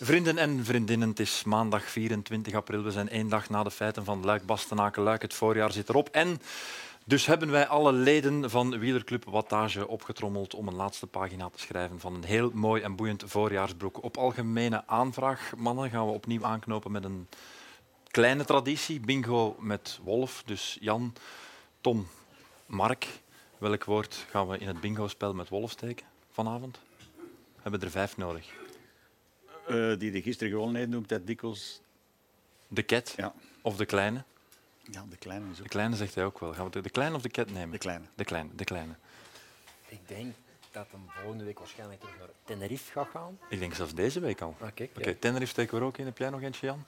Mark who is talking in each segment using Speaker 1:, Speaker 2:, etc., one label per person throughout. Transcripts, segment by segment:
Speaker 1: Vrienden en vriendinnen, het is maandag 24 april. We zijn één dag na de feiten van Luik, Bastenaken, Luik. Het voorjaar zit erop. En dus hebben wij alle leden van Wielerclub Wattage opgetrommeld om een laatste pagina te schrijven van een heel mooi en boeiend voorjaarsbroek. Op algemene aanvraag, mannen, gaan we opnieuw aanknopen met een kleine traditie. Bingo met Wolf. Dus Jan, Tom, Mark. Welk woord gaan we in het bingo-spel met Wolf steken vanavond? We hebben er vijf nodig.
Speaker 2: Eh, die de gisteren gewonnen heeft, noemt dat dikwijls.
Speaker 1: De cat
Speaker 2: Ja.
Speaker 1: of de kleine?
Speaker 2: ja, de kleine is
Speaker 1: De
Speaker 2: ook.
Speaker 1: kleine zegt hij ook wel. Gaan we de- de kleine of de cat nemen?
Speaker 2: De kleine.
Speaker 1: De kleine, de kleine.
Speaker 3: Ik denk dat hem volgende week waarschijnlijk terug naar Tenerife gaat gaan.
Speaker 1: Ik denk zelfs deze week al.
Speaker 3: Ah, kijk,
Speaker 1: Oké,
Speaker 3: ja.
Speaker 1: Tenerife steken we er ook in. Heb jij nog eentje, Jan?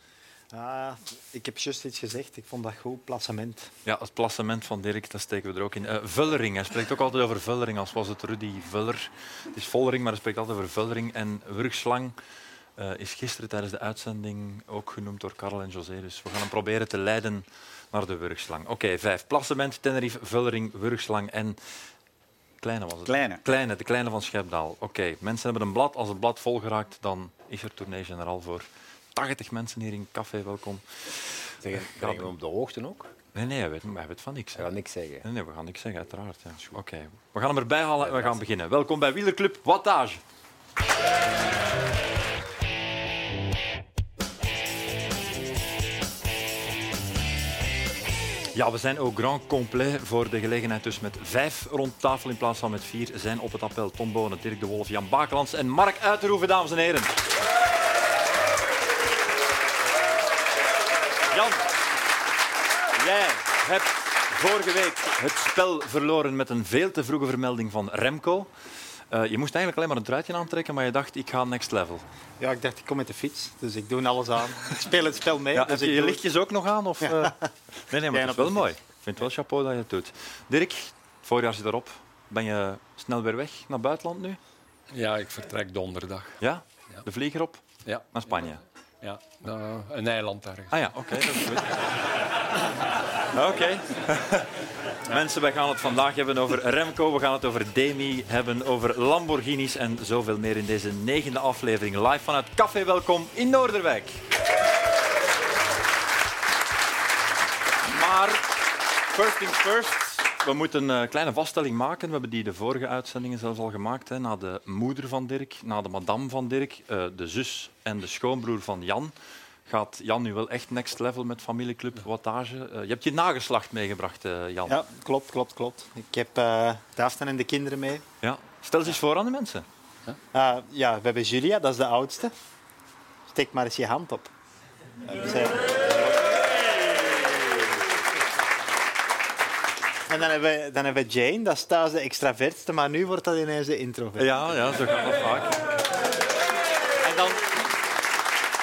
Speaker 4: Ah, ik heb juist iets gezegd. Ik vond dat goed. Placement.
Speaker 1: Ja, het placement van Dirk, dat steken we er ook in. Eh, Vullering, hij spreekt ook altijd over Vullering, als was het Rudy Vuller. Het is Vollering, maar hij spreekt altijd over Vullering. En Wurgslang eh, is gisteren tijdens de uitzending ook genoemd door Karel en José. Dus we gaan hem proberen te leiden naar de Wurgslang. Oké, vijf. Placement, Tenerife, Vullering, Wurgslang en... Kleine was het.
Speaker 2: Kleine.
Speaker 1: Kleine, de kleine van Schepdaal. Oké, mensen hebben een blad. Als het blad volgeraakt, dan is er tournee generaal voor 80 mensen hier in Café. Welkom.
Speaker 3: Zeg, brengen we hem op de hoogte ook?
Speaker 1: Nee, nee, hij weet, hij weet van niks.
Speaker 3: Ik ga niks zeggen.
Speaker 1: Nee, nee, we gaan niks zeggen, uiteraard. Ja. Oké, we gaan hem erbij halen en we gaan beginnen. Welkom bij Wielerclub Wattage. Ja, we zijn au grand complet voor de gelegenheid. Dus met vijf rond tafel in plaats van met vier zijn op het appel Tom Bonen, Dirk de Wolf, Jan Bakelands en Mark Uiterhoeven, dames en heren. Jan, jij hebt vorige week het spel verloren met een veel te vroege vermelding van Remco. Eh, je moest eigenlijk alleen maar een truitje aantrekken, maar je dacht, ik ga next level.
Speaker 4: Ja, ik dacht, ik kom met de fiets. Dus ik doe alles aan. Ik speel het spel mee.
Speaker 1: Ja,
Speaker 4: dus
Speaker 1: heb je
Speaker 4: ik
Speaker 1: je
Speaker 4: doe-
Speaker 1: lichtjes ook nog aan? Of, eh? Nee, nee, maar
Speaker 4: Ja,
Speaker 1: het is
Speaker 4: dat
Speaker 1: wel
Speaker 4: is
Speaker 1: mooi. Ik vind het wel chapeau dat je het doet. Dirk, het voorjaar zit erop. Ben je snel weer weg naar buitenland nu?
Speaker 5: Ja, ik vertrek donderdag.
Speaker 1: Ja?
Speaker 5: Ja.
Speaker 1: De vlieger op
Speaker 5: Ja,
Speaker 1: naar Spanje.
Speaker 5: ja. Eh, een eiland ergens.
Speaker 1: Ah ja, oké, dat is goed. Ah, Oké. Mensen, wij gaan het vandaag hebben over Remco, we gaan het over Demi hebben, over Lamborghinis en zoveel meer in deze negende aflevering live vanuit Café Welkom in Noorderwijk. Maar first things first. We moeten een eh, kleine vaststelling maken. We hebben die de vorige uitzendingen zelfs al gemaakt. Hè, na de moeder van Dirk, na de madame van Dirk, eh, de zus en de schoonbroer van Jan. Gaat Jan nu wel echt next level met familieclub Wattage? Eh, je hebt je nageslacht meegebracht, eh, Jan.
Speaker 4: Ja, klopt, klopt, klopt. Ik heb eh Daaften en de kinderen mee.
Speaker 1: Ja. Stel ze eens voor aan de mensen.
Speaker 4: Ah, ja, we hebben Julia, dat is de oudste. Steek maar eens je hand op. Eh, Ja, we zijn- En dan hebben, we, dan hebben we Jane, dat is thuis de extravertste, maar nu wordt dat ineens de introvert.
Speaker 1: Ja, ja, zo gaat dat vaak. En dan,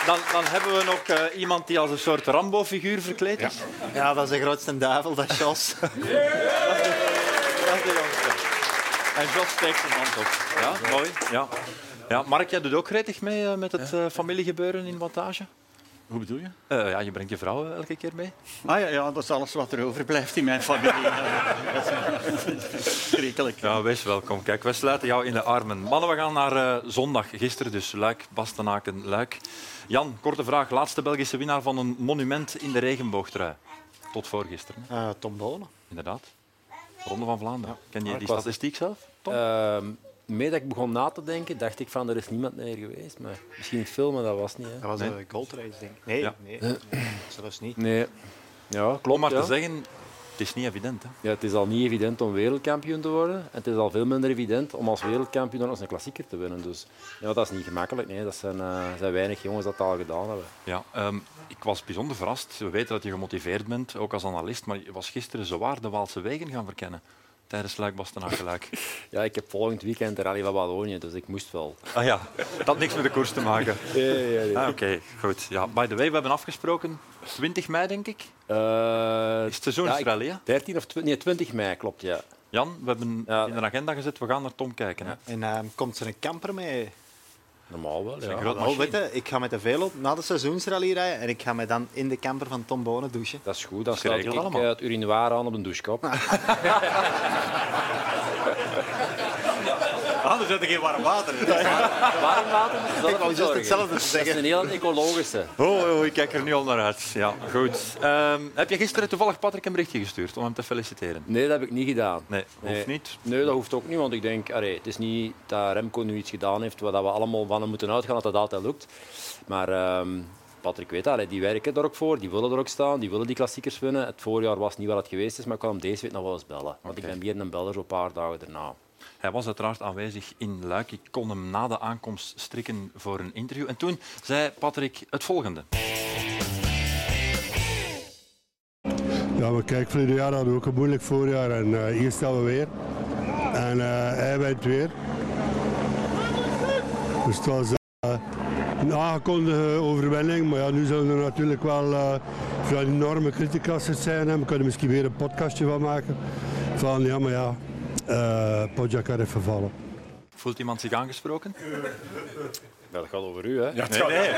Speaker 1: dan, dan hebben we nog eh, iemand die als een soort Rambo-figuur verkleed is.
Speaker 4: Ja, dat is de grootste duivel, dat is Jos.
Speaker 1: Dat is de jongste. En Jos steekt zijn hand op. Ja, mooi. Ja. Ja, Mark, jij doet ook gretig mee eh, met het eh, familiegebeuren in Montage?
Speaker 2: Hoe bedoel je?
Speaker 1: Eh, ja, je brengt je vrouw eh, elke keer mee.
Speaker 2: Ah ja, ja, dat is alles wat er overblijft in mijn familie. Schrikkelijk.
Speaker 1: Ja, wees welkom. Kijk, wij sluiten jou in de armen. Mannen, we gaan naar eh, zondag, gisteren dus. Luik, Bastenaken, Luik. Jan, korte vraag. Laatste Belgische winnaar van een monument in de regenboogtrui. Tot voorgisteren, hè?
Speaker 4: Eh Tom Bonen.
Speaker 1: inderdaad. Ronde van Vlaanderen. Ken je
Speaker 3: Ah,
Speaker 1: die
Speaker 3: ik was-
Speaker 1: statistiek zelf? Tom?
Speaker 3: Ehm mee dat ik begon na te denken, dacht ik van er is niemand meer geweest. Maar misschien filmen, dat was niet. Hè.
Speaker 4: Dat was
Speaker 1: Nee.
Speaker 4: een goldrace, denk ik. Nee,
Speaker 1: Ja.
Speaker 4: nee, nee, zelfs niet.
Speaker 3: Nee. Ja,
Speaker 1: Om
Speaker 3: klopt.
Speaker 1: maar
Speaker 3: ja.
Speaker 1: te zeggen, het is niet evident. Hè?
Speaker 3: Ja, het is al niet evident om wereldkampioen te worden. En het is al veel minder evident om als wereldkampioen dan als een klassieker te winnen. Dus ja, dat is niet gemakkelijk. Nee. Dat zijn, eh, zijn weinig jongens dat dat al gedaan hebben.
Speaker 1: Ja, ehm, ik was bijzonder verrast. We weten dat je gemotiveerd bent, ook als analist, maar je was gisteren zowaar de Waalse wegen gaan verkennen tijdens Luik Bastenakeluik.
Speaker 3: Ja, ik heb volgend weekend de Rally van Wallonië, dus ik moest wel.
Speaker 1: Ah ja, dat had niks met de koers te maken. Ah, Oké, goed. Ja, by the way, we hebben afgesproken 20 mei, denk ik.
Speaker 3: Eh,
Speaker 1: Is het seizoensrally, hè?
Speaker 3: 13 of 20, nee, 20 mei, klopt, ja.
Speaker 1: Jan, we hebben
Speaker 3: Ja.
Speaker 1: in de agenda gezet, we gaan naar Tom kijken. Hè?
Speaker 4: En ehm, komt er een kamper mee?
Speaker 3: Normaal wel,
Speaker 1: een
Speaker 3: ja.
Speaker 1: groot-
Speaker 4: Oh, weet je, ik ga met de velo na de seizoensrally rijden en ik ga me dan in de kamper van Tom Bonen douchen.
Speaker 3: Dat is goed, dan
Speaker 1: is
Speaker 3: sluit ik
Speaker 1: geregeld allemaal.
Speaker 3: eh, het urinoir aan op een douchekop.
Speaker 1: Ah, de
Speaker 4: anders zit er geen warm water. in.
Speaker 3: Warm water moet zelf
Speaker 4: Ik wou juist
Speaker 3: verzorgen.
Speaker 4: hetzelfde te
Speaker 3: Dat is
Speaker 4: zeggen.
Speaker 3: een heel ecologische.
Speaker 1: Oh, oh, ik kijk er nu al naar uit. Ja, goed. Ehm, heb je gisteren toevallig Patrick een berichtje gestuurd om hem te feliciteren?
Speaker 3: Nee, dat heb ik niet gedaan.
Speaker 1: Nee, hoeft
Speaker 3: Nee.
Speaker 1: niet.
Speaker 3: Nee, dat hoeft ook niet, want ik denk, allee, het is niet dat Remco nu iets gedaan heeft waar dat we allemaal van hem moeten uitgaan dat dat altijd lukt. Maar ehm, Patrick weet dat, allee, die werken er ook voor, die willen er ook staan, die willen die klassiekers winnen. Het voorjaar was niet wat het geweest is, maar ik kan hem deze week nog wel eens bellen. Want ik ben meer een beller zo'n paar dagen daarna.
Speaker 1: Hij was uiteraard aanwezig in Luik. Ik kon hem na de aankomst strikken voor een interview. En toen zei Patrick het volgende.
Speaker 6: Ja, maar kijk, vorig jaar hadden we ook een moeilijk voorjaar en eh, hier staan we weer. En eh, hij wint weer. Dus het was eh, een aangekondigde overwinning, maar ja, nu zullen er natuurlijk wel eh van die enorme criticassers zijn. En we kunnen misschien weer een podcastje van maken. Van ja, maar ja, eh Podja kan even vallen.
Speaker 1: Voelt iemand zich aangesproken?
Speaker 3: Dat gaat over u, hè?
Speaker 1: Nee, nee.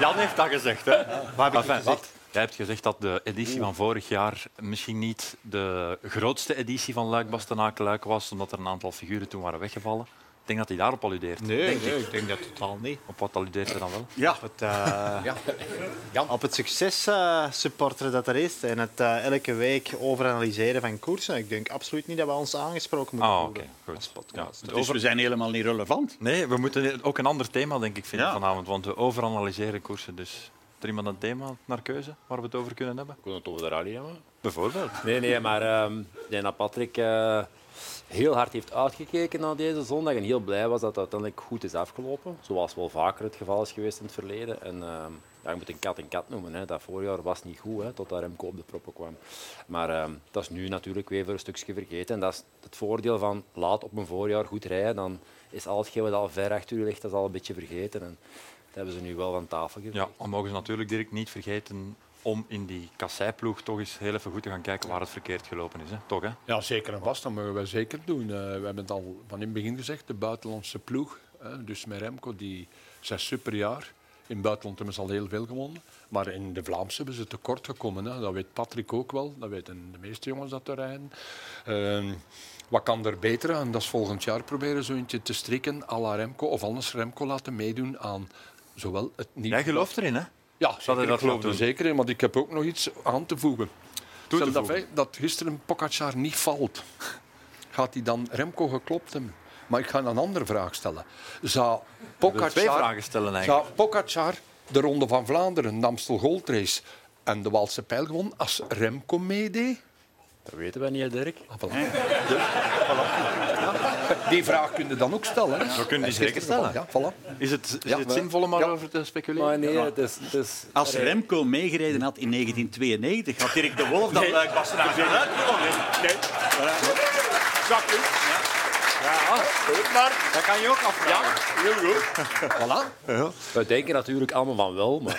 Speaker 1: Jan heeft dat gezegd. Hè?
Speaker 4: Wat heb ik
Speaker 1: Enfin,
Speaker 4: gezegd?
Speaker 1: Jij hebt gezegd dat de editie van vorig jaar misschien niet de grootste editie van Luik Bastenaken Luik was, omdat er een aantal figuren toen waren weggevallen. Ik denk dat hij daarop alludeert.
Speaker 4: Nee, nee, ik denk dat totaal niet.
Speaker 1: Op wat alludeert hij dan wel?
Speaker 4: Ja. Op het, eh, op het succes eh, supporteren dat er is en het eh, elke week overanalyseren van koersen. Ik denk absoluut niet dat we ons aangesproken moeten
Speaker 1: Ah, oké.
Speaker 4: voelen.
Speaker 1: Goed. Ja.
Speaker 2: Dus we zijn helemaal niet relevant.
Speaker 1: Nee, we moeten ook een ander thema denk ik vinden
Speaker 2: Ja.
Speaker 1: vanavond, want we overanalyseren koersen. Dus is er iemand een thema naar keuze waar we het over kunnen hebben?
Speaker 3: Ik kon het over de rally hebben.
Speaker 1: Bijvoorbeeld.
Speaker 3: Nee, nee, maar ehm, ik denk dat Patrick eh, heel hard heeft uitgekeken naar deze zondag en heel blij was dat het uiteindelijk goed is afgelopen. Zoals wel vaker het geval is geweest in het verleden. En ehm, ja, je moet een kat een kat noemen. Hè. Dat voorjaar was niet goed, hè, totdat Remco op de proppen kwam. Maar ehm, dat is nu natuurlijk weer voor een stukje vergeten. En dat is het voordeel van laat op een voorjaar goed rijden. Dan is al hetgeen wat al ver achter u ligt, dat is al een beetje vergeten. En dat hebben ze nu wel van tafel geveegd.
Speaker 1: Ja, dan mogen ze natuurlijk direct niet vergeten om in die kasseiploeg toch eens heel even goed te gaan kijken waar het verkeerd gelopen is. Hè? Toch, hè?
Speaker 5: Ja, zeker en vast. Dat mogen wij zeker doen. Eh, we hebben het al van in het begin gezegd, de buitenlandse ploeg. hè, dus met Remco, die zijn superjaar. In het buitenland hebben ze al heel veel gewonnen. Maar in de Vlaamse hebben ze tekort gekomen. Hè. Dat weet Patrick ook wel. Dat weten de meeste jongens dat er rijden. Ehm, wat kan er beter aan? Dat is volgend jaar proberen zo eentje te strikken à la Remco. Of anders Remco laten meedoen aan zowel het nieuwe...
Speaker 1: Jij gelooft erin, hè?
Speaker 5: Ja, zeker,
Speaker 1: hij
Speaker 5: dat
Speaker 1: dat
Speaker 5: ik geloof
Speaker 1: doen?
Speaker 5: er zeker in, want ik heb ook nog iets aan te voegen.
Speaker 1: Toe te
Speaker 5: Stel dat,
Speaker 1: voegen.
Speaker 5: wij- dat gisteren Pogacar niet valt, gaat hij dan Remco geklopt hebben? Maar ik ga een andere vraag stellen. Zou
Speaker 1: wil twee
Speaker 5: Pogacar,
Speaker 1: vragen stellen eigenlijk.
Speaker 5: zou Pogacar de Ronde van Vlaanderen, de Amstel Gold Race en de Waalse Pijl gewonnen als Remco meedeed?
Speaker 3: Dat weten wij niet, hè, Dirk.
Speaker 5: Ah, voilà. Ja. Die vraag kun je dan ook stellen. hè?
Speaker 1: We kunnen die
Speaker 5: Gisteren
Speaker 1: zeker stellen.
Speaker 5: Ja, voilà.
Speaker 1: Is het, is
Speaker 5: Ja,
Speaker 1: het
Speaker 5: maar-
Speaker 1: zinvol om daarover te speculeren?
Speaker 3: Maar nee, het is... Het is
Speaker 2: Als Remco meegereden had in 1992, had Dirk de Wolf dan Luik Bastenaken eruit gewonnen. Nee.
Speaker 4: Dat kan je ook afvragen.
Speaker 5: voilà.
Speaker 3: We denken natuurlijk allemaal van wel, maar...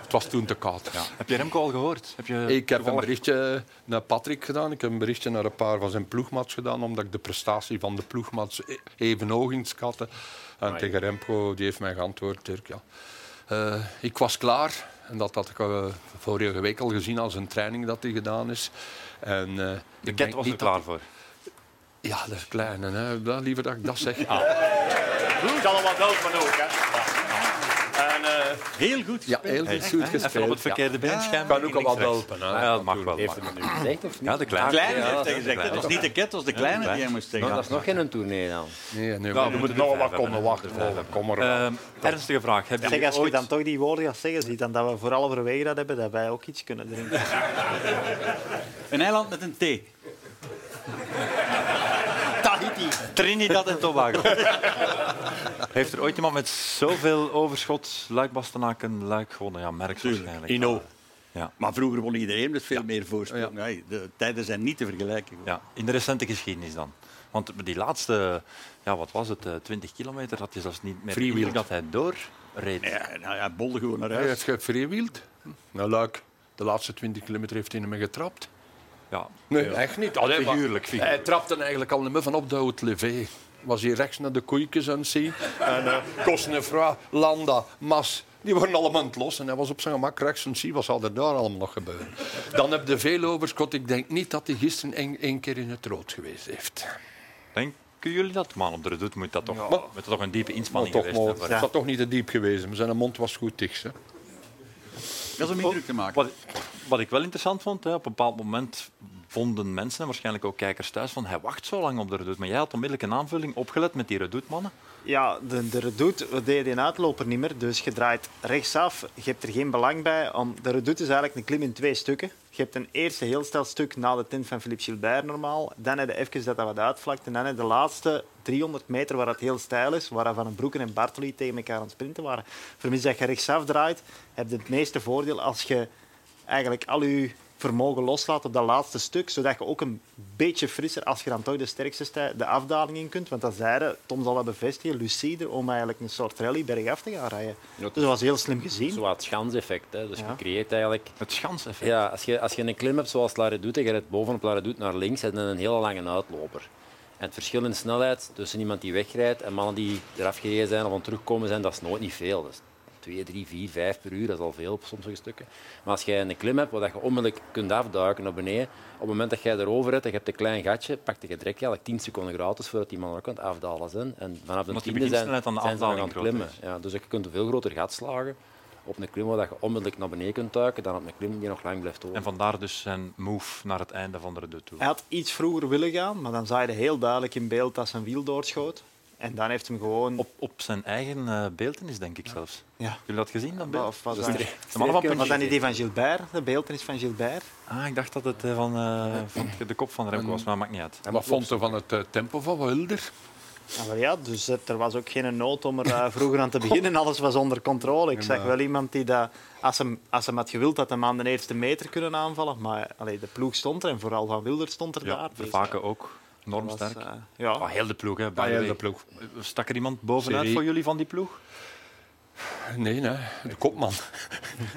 Speaker 5: Het was toen te koud. Ja.
Speaker 1: Heb je Remco al gehoord? Heb je
Speaker 5: Ik heb een
Speaker 1: toevallig-
Speaker 5: berichtje naar Patrick gedaan. Ik heb een berichtje naar een paar van zijn ploegmaats gedaan, omdat ik de prestatie van de ploegmaats e- even hoog inschatte.
Speaker 1: Ah,
Speaker 5: En tegen Remco, die heeft mij geantwoord, Dirk, ja. Eh, ik was klaar. En dat had ik eh, vorige week al gezien als een training dat die gedaan is. En, eh,
Speaker 1: De
Speaker 5: ik
Speaker 1: ket
Speaker 5: denk
Speaker 1: was
Speaker 5: niet
Speaker 1: er
Speaker 5: dat-
Speaker 1: klaar voor.
Speaker 5: Ja, dat is klein. En, hè, dat- liever dat ik dat zeg.
Speaker 2: Het allemaal wel van ook, hè. En, eh, heel goed.
Speaker 5: Ja, heel goed, goed
Speaker 1: Even op
Speaker 5: gespeeld.
Speaker 1: het verkeerde been
Speaker 5: Ja.
Speaker 1: schijnbaar.
Speaker 5: Kan ook al wat helpen. Hè.
Speaker 1: Ja, dat mag wel.
Speaker 3: Heeft
Speaker 1: mag.
Speaker 3: hij het nu gezegd of niet?
Speaker 1: Ja, de kleine.
Speaker 2: Kleine
Speaker 3: Ja,
Speaker 2: heeft
Speaker 3: dat
Speaker 2: hij
Speaker 3: is
Speaker 2: gezegd. hè. Het was niet de ket, het was de kleine die hij moest zeggen.
Speaker 3: Dat is nog geen tournee dan.
Speaker 5: Nee, nee,
Speaker 1: Nou,
Speaker 5: we moeten
Speaker 1: de
Speaker 5: nog
Speaker 1: vijf
Speaker 5: wat komen
Speaker 1: hebben, hè.
Speaker 5: wachten. Oh, Kom maar.
Speaker 1: Ehm, ernstige vraag. Heb
Speaker 4: Zeg,
Speaker 1: je
Speaker 4: als je
Speaker 1: ooit...
Speaker 4: dan toch die woorden gaat zeggen, zie dan dat we vooral overwegen dat hebben, dat wij ook iets kunnen drinken.
Speaker 2: Een eiland met een T.
Speaker 4: Tahiti.
Speaker 1: Trinidad en Tobago. Heeft er ooit iemand met zoveel overschot Luik Bastenaken Luik gewonnen? Ja, Merckx waarschijnlijk.
Speaker 2: Ino.
Speaker 1: Ja.
Speaker 2: Maar vroeger won iedereen met veel meer voorsprong. Nee, de tijden zijn niet te vergelijken.
Speaker 1: Ja, in de recente geschiedenis dan. Want die laatste, ja, wat was het, eh, 20 kilometer, had je zelfs niet meer de indruk dat hij doorreed.
Speaker 2: Ja, nou ja, bolde gewoon naar
Speaker 5: Hij
Speaker 2: huis.
Speaker 5: heeft gefreewield. Nou, leuk. De laatste 20 kilometer heeft hij hem getrapt.
Speaker 1: Ja.
Speaker 5: Nee, echt niet. Allee, maar
Speaker 1: Figuurlijk, figuurlijk.
Speaker 5: Hij trapte eigenlijk al niet meer van op de haute levée. Was hier rechts naar de koeikens aan het zien. En eh Cosnefra, Landa, Mas, die worden allemaal aan het los. En hij was op zijn gemak rechts aan het zien. Wat zal er daar allemaal nog gebeuren? Dan heb je veel overschot. Ik denk niet dat hij gisteren één één keer in het rood geweest heeft.
Speaker 1: Denk Kunnen jullie dat? Man, op de redoute moet dat toch, moet dat toch een diepe
Speaker 5: Maar
Speaker 1: inspanning
Speaker 5: toch,
Speaker 1: geweest
Speaker 5: maar,
Speaker 1: hebben.
Speaker 5: het zat toch niet te diep geweest. Maar zijn mond was goed dicht. Hè.
Speaker 2: Dat is om indruk te maken.
Speaker 1: Wat, wat ik wel interessant vond, hè, op een bepaald moment vonden mensen, en waarschijnlijk ook kijkers thuis, van hij wacht zo lang op de redoute. Maar jij had onmiddellijk een aanvulling opgelet met die redoute-mannen.
Speaker 4: Ja, de, de redoute, we deden een uitloper niet meer, dus je draait rechtsaf. Je hebt er geen belang bij. Om, de redoute is eigenlijk een klim in twee stukken. Je hebt een eerste heel stel stuk na de tent van Philippe Gilbert normaal. Dan heb je even dat dat wat uitvlakt. En dan heb je de laatste 300 meter waar het heel steil is, waar Van den Broeken en Bartoli tegen elkaar aan het sprinten waren. Vermits dat je rechtsaf draait, heb je het meeste voordeel als je eigenlijk al je vermogen loslaat op dat laatste stuk, zodat je ook een beetje frisser, als je dan toch de sterkste stij- de afdaling in kunt. Want dat zeiden, Tom zal dat bevestigen, lucide, om eigenlijk een soort rally bergaf te gaan rijden.
Speaker 3: Ja,
Speaker 4: Dus dat was heel slim gezien.
Speaker 3: Zo het schans-effect. hè. Dus
Speaker 4: Ja.
Speaker 3: je creëert eigenlijk...
Speaker 1: Het schans-effect.
Speaker 3: Ja, als je, als je een klim hebt zoals Lara doet, en je rijdt bovenop Lara doet naar links, en dan een hele lange uitloper. En het verschil in snelheid tussen iemand die wegrijdt en mannen die eraf gereden zijn of aan het terugkomen zijn, dat is nooit niet veel. Dat is 2, 3, 4, 5 per uur, dat is al veel op sommige stukken. Maar als jij een klim hebt waar je onmiddellijk kunt afduiken naar beneden, op het moment dat jij erover hebt en je hebt een klein gatje, pak je direct eigenlijk 10 seconden gratis voordat die mannen ook aan het afdalen zijn. En vanaf de
Speaker 1: Omdat die
Speaker 3: tiende zijn,
Speaker 1: beginsnelheid aan de
Speaker 3: zijn ze nog aan
Speaker 1: afdaling
Speaker 3: het
Speaker 1: groter
Speaker 3: klimmen.
Speaker 1: is.
Speaker 3: Ja, dus je kunt een veel groter gat slagen op een klim waar je onmiddellijk naar beneden kunt duiken dan op een klim die nog lang blijft over.
Speaker 1: En vandaar dus zijn move naar het einde van de redoute toe.
Speaker 4: Hij had iets vroeger willen gaan, maar dan zag je heel duidelijk in beeld dat zijn wiel doorschoot. En dan heeft hem gewoon...
Speaker 1: Op, op zijn eigen eh beeltenis, denk ik zelfs.
Speaker 4: ja.
Speaker 1: Jullie dat gezien, dat beeld?
Speaker 4: Of was,
Speaker 3: Dus
Speaker 4: dat,
Speaker 3: stre-
Speaker 1: De mannen van
Speaker 4: was dat
Speaker 1: Puntje.
Speaker 4: niet die van Gilbert, de beeltenis van Gilbert?
Speaker 1: Ah, ik dacht dat het eh, van, eh, van de kop van Remco was, maar maakt niet uit.
Speaker 5: En wat vond je van het eh, tempo van Wilder?
Speaker 4: Ah, wel ja, dus eh, er was ook geen nood om er eh, vroeger aan te beginnen. Alles was onder controle. Ik zag wel iemand die, dat, als, hem, als hem had gewild, had hem aan de eerste meter kunnen aanvallen. Maar eh, allee, de ploeg stond er en vooral Van Wilder stond er
Speaker 1: Ja,
Speaker 4: daar. Dus,
Speaker 1: Vervaken ook, enorm
Speaker 4: was,
Speaker 1: sterk.
Speaker 4: eh, ja.
Speaker 1: Ah, heel de ploeg, hè. by
Speaker 5: Ah,
Speaker 1: the
Speaker 5: heel
Speaker 1: way.
Speaker 5: de ploeg.
Speaker 1: Stak er iemand bovenuit
Speaker 5: Serie.
Speaker 1: voor jullie van die ploeg?
Speaker 5: Nee, nee, de kopman.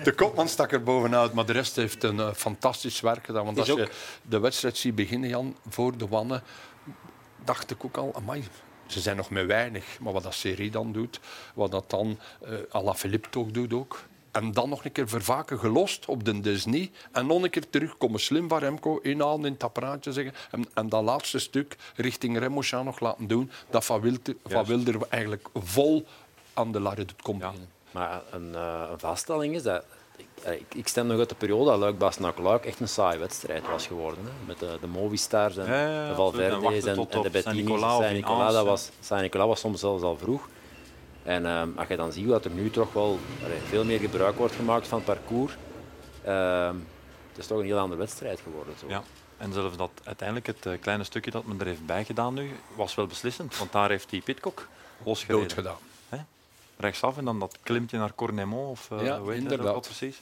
Speaker 5: De kopman stak er bovenuit, maar de rest heeft een eh, fantastisch werk gedaan. Want als
Speaker 4: Is ook-
Speaker 5: je de wedstrijd ziet beginnen, Jan, voor de wannen, dacht ik ook al, amai, ze zijn nog met weinig. Maar wat dat Serie dan doet, wat dat dan Ala Philippe toch doet ook. En dan nog een keer vervaken gelost op de Disney. En nog een keer terugkomen. Slim van Remco inhalen in het apparaatje zeggen. En, en dat laatste stuk richting Remochan nog laten doen. Dat Van Wilder, van Wilder eigenlijk vol aan de Larre doet komt. beginnen.
Speaker 3: Maar een, eh, een vaststelling is dat. ik- eh, Ik, ik stem nog uit de periode dat Luik Bastenaak Luik echt een saaie wedstrijd was geworden. Hè? Met de, de Movistars en
Speaker 1: Ja, ja, ja,
Speaker 3: de
Speaker 1: absoluut. En wachten
Speaker 3: Valverde's en,
Speaker 1: tot
Speaker 3: en de
Speaker 1: op San
Speaker 3: Bettini's.
Speaker 1: Nicolau of in Aans,
Speaker 3: dat
Speaker 1: ja.
Speaker 3: was, Saint-Nicolas was soms zelfs al vroeg. En ehm, als je dan ziet dat er nu toch wel allee, veel meer gebruik wordt gemaakt van het parcours, ehm, het is toch een heel andere wedstrijd geworden. Zo.
Speaker 1: Ja, en zelfs dat uiteindelijk het eh, kleine stukje dat men er heeft bij gedaan nu, was wel beslissend. Want daar heeft die Pitcock losgereden.
Speaker 5: Dood gedaan.
Speaker 1: Rechtsaf en dan dat klimpje naar Cornemont of eh
Speaker 5: Ja,
Speaker 1: hoe heet dat
Speaker 5: inderdaad.
Speaker 1: ook precies.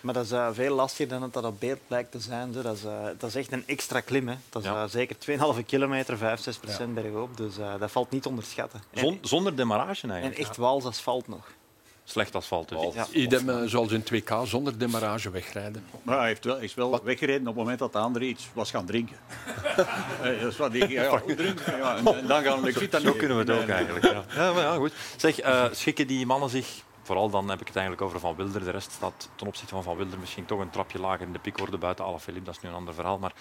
Speaker 4: Maar dat is eh, veel lastiger dan dat dat op beeld blijkt te zijn. zo. Dat, is, eh, dat is echt een extra klim. Hè. Dat is
Speaker 1: Ja.
Speaker 4: eh, zeker 2,5 kilometer, 5, 6 procent bergop. Dus eh, dat valt niet te onderschatten. En,
Speaker 1: Zon- zonder demarrage
Speaker 4: en
Speaker 1: eigenlijk.
Speaker 4: echt wals asfalt nog.
Speaker 1: Slecht asfalt. Dus.
Speaker 4: Ja.
Speaker 5: Idem eh, zoals in 2K zonder demarrage wegrijden.
Speaker 2: Maar hij heeft wel, hij is wel weggereden op het moment dat de andere iets was gaan drinken. Eh, dat is wat ik, ja, ja, goed drinken. Ja, en, en dan gaan we... Ik vind dat
Speaker 1: Zo kunnen we het ook eigenlijk. Ja, ja, maar ja goed. Zeg, eh, schikken die mannen zich... Vooral dan heb ik het eigenlijk over Van Wilder. De rest staat ten opzichte van Van Wilder misschien toch een trapje lager in de piekorde buiten Alaphilippe. Dat is nu een ander verhaal. Maar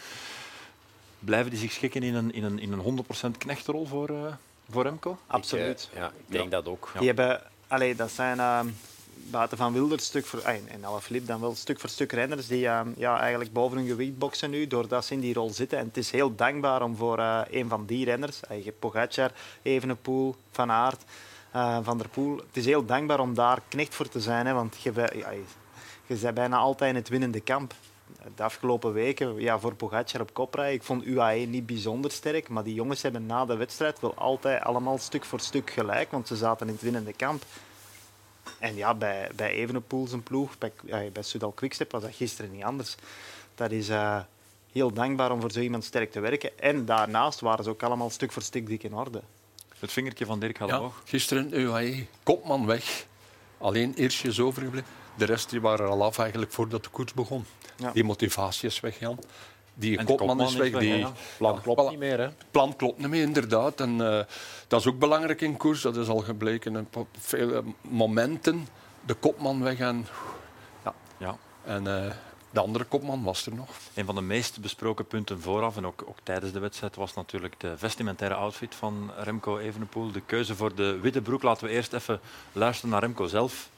Speaker 1: blijven die zich schikken in een, in een, in een 100% knechtrol voor, eh, voor Remco?
Speaker 4: Absoluut.
Speaker 3: Ik, eh, ja, ik denk dat ook.
Speaker 4: Die hebben, allee, dat zijn ehm, buiten van Wilder stuk voor, ah, en Alaphilippe dan wel stuk voor stuk renners die ehm, ja, eigenlijk boven hun gewicht boksen nu, doordat ze in die rol zitten. En het is heel dankbaar om voor eh, een van die renners, eh, je hebt Pogacar, Evenepoel, Van Aert, eh, Van der Poel, het is heel dankbaar om daar knecht voor te zijn, hè, want je, bent- ja, je, je bent bijna altijd in het winnende kamp. De afgelopen weken, ja, voor Pogacar op kop rijden, ik vond UAE niet bijzonder sterk, maar die jongens hebben na de wedstrijd wel altijd allemaal stuk voor stuk gelijk, want ze zaten in het winnende kamp. En ja, bij, bij Evenepoel zijn ploeg, bij, ja, bij Sudal Quickstep was dat gisteren niet anders. Dat is eh, heel dankbaar om voor zo iemand sterk te werken. En daarnaast waren ze ook allemaal stuk voor stuk dik in orde.
Speaker 1: Het vingertje van Dirk gaat
Speaker 5: Ja,
Speaker 1: omhoog.
Speaker 5: gisteren UAE, kopman weg. Alleen Eersje is overgebleven. De rest die waren er al af eigenlijk voordat de koers begon.
Speaker 4: Ja.
Speaker 5: Die motivatie is weg, Jan. Die
Speaker 1: En de
Speaker 5: kopman, is weg. die
Speaker 1: ja.
Speaker 3: plan klopt
Speaker 5: voilà.
Speaker 3: niet meer. Hè?
Speaker 5: plan klopt niet meer, inderdaad. En eh, dat is ook belangrijk in koers. Dat is al gebleken. En op vele momenten de kopman weg. En,
Speaker 1: Ja.
Speaker 5: en eh, De andere kopman was er nog.
Speaker 1: Een van de meest besproken punten vooraf en ook, ook tijdens de wedstrijd was natuurlijk de vestimentaire outfit van Remco Evenepoel. De keuze voor de witte broek. Laten we eerst even luisteren naar Remco zelf.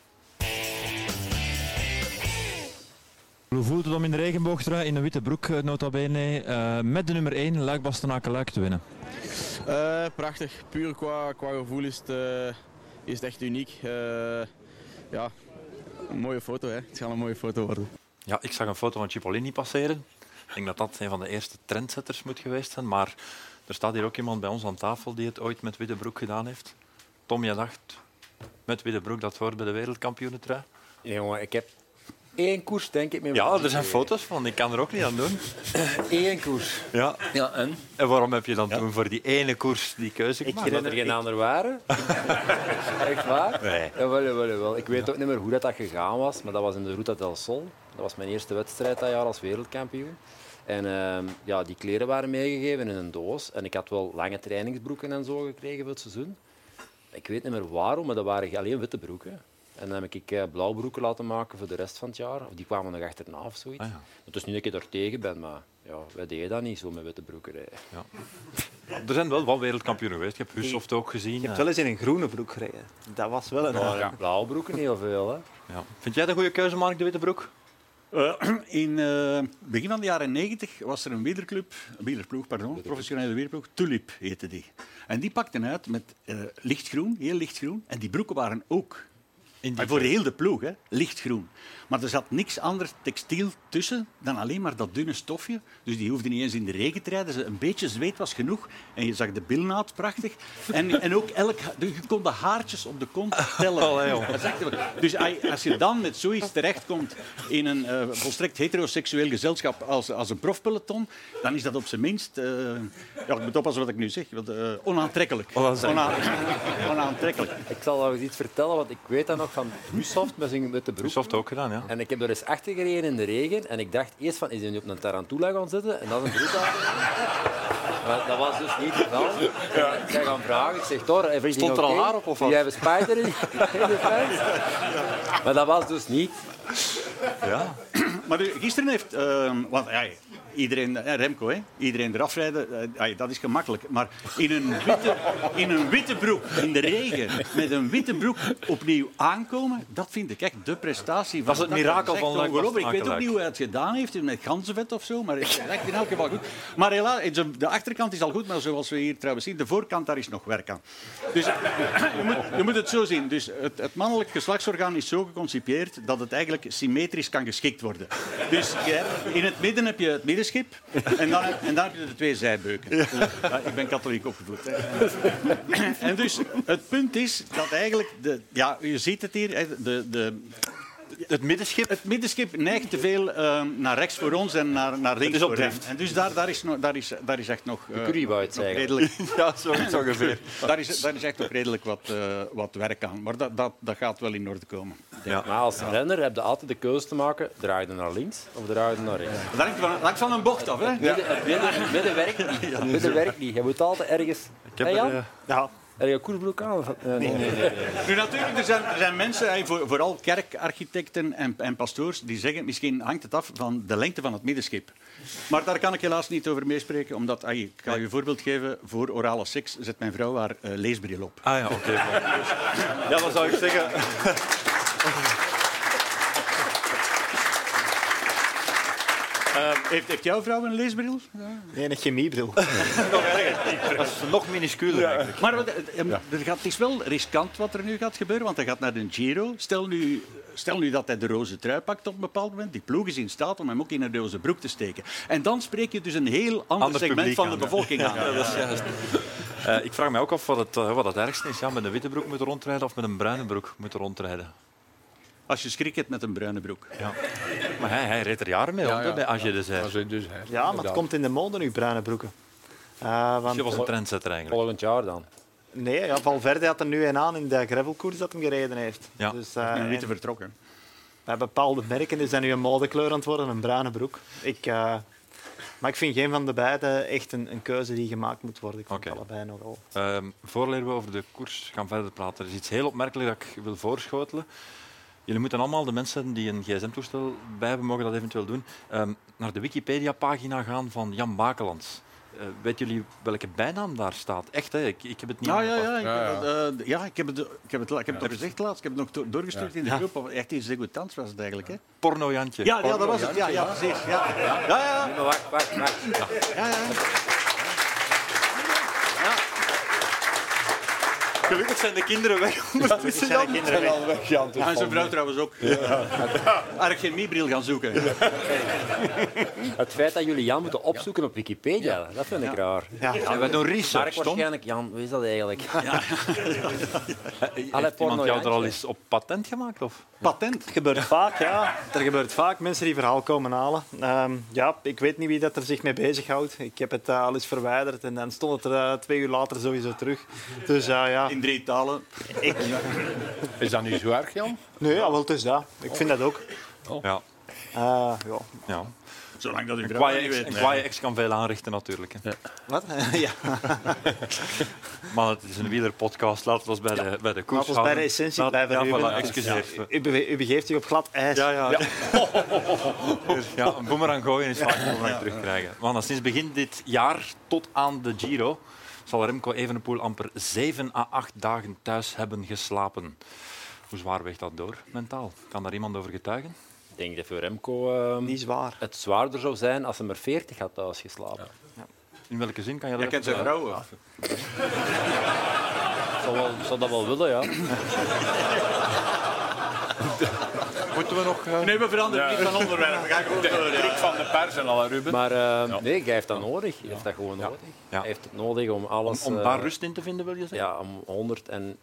Speaker 7: Hoe voelt het om in de regenboogtrui in een witte broek, eh, nota bene, eh, met de nummer 1, Luik Bastenaken Luik, te winnen?
Speaker 8: Eh, prachtig. Puur qua, qua gevoel is het, eh, is het echt uniek. Eh, ja, een mooie foto hè. Het gaat een mooie foto worden.
Speaker 1: Ja, ik zag een foto van Cipollini passeren. Ik denk dat dat een van de eerste trendsetters moet geweest zijn. Maar er staat hier ook iemand bij ons aan tafel die het ooit met witte broek gedaan heeft. Tom, jij dacht, met witte broek, dat hoort bij de wereldkampioenentrui.
Speaker 3: Nee, jongen, ik heb één koers, denk ik. Met
Speaker 1: Ja,
Speaker 3: mijn-
Speaker 1: er zijn foto's van. Ik kan er ook niet aan doen.
Speaker 3: Eén koers.
Speaker 1: Ja.
Speaker 3: Ja, en?
Speaker 1: En waarom heb je dan toen voor die ene koers die keuze
Speaker 3: Ik
Speaker 1: gemaakt?
Speaker 3: Omdat er geen ander waren. Echt waar?
Speaker 1: Nee.
Speaker 3: Jawel, jawel, jawel. Ik weet ook niet meer hoe dat, dat gegaan was, maar dat was in de Ruta del Sol. Dat was mijn eerste wedstrijd dat jaar als wereldkampioen. En ehm, ja, die kleren waren meegegeven in een doos. En ik had wel lange trainingsbroeken en zo gekregen voor het seizoen. Ik weet niet meer waarom, maar dat waren alleen witte broeken. En dan heb ik eh, blauw broeken laten maken voor de rest van het jaar. Of die kwamen nog achterna of zoiets.
Speaker 1: Ah, ja.
Speaker 3: Het is niet dat ik er tegen ben, maar ja, wij deden dat niet zo met witte broeken. hè.
Speaker 1: Er zijn wel wat wereldkampioenen geweest. Ik heb Hussoft ook gezien. eh,
Speaker 4: Je hebt wel eens in een groene broek gereden. Dat was wel een...
Speaker 3: Maar blauw broeken heel veel, hè.
Speaker 1: Ja. Vind jij dat een goede keuze, Mark de Witte Broek?
Speaker 2: Eh, in eh, begin van de jaren 90 was er een wielerclub, een wielerploeg, pardon, professionele wielerploeg, Tulip heette die. En die pakten uit met eh, lichtgroen, heel lichtgroen, en die broeken waren ook. maar voor heel de ploeg, hè, lichtgroen. Maar er zat niks anders textiel tussen dan alleen maar dat dunne stofje. Dus die hoefde niet eens in de regen te rijden. Ze- Een beetje zweet was genoeg. En je zag de bilnaad prachtig. En, en ook elk... dus Je kon de haartjes op de kont tellen. Dat is echt wel- dus ai- als je dan met zoiets terechtkomt in een eh, volstrekt heteroseksueel gezelschap als, als een profpeloton, dan is dat op zijn minst... eh, ja, ik moet oppassen wat ik nu zeg. want, eh, onaantrekkelijk. Ona- onaantrekkelijk.
Speaker 3: Ik zal wel eens iets vertellen, want ik weet dat nog van Busoft met zijn witte broek.
Speaker 1: Hussoft ook gedaan, ja.
Speaker 3: En ik heb er eens achter gereden in de regen. En ik dacht eerst van, is hij nu op een tarantula gaan zitten? En dat is een broek aan. Maar dat was dus niet het geval. En Ik zei gaan vragen. Ik zeg, Thor, everything
Speaker 1: Stond er al
Speaker 3: okay?
Speaker 1: haar op of
Speaker 3: Doe
Speaker 1: wat?
Speaker 3: jij een spijt in in de fans? Maar dat was dus niet.
Speaker 1: ja.
Speaker 2: Maar dus, gisteren heeft... eh, want ja, iedereen... eh, Remco, hè. Iedereen eraf rijden, eh, ai, dat is gemakkelijk. Maar in een, witte, in een witte broek, in de regen, met een witte broek opnieuw aankomen, dat vind ik echt de prestatie.
Speaker 1: Dat is het mirakel
Speaker 2: is
Speaker 1: van
Speaker 2: echt
Speaker 1: Luik
Speaker 2: ongelooflijk. Ik weet ook
Speaker 1: Bastenaken-Luik.
Speaker 2: niet hoe hij het gedaan heeft, met ganzenvet of zo, maar het is echt in elk geval goed. Maar helaas, de- de achterkant is al goed, maar zoals we hier trouwens zien, de voorkant, daar is nog werk aan. Dus je moet, je moet het zo zien. Dus het, het mannelijk geslachtsorgaan is zo geconcipieerd dat het eigenlijk symmetrisch kan geschikt worden. Dus je hebt- in het midden heb je het middenschip en dan, en dan heb je de twee zijbeuken. Ja, ik ben katholiek opgevoed. hè. En dus het punt is dat eigenlijk, de, ja, je ziet het hier, hè, de, de,
Speaker 1: Het middenschip.
Speaker 2: het middenschip neigt te veel eh, naar rechts voor ons en naar, naar links
Speaker 1: is op
Speaker 2: voor hem.
Speaker 1: drift.
Speaker 2: En dus daar, daar, is, nog- daar, is, daar is echt nog... eh,
Speaker 3: Curiebout,
Speaker 2: nog
Speaker 3: zeggen.
Speaker 2: redelijk,
Speaker 1: Ja, zoiets ongeveer.
Speaker 2: daar, is, daar is echt nog redelijk wat, eh, wat werk aan. Maar dat, dat, dat gaat wel in orde komen.
Speaker 3: Maar als renner heb je altijd de keuze te maken. Draai je naar links of draai je naar rechts?
Speaker 2: Dat hangt van, dat hangt van een bocht af, hè?
Speaker 3: Midden, het midden, het midden werkt niet. Het midden werkt niet. Je moet altijd ergens... Ik
Speaker 1: heb er,
Speaker 3: hey Jan?
Speaker 1: eh,
Speaker 4: Ja,
Speaker 3: Heb je een koersbroek aan? Of, eh, nee.
Speaker 2: Nu natuurlijk, er zijn, er zijn mensen, hè, voor- vooral kerkarchitecten en, en pastoors, die zeggen misschien hangt het af van de lengte van het middenschip. Maar daar kan ik helaas niet over meespreken, omdat, ai, ik ga je een voorbeeld geven, voor orale seks zet mijn vrouw haar eh, leesbril op.
Speaker 1: Ah ja, oké. ja, dan zou ik zeggen...
Speaker 2: Eh, Heeft, heeft jouw vrouw een leesbril?
Speaker 4: nee, een chemiebril.
Speaker 1: Dat is nog minusculer eigenlijk.
Speaker 2: Maar wat- het, em, er gaat, het is wel riskant wat er nu gaat gebeuren, want hij gaat naar de Giro. Stel nu, stel nu dat hij de roze trui pakt op een bepaald moment. Die ploeg is in staat om hem ook in een roze broek te steken. En dan spreek je dus een heel ander,
Speaker 1: Ander
Speaker 2: segment
Speaker 1: publiek
Speaker 2: van
Speaker 1: aan,
Speaker 2: de
Speaker 1: ja.
Speaker 2: bevolking aan.
Speaker 1: Ja, dat is juist. Eh, ik vraag me ook af wat het, eh, wat het ergste is. Ja, met een witte broek moeten rondrijden of met een bruine broek moeten rondrijden.
Speaker 2: Als je schrik hebt met een bruine broek.
Speaker 1: Maar hij, hij reed er jaren mee rond, hè, bij Agé de Zijf.
Speaker 5: Dat is dus hij,
Speaker 4: Ja, maar het
Speaker 5: inderdaad.
Speaker 4: komt in de mode nu, bruine broeken. Eh, want,
Speaker 1: Je was een trendsetter eigenlijk.
Speaker 3: Volgend jaar dan.
Speaker 4: nee, ja, Valverde had er nu een aan in de gravelkoers dat hem gereden heeft.
Speaker 1: Ja.
Speaker 4: Dus, eh,
Speaker 2: En
Speaker 4: en
Speaker 2: witte vertrokken.
Speaker 4: bij bepaalde merken is dat nu een modekleur aan het worden, een bruine broek. Ik, eh, maar ik vind geen van de beide echt een, een keuze die gemaakt moet worden. Ik vind
Speaker 1: Oké.
Speaker 4: het allebei nogal.
Speaker 1: Ehm voordat we over de koers gaan verder praten, er is iets heel opmerkelijks dat ik wil voorschotelen. Jullie moeten allemaal, de mensen die een gsm-toestel bij hebben, mogen dat eventueel doen, ehm, naar de Wikipedia-pagina gaan van Jan Bakelands. Eh weten jullie welke bijnaam daar staat? Echt, hè? Ik, ik heb het niet
Speaker 2: Ah, Ja, ja,
Speaker 1: aangepast.
Speaker 2: ja, dus- ik,
Speaker 5: Ja,
Speaker 2: heb het, eh, ja, ik heb het, ik heb het, la- ik heb het al gezegd laatst. Ik heb het nog do- doorgestuurd in de groep. of- Echt iets degoutants was het eigenlijk. Hè?
Speaker 1: Porno-Jantje.
Speaker 2: Ja, ja, dat was het. Ja, ja precies. Ja, ja, ja.
Speaker 3: Nee, maar wacht, wacht, wacht.
Speaker 2: ja, ja.
Speaker 1: Gelukkig zijn de kinderen weg ondertussen.
Speaker 4: zijn de kinderen weg.
Speaker 2: Ja, en zijn vrouw trouwens ook. Eigenlijk geen Mibril gaan zoeken.
Speaker 3: Het feit dat jullie Jan moeten opzoeken op Wikipedia, dat vind ik raar.
Speaker 4: Ja.
Speaker 1: Ja, wij doen research,
Speaker 3: Mark
Speaker 1: Tom.
Speaker 3: waarschijnlijk, Jan, wie is dat eigenlijk? Allee,
Speaker 1: Heeft iemand jou er al
Speaker 3: porno-Jantje.
Speaker 1: eens op patent gemaakt? Of?
Speaker 2: Patent.
Speaker 4: Het gebeurt vaak, ja. Er gebeurt vaak mensen die verhaal komen halen. Ehm, ja, ik weet niet wie dat er zich mee bezighoudt. Ik heb het eh, al eens verwijderd en dan stond het er eh, twee uur later sowieso terug. Dus eh, ja,
Speaker 2: In drie talen.
Speaker 5: Is dat niet zo erg, Jan?
Speaker 4: nee, ja, wel, het is dat. Ik vind dat ook.
Speaker 1: Ja.
Speaker 4: Eh, ja.
Speaker 1: ja.
Speaker 2: Zolang dat u
Speaker 1: Een
Speaker 2: vrouw
Speaker 1: kwaaie
Speaker 2: dat niet
Speaker 1: ex, een
Speaker 2: weet.
Speaker 1: kwaaie ex kan veel aanrichten, natuurlijk. Hè.
Speaker 4: Wat? ja.
Speaker 1: Maar het is een wielerpodcast. Laten we ons bij de, bij de koers
Speaker 4: Laten we ons bij de
Speaker 1: houden.
Speaker 4: essentie
Speaker 1: Laat-
Speaker 4: blijven,
Speaker 1: Ja,
Speaker 4: Ruben.
Speaker 1: voilà, excuseer. Ja.
Speaker 4: U, bege- u begeeft zich op glad ijs.
Speaker 1: Ja, een boemerang gooien is vaak een boemerang terugkrijgen. Mannen, sinds begin dit jaar tot aan de Giro zal Remco Evenepoel amper 7 à 8 dagen thuis hebben geslapen. Hoe zwaar weegt dat door mentaal? Kan daar iemand over getuigen?
Speaker 3: Ik denk dat voor Remco ehm,
Speaker 4: Die is waar.
Speaker 3: het zwaarder zou zijn als hij maar 40 had thuisgeslapen.
Speaker 1: In welke zin kan je Eh, dat
Speaker 2: Jij kent zijn vrouw. hoor.
Speaker 3: Ik zou, wel- zou dat wel willen, ja.
Speaker 1: Moeten we nog... eh,
Speaker 2: Nee, we veranderen niet van onderwerp. We gaan gewoon door. ja.
Speaker 5: Van de pers en al, Ruben.
Speaker 3: Maar ehm, nee, hij heeft dat nodig. Hij heeft dat gewoon nodig.
Speaker 1: Ja.
Speaker 3: Hij heeft het nodig om alles...
Speaker 1: Om
Speaker 3: eh,
Speaker 1: daar rust in te vinden, wil je zeggen?
Speaker 3: Ja, om 101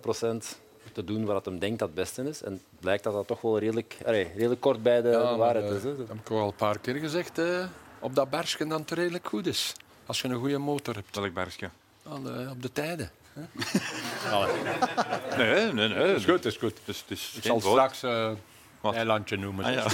Speaker 3: procent te doen wat hem denkt dat het beste is. En het blijkt dat dat toch wel redelijk, allee, redelijk kort bij de, de waarheid is. hè.
Speaker 5: Oh, dat eh, heb ik al een paar keer gezegd. eh, op dat bergje dat het redelijk goed is. Als je een goede motor hebt.
Speaker 1: Welk bergje?
Speaker 5: Al, eh, op de tijden.
Speaker 1: Nee, nee, nee.
Speaker 5: is goed, is goed.
Speaker 1: Dus, het is
Speaker 5: Ik
Speaker 1: geen
Speaker 5: zal
Speaker 1: woord.
Speaker 5: straks eh
Speaker 1: Wat?
Speaker 5: een eilandje noemen.
Speaker 1: Ah, ja.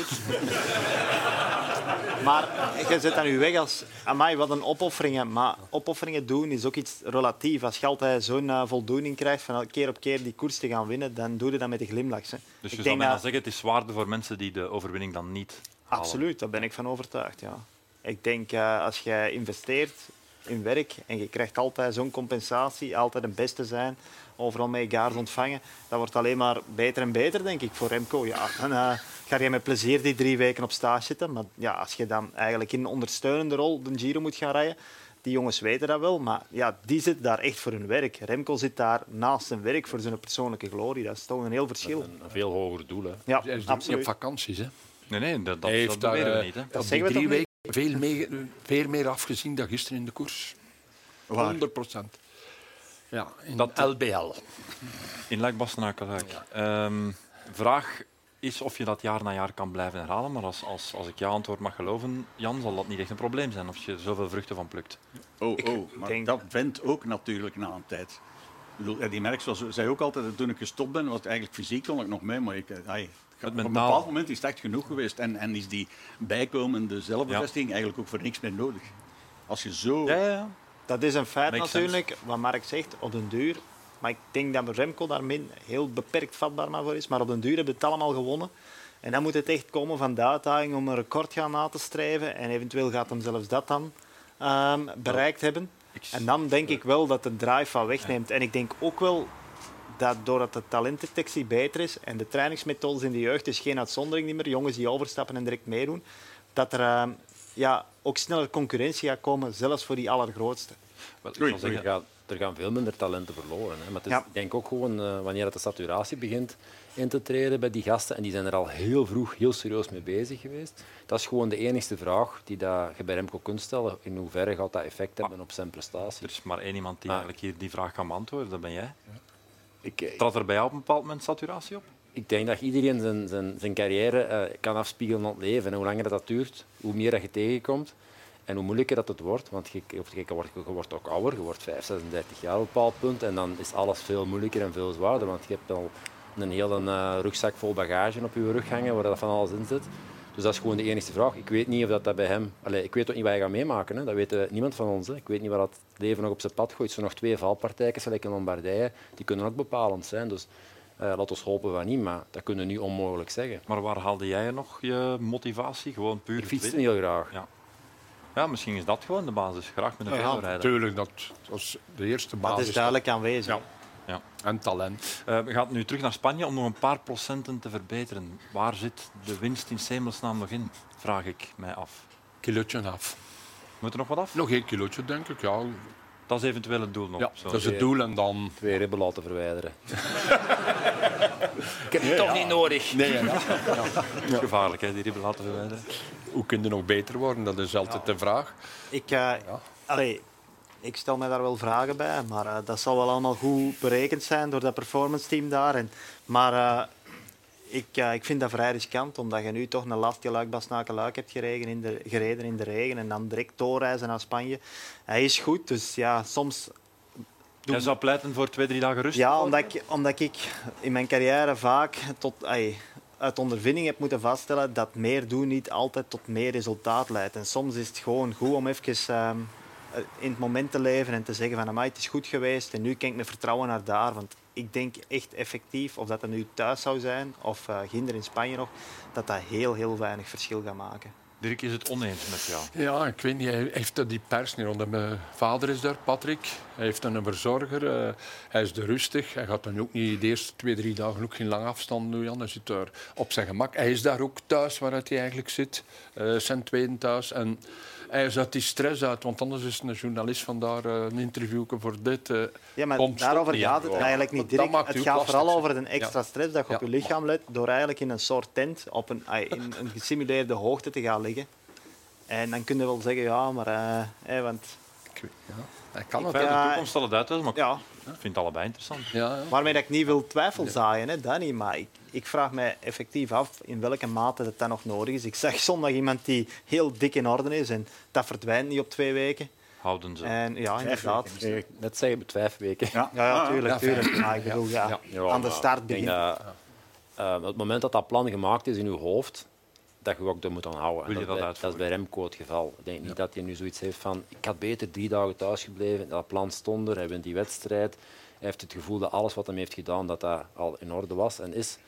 Speaker 4: Maar je zet aan je weg als... Amai, wat een opofferingen. Maar opofferingen doen is ook iets relatief. Als je altijd zo'n eh, voldoening krijgt van elke keer op keer die koers te gaan winnen, dan doe je dat met de glimlach. hè.
Speaker 1: Dus je
Speaker 4: ik
Speaker 1: zou
Speaker 4: denk
Speaker 1: bijna
Speaker 4: dat...
Speaker 1: zeggen, het is zwaarder voor mensen die de overwinning dan niet halen.
Speaker 4: Absoluut, daar ben ik van overtuigd, ja. Ik denk, eh, als je investeert in werk en je krijgt altijd zo'n compensatie, altijd een beste zijn, overal mee gaars ontvangen, dat wordt alleen maar beter en beter, denk ik, voor Remco. Ja, dan eh, ga je met plezier die drie weken op stage zitten. Maar ja, als je dan eigenlijk in een ondersteunende rol de Giro moet gaan rijden, die jongens weten dat wel, maar ja, die zitten daar echt voor hun werk. Remco zit daar naast zijn werk voor zijn persoonlijke glorie. Dat is toch een heel verschil.
Speaker 3: Een, een veel hoger doel. Hè.
Speaker 4: Ja,
Speaker 5: Hij is niet op
Speaker 4: absoluut.
Speaker 5: vakanties. Hè.
Speaker 1: Nee, nee, dat, dat,
Speaker 5: Hij
Speaker 1: dat
Speaker 5: heeft daar,
Speaker 1: beweren we
Speaker 5: eh,
Speaker 1: niet. Hè.
Speaker 5: op die
Speaker 4: zeggen we toch
Speaker 5: drie
Speaker 4: niet?
Speaker 5: weken veel meer, veel meer afgezien dan gisteren in de koers. 100 procent. Ja, in
Speaker 1: Dat-
Speaker 5: dat LBL.
Speaker 1: In Luik-Bastenaken-Luik. Ehm, vraag is of je dat jaar na jaar kan blijven herhalen. Maar als, als, als ik jouw antwoord mag geloven, Jan, zal dat niet echt een probleem zijn. Of je er zoveel vruchten van plukt.
Speaker 2: Oh, oh. Maar
Speaker 4: denk-
Speaker 2: dat went ook natuurlijk na een tijd. Ik bedoel, Eddie Merckx was, zei ook altijd dat toen ik gestopt ben, was het eigenlijk fysiek kon ik nog mee, maar ik, eh, ai,
Speaker 1: Het
Speaker 2: op een
Speaker 1: mentaal.
Speaker 2: bepaald moment is het echt genoeg geweest. En, en is die bijkomende zelfbevestiging eigenlijk ook voor niks meer nodig. Als je zo...
Speaker 1: ja, ja.
Speaker 4: Dat is een feit
Speaker 1: Makes
Speaker 4: natuurlijk, wat Mark zegt, op den duur. Maar ik denk dat Remco daar min, heel beperkt vatbaar maar voor is. Maar op den duur hebben we het allemaal gewonnen. En dan moet het echt komen van de uitdaging om een record gaan na te streven. En eventueel gaat hem zelfs dat dan ehm, bereikt hebben.
Speaker 1: Ik-
Speaker 4: En dan denk ik wel dat de drive van wegneemt. En ik denk ook wel dat doordat de talentdetectie beter is en de trainingsmethodes in de jeugd is geen uitzondering meer, jongens die overstappen en direct meedoen, dat er ehm, ja, ook sneller concurrentie gaat komen, zelfs voor die allergrootste.
Speaker 1: Wel, ik
Speaker 2: Oei,
Speaker 1: zal
Speaker 3: Er
Speaker 1: zeggen,
Speaker 3: gaan, er gaan veel minder talenten verloren. Hè. Maar het is,
Speaker 4: Ja.
Speaker 3: ik denk ook gewoon eh, wanneer het de saturatie begint in te treden bij die gasten. En die zijn er al heel vroeg heel serieus mee bezig geweest. Dat is gewoon de enige vraag die dat je bij Remco kunt stellen. In hoeverre gaat dat effect hebben op zijn prestatie?
Speaker 1: er is maar één iemand die
Speaker 3: Ah.
Speaker 1: eigenlijk hier die vraag kan beantwoorden. Dat ben jij.
Speaker 3: Ik, ik-
Speaker 1: Trad er bij jou op een bepaald moment saturatie op?
Speaker 3: ik denk dat iedereen zijn, zijn, zijn carrière eh, kan afspiegelen aan het leven. En hoe langer dat duurt, hoe meer dat je tegenkomt. En hoe moeilijker dat het wordt, want je, of je, wordt, je wordt ook ouder, je wordt 5, 36 jaar op een bepaald punt. En dan is alles veel moeilijker en veel zwaarder, want je hebt al een hele eh, rugzak vol bagage op je rug hangen waar dat van alles in zit. Dus dat is gewoon de enige vraag. Ik weet niet of dat, dat bij hem... Allee, ik weet ook niet wat hij gaat meemaken. Hè. Dat weet eh, niemand van ons. Hè. Ik weet niet wat het leven nog op zijn pad gooit. Er zijn nog twee valpartijen, gelijk in Lombardije. Die kunnen ook bepalend zijn. Dus Eh laat ons hopen van niet, maar dat kunnen we nu onmogelijk zeggen.
Speaker 1: Maar waar haalde jij nog je motivatie? Gewoon puur
Speaker 3: Ik fietste
Speaker 1: winnen?
Speaker 3: heel graag.
Speaker 1: Ja, misschien is dat gewoon de basis. Graag met een
Speaker 5: Ja,
Speaker 1: ja, rijden.
Speaker 5: natuurlijk. Dat was de eerste
Speaker 4: Dat
Speaker 5: basis.
Speaker 3: dus
Speaker 4: is duidelijk aanwezig.
Speaker 5: Ja. En talent.
Speaker 1: Eh, we gaan nu terug naar Spanje om nog een paar procenten te verbeteren. Waar zit de winst in Semelsnaam nog in? Vraag ik mij af.
Speaker 5: Kilootje af.
Speaker 1: Moet er nog wat af?
Speaker 5: Nog één kilootje, denk ik. Ja,
Speaker 1: Dat is eventueel het doel nog.
Speaker 5: ja
Speaker 1: Zo.
Speaker 5: dat is het doel. En dan...
Speaker 3: Twee ribben laten verwijderen. Ik heb het toch niet nodig.
Speaker 1: Dat is gevaarlijk, hè, die ribben laten verwijderen.
Speaker 5: Hoe kun je nog beter worden? Dat is altijd de vraag.
Speaker 4: Ik, eh, allee, ik stel me daar wel vragen bij, maar eh, dat zal wel allemaal goed berekend zijn door dat performance team daar. En, maar eh, ik, eh, ik vind dat vrij riskant, omdat je nu toch een lastige luik Basnaken luik hebt gereden in de, gereden in de regen en dan direct doorreizen naar Spanje. Hij is goed, dus ja, soms
Speaker 1: Jij zou pleiten voor twee, drie dagen rust?
Speaker 4: ja, omdat ik, omdat ik in mijn carrière vaak tot, ai, uit ondervinding heb moeten vaststellen dat meer doen niet altijd tot meer resultaat leidt. En soms is het gewoon goed om even ehm, in het moment te leven en te zeggen van amai, het is goed geweest en nu kan ik met vertrouwen naar daar. Want ik denk echt effectief, of dat het nu thuis zou zijn of eh ginder in Spanje nog, dat dat heel, heel weinig verschil gaat maken.
Speaker 1: Dirk is het oneens met jou.
Speaker 5: Ja, ik weet niet. Hij heeft dat die pers niet. Want mijn vader is daar, Patrick. Hij heeft dan een verzorger. eh, hij is er rustig. Hij gaat dan ook niet de eerste twee, drie dagen ook geen lange afstand doen. Jan. Hij zit daar op zijn gemak. Hij is daar ook thuis waar hij eigenlijk zit. Eh zijn tweede thuis. En hij is uit die stress uit. Want anders is een journalist vandaar eh, een interview voor dit. eh,
Speaker 4: Ja, maar
Speaker 5: komt
Speaker 4: daarover
Speaker 5: niet
Speaker 4: gaat
Speaker 5: aan. Ja.
Speaker 4: het eigenlijk niet
Speaker 5: Dat- dat
Speaker 4: direct.
Speaker 5: maakt
Speaker 4: Het
Speaker 5: u
Speaker 4: gaat
Speaker 5: plastisch,
Speaker 4: vooral
Speaker 5: hè?
Speaker 4: over de extra stress dat je op
Speaker 5: Ja.
Speaker 4: je lichaam let door eigenlijk in een soort tent op een, ai, in een gesimuleerde hoogte te gaan liggen. En dan kun je wel zeggen, ja, maar... eh, hè, want,
Speaker 5: Ik weet- ja, hij kan
Speaker 1: In
Speaker 5: het.
Speaker 1: feite,
Speaker 4: Ja,
Speaker 1: de toekomst zal het uitwijzen, maar
Speaker 4: ja,
Speaker 1: ik vind het allebei interessant.
Speaker 5: Ja, ja.
Speaker 4: waarmee dat ik niet wil twijfel zaaien, hè, dat niet. Maar ik, ik vraag me effectief af in welke mate dat, dat nog nodig is. Ik zag zondag iemand die heel dik in orde is en dat verdwijnt niet op twee weken.
Speaker 1: Houden ze. eh,
Speaker 4: En ja, inderdaad.
Speaker 3: Net zeggen, met vijf weken.
Speaker 4: Ja, ja,
Speaker 5: ja,
Speaker 4: tuurlijk, tuurlijk. Maar ik bedoel, ja,
Speaker 3: Ah, Ja,
Speaker 4: aan de
Speaker 3: maar
Speaker 4: start
Speaker 3: ik denk
Speaker 4: begint.
Speaker 3: dat, eh, op het moment dat dat plan gemaakt is in uw hoofd, dat je ook er moet aan houden. En
Speaker 1: Wil je dat
Speaker 3: dat, dat is
Speaker 1: uitvoeren?
Speaker 3: bij Remco het geval. Ik denk niet dat hij nu zoiets heeft van, ik had beter drie dagen thuis gebleven, dat plan stond er, hij wint die wedstrijd. Hij heeft het gevoel dat alles wat hem heeft gedaan, dat dat al in orde was en is.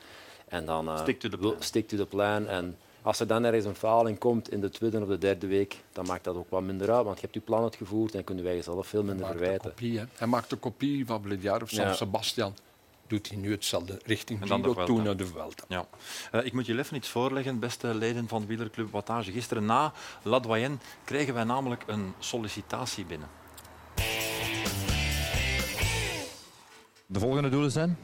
Speaker 3: En dan eh,
Speaker 1: Stick to the
Speaker 3: wil-
Speaker 1: plan.
Speaker 3: stick to the plan. En als er dan ergens een faling komt in de tweede of de derde week, dan maakt dat ook wat minder uit, want je hebt je plan uitgevoerd en kunnen wij jezelf veel minder
Speaker 5: Hij maakt een
Speaker 3: verwijten.
Speaker 5: kopie, hè. Hij maakt een kopie van Blidiar of San
Speaker 3: Ja.
Speaker 5: Sebastian. Doet hij nu hetzelfde richting
Speaker 1: En dan de
Speaker 5: Giro,
Speaker 1: Vuelta.
Speaker 5: toen naar de Vuelta.
Speaker 1: Ja. Eh, ik moet jullie even iets voorleggen, beste leden van Wielerclub Wattage. Gisteren na La Doyenne kregen wij namelijk een sollicitatie binnen.
Speaker 7: De volgende doelen zijn?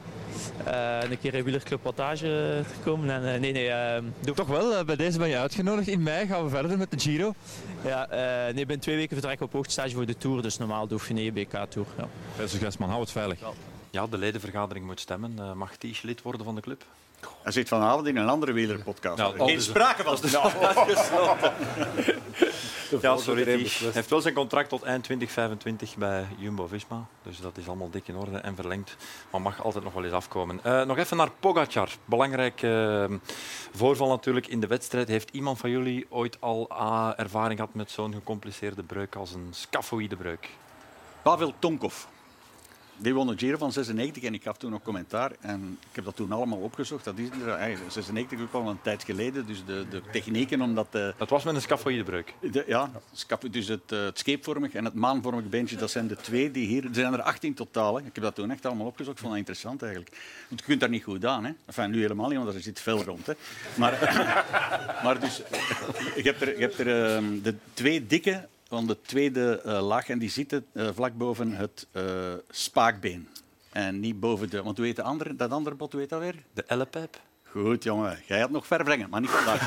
Speaker 9: Eh, een keer in wielerclub Wattage te komen. En, eh, nee, nee, eh, doe-
Speaker 7: Toch wel, eh, bij deze ben je uitgenodigd. In mei gaan we verder met de Giro.
Speaker 9: ja, eh, nee, binnen twee weken vertrek ik op hoogtestage voor de Tour, dus normaal doe je geen BK-tour. Ja.
Speaker 7: Beste Gensman, hou het veilig.
Speaker 1: Ja, de ledenvergadering moet stemmen. Eh, mag Ties lid worden van de club?
Speaker 2: Hij zit vanavond in een andere wielerpodcast.
Speaker 1: Nou,
Speaker 2: Geen
Speaker 1: dus-
Speaker 2: sprake van. Nou.
Speaker 1: Ja, sorry.
Speaker 3: dus
Speaker 1: Hij heeft wel zijn contract tot eind 2025 bij Jumbo-Visma. Dus dat is allemaal dik in orde en verlengd. Maar mag altijd nog wel eens afkomen. Eh, nog even naar Pogacar. Belangrijk eh, voorval natuurlijk in de wedstrijd. Heeft iemand van jullie ooit al ah, ervaring gehad met zo'n gecompliceerde breuk als een scafoïdebreuk?
Speaker 2: Pavel Tonkov. Die won de Giro van 96 en ik gaf toen nog commentaar. En ik heb dat toen allemaal opgezocht. Dat is inderdaad- eigenlijk 96 ook al een tijd geleden. Dus de, de technieken om dat... eh,
Speaker 1: Dat was met een scafoïdebreuk.
Speaker 2: de- ja, scap- dus het, eh, het scheepvormig en het maanvormig beentje, dat zijn de twee die hier... Er zijn er 18 totaal. hè. Ik heb dat toen echt allemaal opgezocht. Ik vond dat interessant eigenlijk. Want je kunt daar niet goed aan. Hè. Enfin, nu helemaal niet, want er zit veel rond. Hè. Maar, maar dus, je hebt er, je hebt er ehm, de twee dikke van de tweede eh, laag en die zitten eh, vlak boven het eh, spaakbeen. En niet boven de... Want hoe heet de andere, dat andere bot? Hoe heet dat weer?
Speaker 1: De ellepijp.
Speaker 2: Goed, jongen. Jij had nog ver brengen, maar niet vandaag.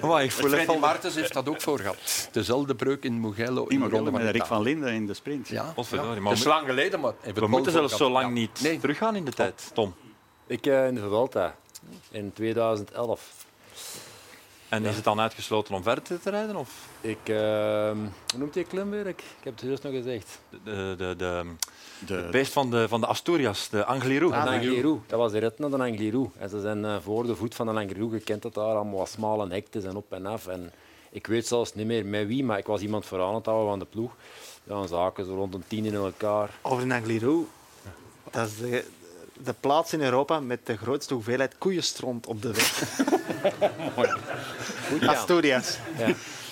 Speaker 1: Oh, ik voel
Speaker 5: Freddy Maartens heeft dat ook voor gehad. Dezelfde breuk in Mugello in de
Speaker 2: Iemand
Speaker 5: ronde
Speaker 2: met
Speaker 5: van
Speaker 2: Rick
Speaker 5: Italië.
Speaker 2: van Linden in de sprint.
Speaker 5: Ja,
Speaker 1: Potverdorie,
Speaker 5: ja.
Speaker 1: maar
Speaker 5: dat is
Speaker 1: we-
Speaker 5: lang geleden, maar...
Speaker 1: We moeten zelfs zo lang niet
Speaker 5: Nee,
Speaker 1: teruggaan in de tijd, Tom.
Speaker 3: Ik eh, in de Vuelta in 2011.
Speaker 1: En is het dan uitgesloten om verder te rijden? Of
Speaker 3: Ik, ehm hoe noemt die klimwerk? Ik heb het juist nog gezegd.
Speaker 1: de, de, de, de-
Speaker 2: De,
Speaker 1: het beest van de, van de Asturias, de Eh. Angliru.
Speaker 3: Ah, de Angliru. Dat was de rit naar de Angliru. En ze zijn eh, voor de voet van de Angliru. Je kent dat daar, allemaal wat smale hektes en op en af. En ik weet zelfs niet meer met wie, maar ik was iemand voor aan het houden van de ploeg. Ja, dan zaken ze rond een tien in elkaar.
Speaker 4: Over een Angliru. Dat is de, de plaats in Europa met de grootste hoeveelheid koeienstront op de weg.
Speaker 3: Goed, ja.
Speaker 4: Asturias.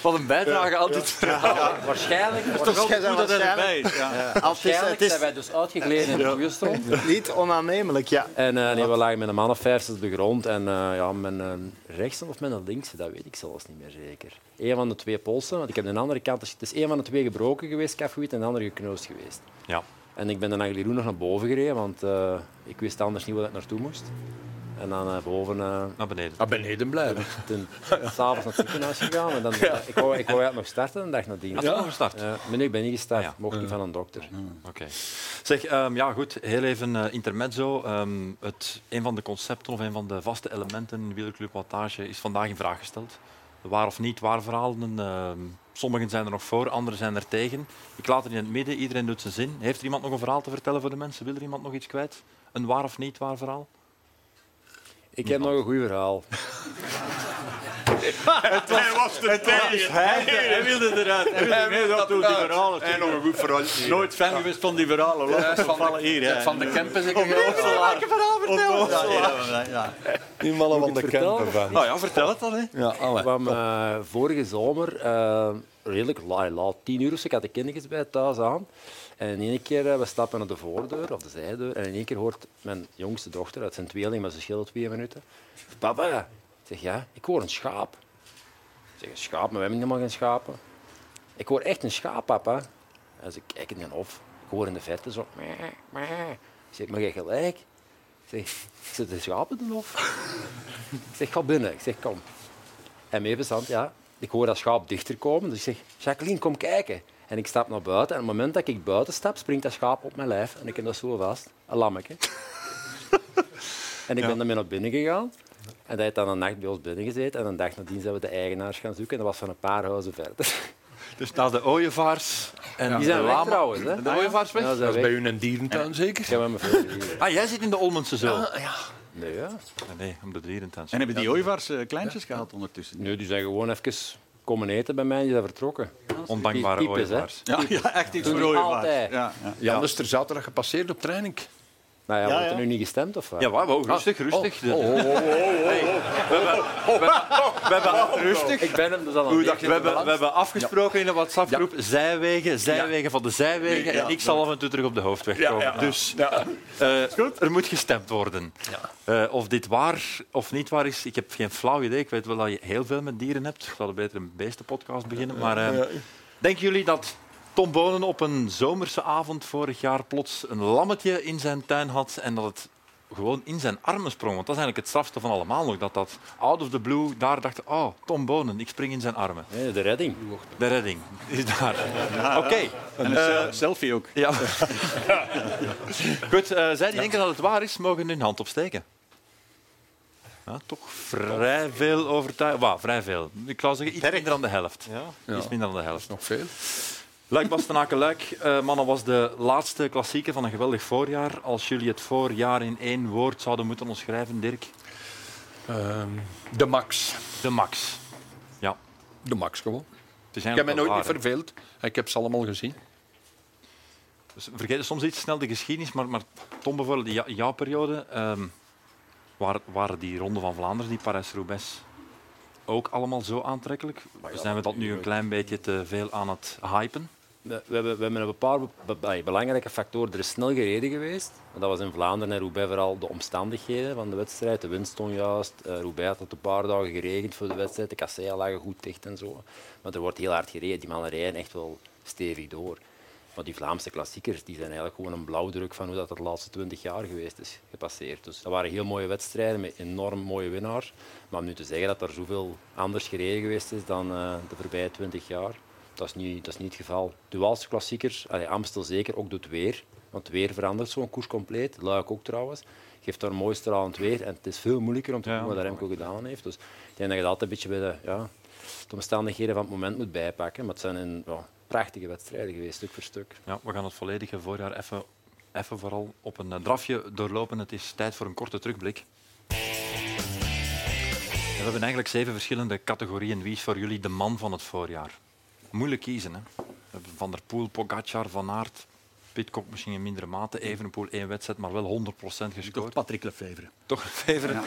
Speaker 1: Wat een bijdrage aan dit verhaal.
Speaker 3: Waarschijnlijk,
Speaker 4: Toch goed dat hij erbij
Speaker 2: is. Ja.
Speaker 4: Eh, Als het is-
Speaker 3: waarschijnlijk
Speaker 4: het is
Speaker 3: zijn wij dus uitgegleden in de koeienstront.
Speaker 4: niet onaannemelijk, ja.
Speaker 3: En eh, nee, we lagen met een man of vijftig op de grond. En eh, ja, mijn eh, rechtse of mijn linkse, dat weet ik zelfs niet meer zeker. Eén van de twee polsen, want ik heb de andere kant... dus Het is één van de twee gebroken geweest, kafgewiet, en de andere gekneusd geweest.
Speaker 1: Ja.
Speaker 3: En ik ben dan Angliru nog naar boven gereden, want eh, ik wist anders niet waar ik naartoe moest. En dan eh, boven... eh,
Speaker 1: Naar beneden.
Speaker 5: Ah, beneden blijven.
Speaker 3: toen s'avonds naar het ziekenhuis gegaan. En dan, eh, Ik wou ik wou eigenlijk nog starten een dag nadien.
Speaker 1: Had je al gestart?
Speaker 3: Eh, maar nee, ik ben niet gestart.
Speaker 1: Ja.
Speaker 3: Mocht niet van een dokter.
Speaker 1: Oké. Zeg, ehm, ja goed, heel even eh, intermezzo. Ehm, het, een van de concepten of een van de vaste elementen in de wielerclub wattage is vandaag in vraag gesteld. De waar of niet waar verhalen. ehm, sommigen zijn er nog voor, anderen zijn er tegen. Ik laat het in het midden, iedereen doet zijn zin. Heeft er iemand nog een verhaal te vertellen voor de mensen? Wil er iemand nog iets kwijt? Een waar of niet waar verhaal?
Speaker 3: Ik heb nog een goed verhaal.
Speaker 2: Hij, hij wilde eruit. Hij wilde mee op die verhalen.
Speaker 5: En nog een goed verhaal.
Speaker 2: Nooit fan geweest van die verhalen. Laat het vallen hier. hè.
Speaker 5: Van de Kempen zeker. Ja,
Speaker 2: Ja, ja, ja.
Speaker 10: Die mannen van de
Speaker 3: vertellen
Speaker 10: camper. van.
Speaker 2: Nou ja, vertel het dan. Hè.
Speaker 10: Ja, allee.
Speaker 3: kwam eh, vorige zomer eh, redelijk laat, laat, tien uur of zo. Ik had de kindertjes bij thuis aan. En in één keer, eh, we stappen naar de voordeur of de zijdeur. En in één keer hoort mijn jongste dochter, dat zijn tweeling, maar ze scheelt twee minuten. Papa, ik zeg ja, ik hoor een schaap. Ik zeg een schaap, maar we hebben helemaal geen schapen. Ik hoor echt een schaap, papa. En ze kijken in de hof. Ik hoor in de verte zo. "Meh, meh." Ik zeg, maar jij gelijk? Ik zeg, ik zit de schapen in de hof. Ik zeg, ga binnen. Ik zeg, kom. En mee bezand, ja. Ik hoor dat schaap dichter komen. Dus ik zeg, Jacqueline, kom kijken. En ik stap naar buiten. En op het moment dat ik buiten stap, springt dat schaap op mijn lijf. En ik heb dat zo vast. Een lammetje. en ik ben daarmee naar binnen gegaan. En dat heeft dan een nacht bij ons binnen gezeten. En een dag nadien zijn we de eigenaars gaan zoeken. En dat was van een paar huizen verder.
Speaker 1: Dus naast de ooievaars en
Speaker 3: Die zijn
Speaker 1: de
Speaker 3: weg
Speaker 1: lama.
Speaker 3: trouwens. Hè?
Speaker 1: De ooievaars weg?
Speaker 3: Ja, ze
Speaker 5: Dat
Speaker 3: zijn
Speaker 5: is
Speaker 3: weg.
Speaker 5: bij hun een dierentuin zeker.
Speaker 3: Ik heb hem veel
Speaker 1: Ah, jij zit in de Olmense zo.
Speaker 3: Nee, ja.
Speaker 1: Nee, om de dierentuin.
Speaker 2: En hebben die ooievaars eh, kleintjes gehad ondertussen?
Speaker 3: nee, die zijn gewoon even komen eten bij mij. en Die zijn vertrokken.
Speaker 1: Ondankbare
Speaker 3: Die types, hè?
Speaker 1: ooievaars.
Speaker 2: Ja, ja echt iets
Speaker 3: Doen
Speaker 2: voor
Speaker 3: die
Speaker 2: ooievaars.
Speaker 3: altijd.
Speaker 2: Ja, ja.
Speaker 5: Jan is er zaterdag gepasseerd op training.
Speaker 3: Nou ja, wordt
Speaker 4: ja.
Speaker 3: er nu niet gestemd of wat?
Speaker 1: Ja, wauw, wauw, rustig, rustig. De- Hey, We hebben- we hebben- we hebben rustig.
Speaker 3: Ik ben hem dus al aan
Speaker 1: Hoe
Speaker 3: het
Speaker 1: dacht je We hebben, we hebben afgesproken in de WhatsApp-groep zijwegen, zijwegen van de zijwegen. En ik zal af en toe terug op de hoofdweg komen. Dus eh, er moet gestemd worden. Eh, of dit waar of niet waar is, ik heb geen flauw idee. Ik weet wel dat je heel veel met dieren hebt. Ik zou beter een beestenpodcast beginnen. Maar eh, denken jullie dat Tom Bonen op een zomerse avond vorig jaar plots een lammetje in zijn tuin had en dat het gewoon in zijn armen sprong. Want dat is eigenlijk het strafste van allemaal nog. Dat dat out of the blue daar dacht, oh, Tom Bonen, ik spring in zijn armen.
Speaker 3: Nee, de redding.
Speaker 1: De redding is daar. Oké.
Speaker 2: En eh, een selfie ook.
Speaker 1: Ja. Goed, eh, zij die denken dat het waar is, mogen hun hand opsteken. Ja, toch vrij veel overtuiging. Wauw, vrij veel. Ik zou zeggen, iets minder dan de helft. Iets minder dan de helft.
Speaker 5: Nog veel.
Speaker 1: Luik Bastenaken Luik, eh, mannen, was de laatste klassieker van een geweldig voorjaar. Als jullie het voorjaar in één woord zouden moeten omschrijven, Dirk,
Speaker 5: Ehm, de max.
Speaker 1: de max. Ja.
Speaker 5: De max gewoon.
Speaker 1: het is
Speaker 5: Ik heb mij
Speaker 1: eigenlijk
Speaker 5: nooit
Speaker 1: wel
Speaker 5: niet
Speaker 1: waar, hè.
Speaker 5: verveeld. Ik heb ze allemaal gezien.
Speaker 1: Dus we vergeten soms iets snel de geschiedenis, maar, maar Tom bijvoorbeeld, in jou- in jouw periode, ehm, waar, waren die Ronde van Vlaanderen, die Parijs-Roubaix, ook allemaal zo aantrekkelijk? Zijn we dat nu een klein beetje te veel aan het hypen?
Speaker 3: We we hebben, we hebben een paar be- be- allee, belangrijke factoren. Er is snel gereden geweest. Maar Dat was in Vlaanderen en Roubaix vooral de omstandigheden van de wedstrijd. De wind stond juist. Eh, Roubaix had het een paar dagen geregend voor de wedstrijd. De kasseien lagen goed dicht en zo. Maar er wordt heel hard gereden. Die mannen rijden echt wel stevig door. Maar die Vlaamse klassiekers die zijn eigenlijk gewoon een blauwdruk van hoe dat de laatste twintig jaar geweest is gepasseerd. Dus dat waren heel mooie wedstrijden met enorm mooie winnaars. Maar om nu te zeggen dat er zoveel anders gereden geweest is dan eh, de voorbije twintig jaar, dat is niet, dat is niet het geval. De Waalse klassiekers, allee, Amstel zeker, ook doet weer. Want het weer verandert zo'n koers compleet. Luik ook trouwens. Geeft daar mooi stralend weer. En het is veel moeilijker om te doen wat Remco gedaan heeft. Dus ik denk dat je dat altijd een beetje bij de, ja, de omstandigheden van het moment moet bijpakken. Maar het zijn een, ja, prachtige wedstrijden geweest, stuk voor stuk.
Speaker 1: Ja, we gaan het volledige voorjaar even, even vooral op een eh, drafje doorlopen. Het is tijd voor een korte terugblik. En we hebben eigenlijk zeven verschillende categorieën. Wie is voor jullie de man van het voorjaar? Moeilijk kiezen, hè? We hebben Van der Poel, Pogacar, Van Aert, Pitcock misschien in mindere mate. Evenepoel één wedstrijd, maar wel 100%
Speaker 2: Toch
Speaker 1: gescoord.
Speaker 2: Patrick Lefevre.
Speaker 1: Toch Feveren.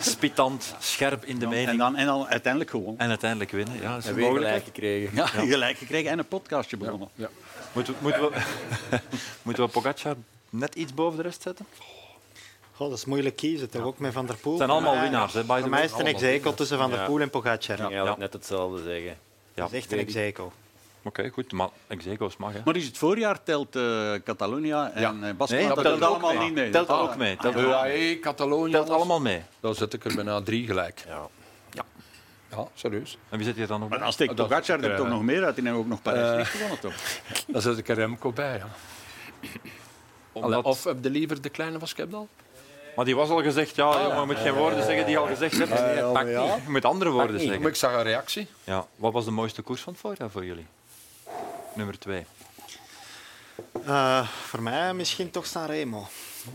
Speaker 1: Spitant, scherp in de
Speaker 2: En,
Speaker 1: mening.
Speaker 2: dan, en dan uiteindelijk gewoon.
Speaker 1: En uiteindelijk winnen. Ja, dat is
Speaker 3: En
Speaker 1: een
Speaker 3: weer
Speaker 1: mogelijkheid.
Speaker 3: gelijk gekregen.
Speaker 2: Ja, gelijk gekregen en een podcastje begonnen.
Speaker 5: Ja.
Speaker 1: Moeten we, moeten we, moeten we Pogacar net iets boven de rest zetten? Het
Speaker 4: Goh, dat is moeilijk kiezen, toch ook met Van der Poel.
Speaker 1: zijn allemaal
Speaker 4: Ja,
Speaker 1: winnaars. Hè, by the
Speaker 4: Voor mij
Speaker 1: way.
Speaker 4: is het een exekel tussen Van der
Speaker 3: Ja.
Speaker 4: Poel en Pogacar.
Speaker 3: Ik ging eigenlijk net hetzelfde zeggen.
Speaker 1: Ja,
Speaker 4: Dat is
Speaker 1: oké,
Speaker 4: echt een exekel.
Speaker 1: goed. Maar execo's mag. Hè.
Speaker 2: Maar is het voorjaar telt eh Catalonia en eh, Baskeland,
Speaker 1: Nee, telt
Speaker 2: dat telt
Speaker 1: ook
Speaker 2: allemaal
Speaker 1: mee.
Speaker 2: niet mee. Ah.
Speaker 1: Telt ook mee.
Speaker 5: Ah,
Speaker 1: Telt,
Speaker 5: UAE, Catalonië,
Speaker 1: telt
Speaker 5: alles.
Speaker 1: allemaal mee.
Speaker 5: Dan zet ik er bijna drie gelijk.
Speaker 3: Ja.
Speaker 5: Ja, serieus.
Speaker 1: En wie zit hier dan nog
Speaker 2: Maar
Speaker 1: bij?
Speaker 2: dan steekt
Speaker 5: Ah, dat-
Speaker 2: Pogacar er
Speaker 5: eh,
Speaker 2: toch nog meer uit. Die hebben ook nog Parijs niet gewonnen, toch?
Speaker 5: Dan zet ik er Remco bij. Ja.
Speaker 1: Omdat-
Speaker 5: Of heb je liever de kleine van Schepdal?
Speaker 1: Maar die was al gezegd, Ah, ja, jongen, je moet geen woorden zeggen die je al gezegd hebt. Nee, pak niet. Je moet andere woorden
Speaker 5: Nee, maar
Speaker 1: zeggen.
Speaker 5: ik zag een reactie.
Speaker 1: Ja, wat was de mooiste koers van het voorjaar voor jullie? Nummer twee.
Speaker 4: Eh, voor mij misschien toch Sanremo.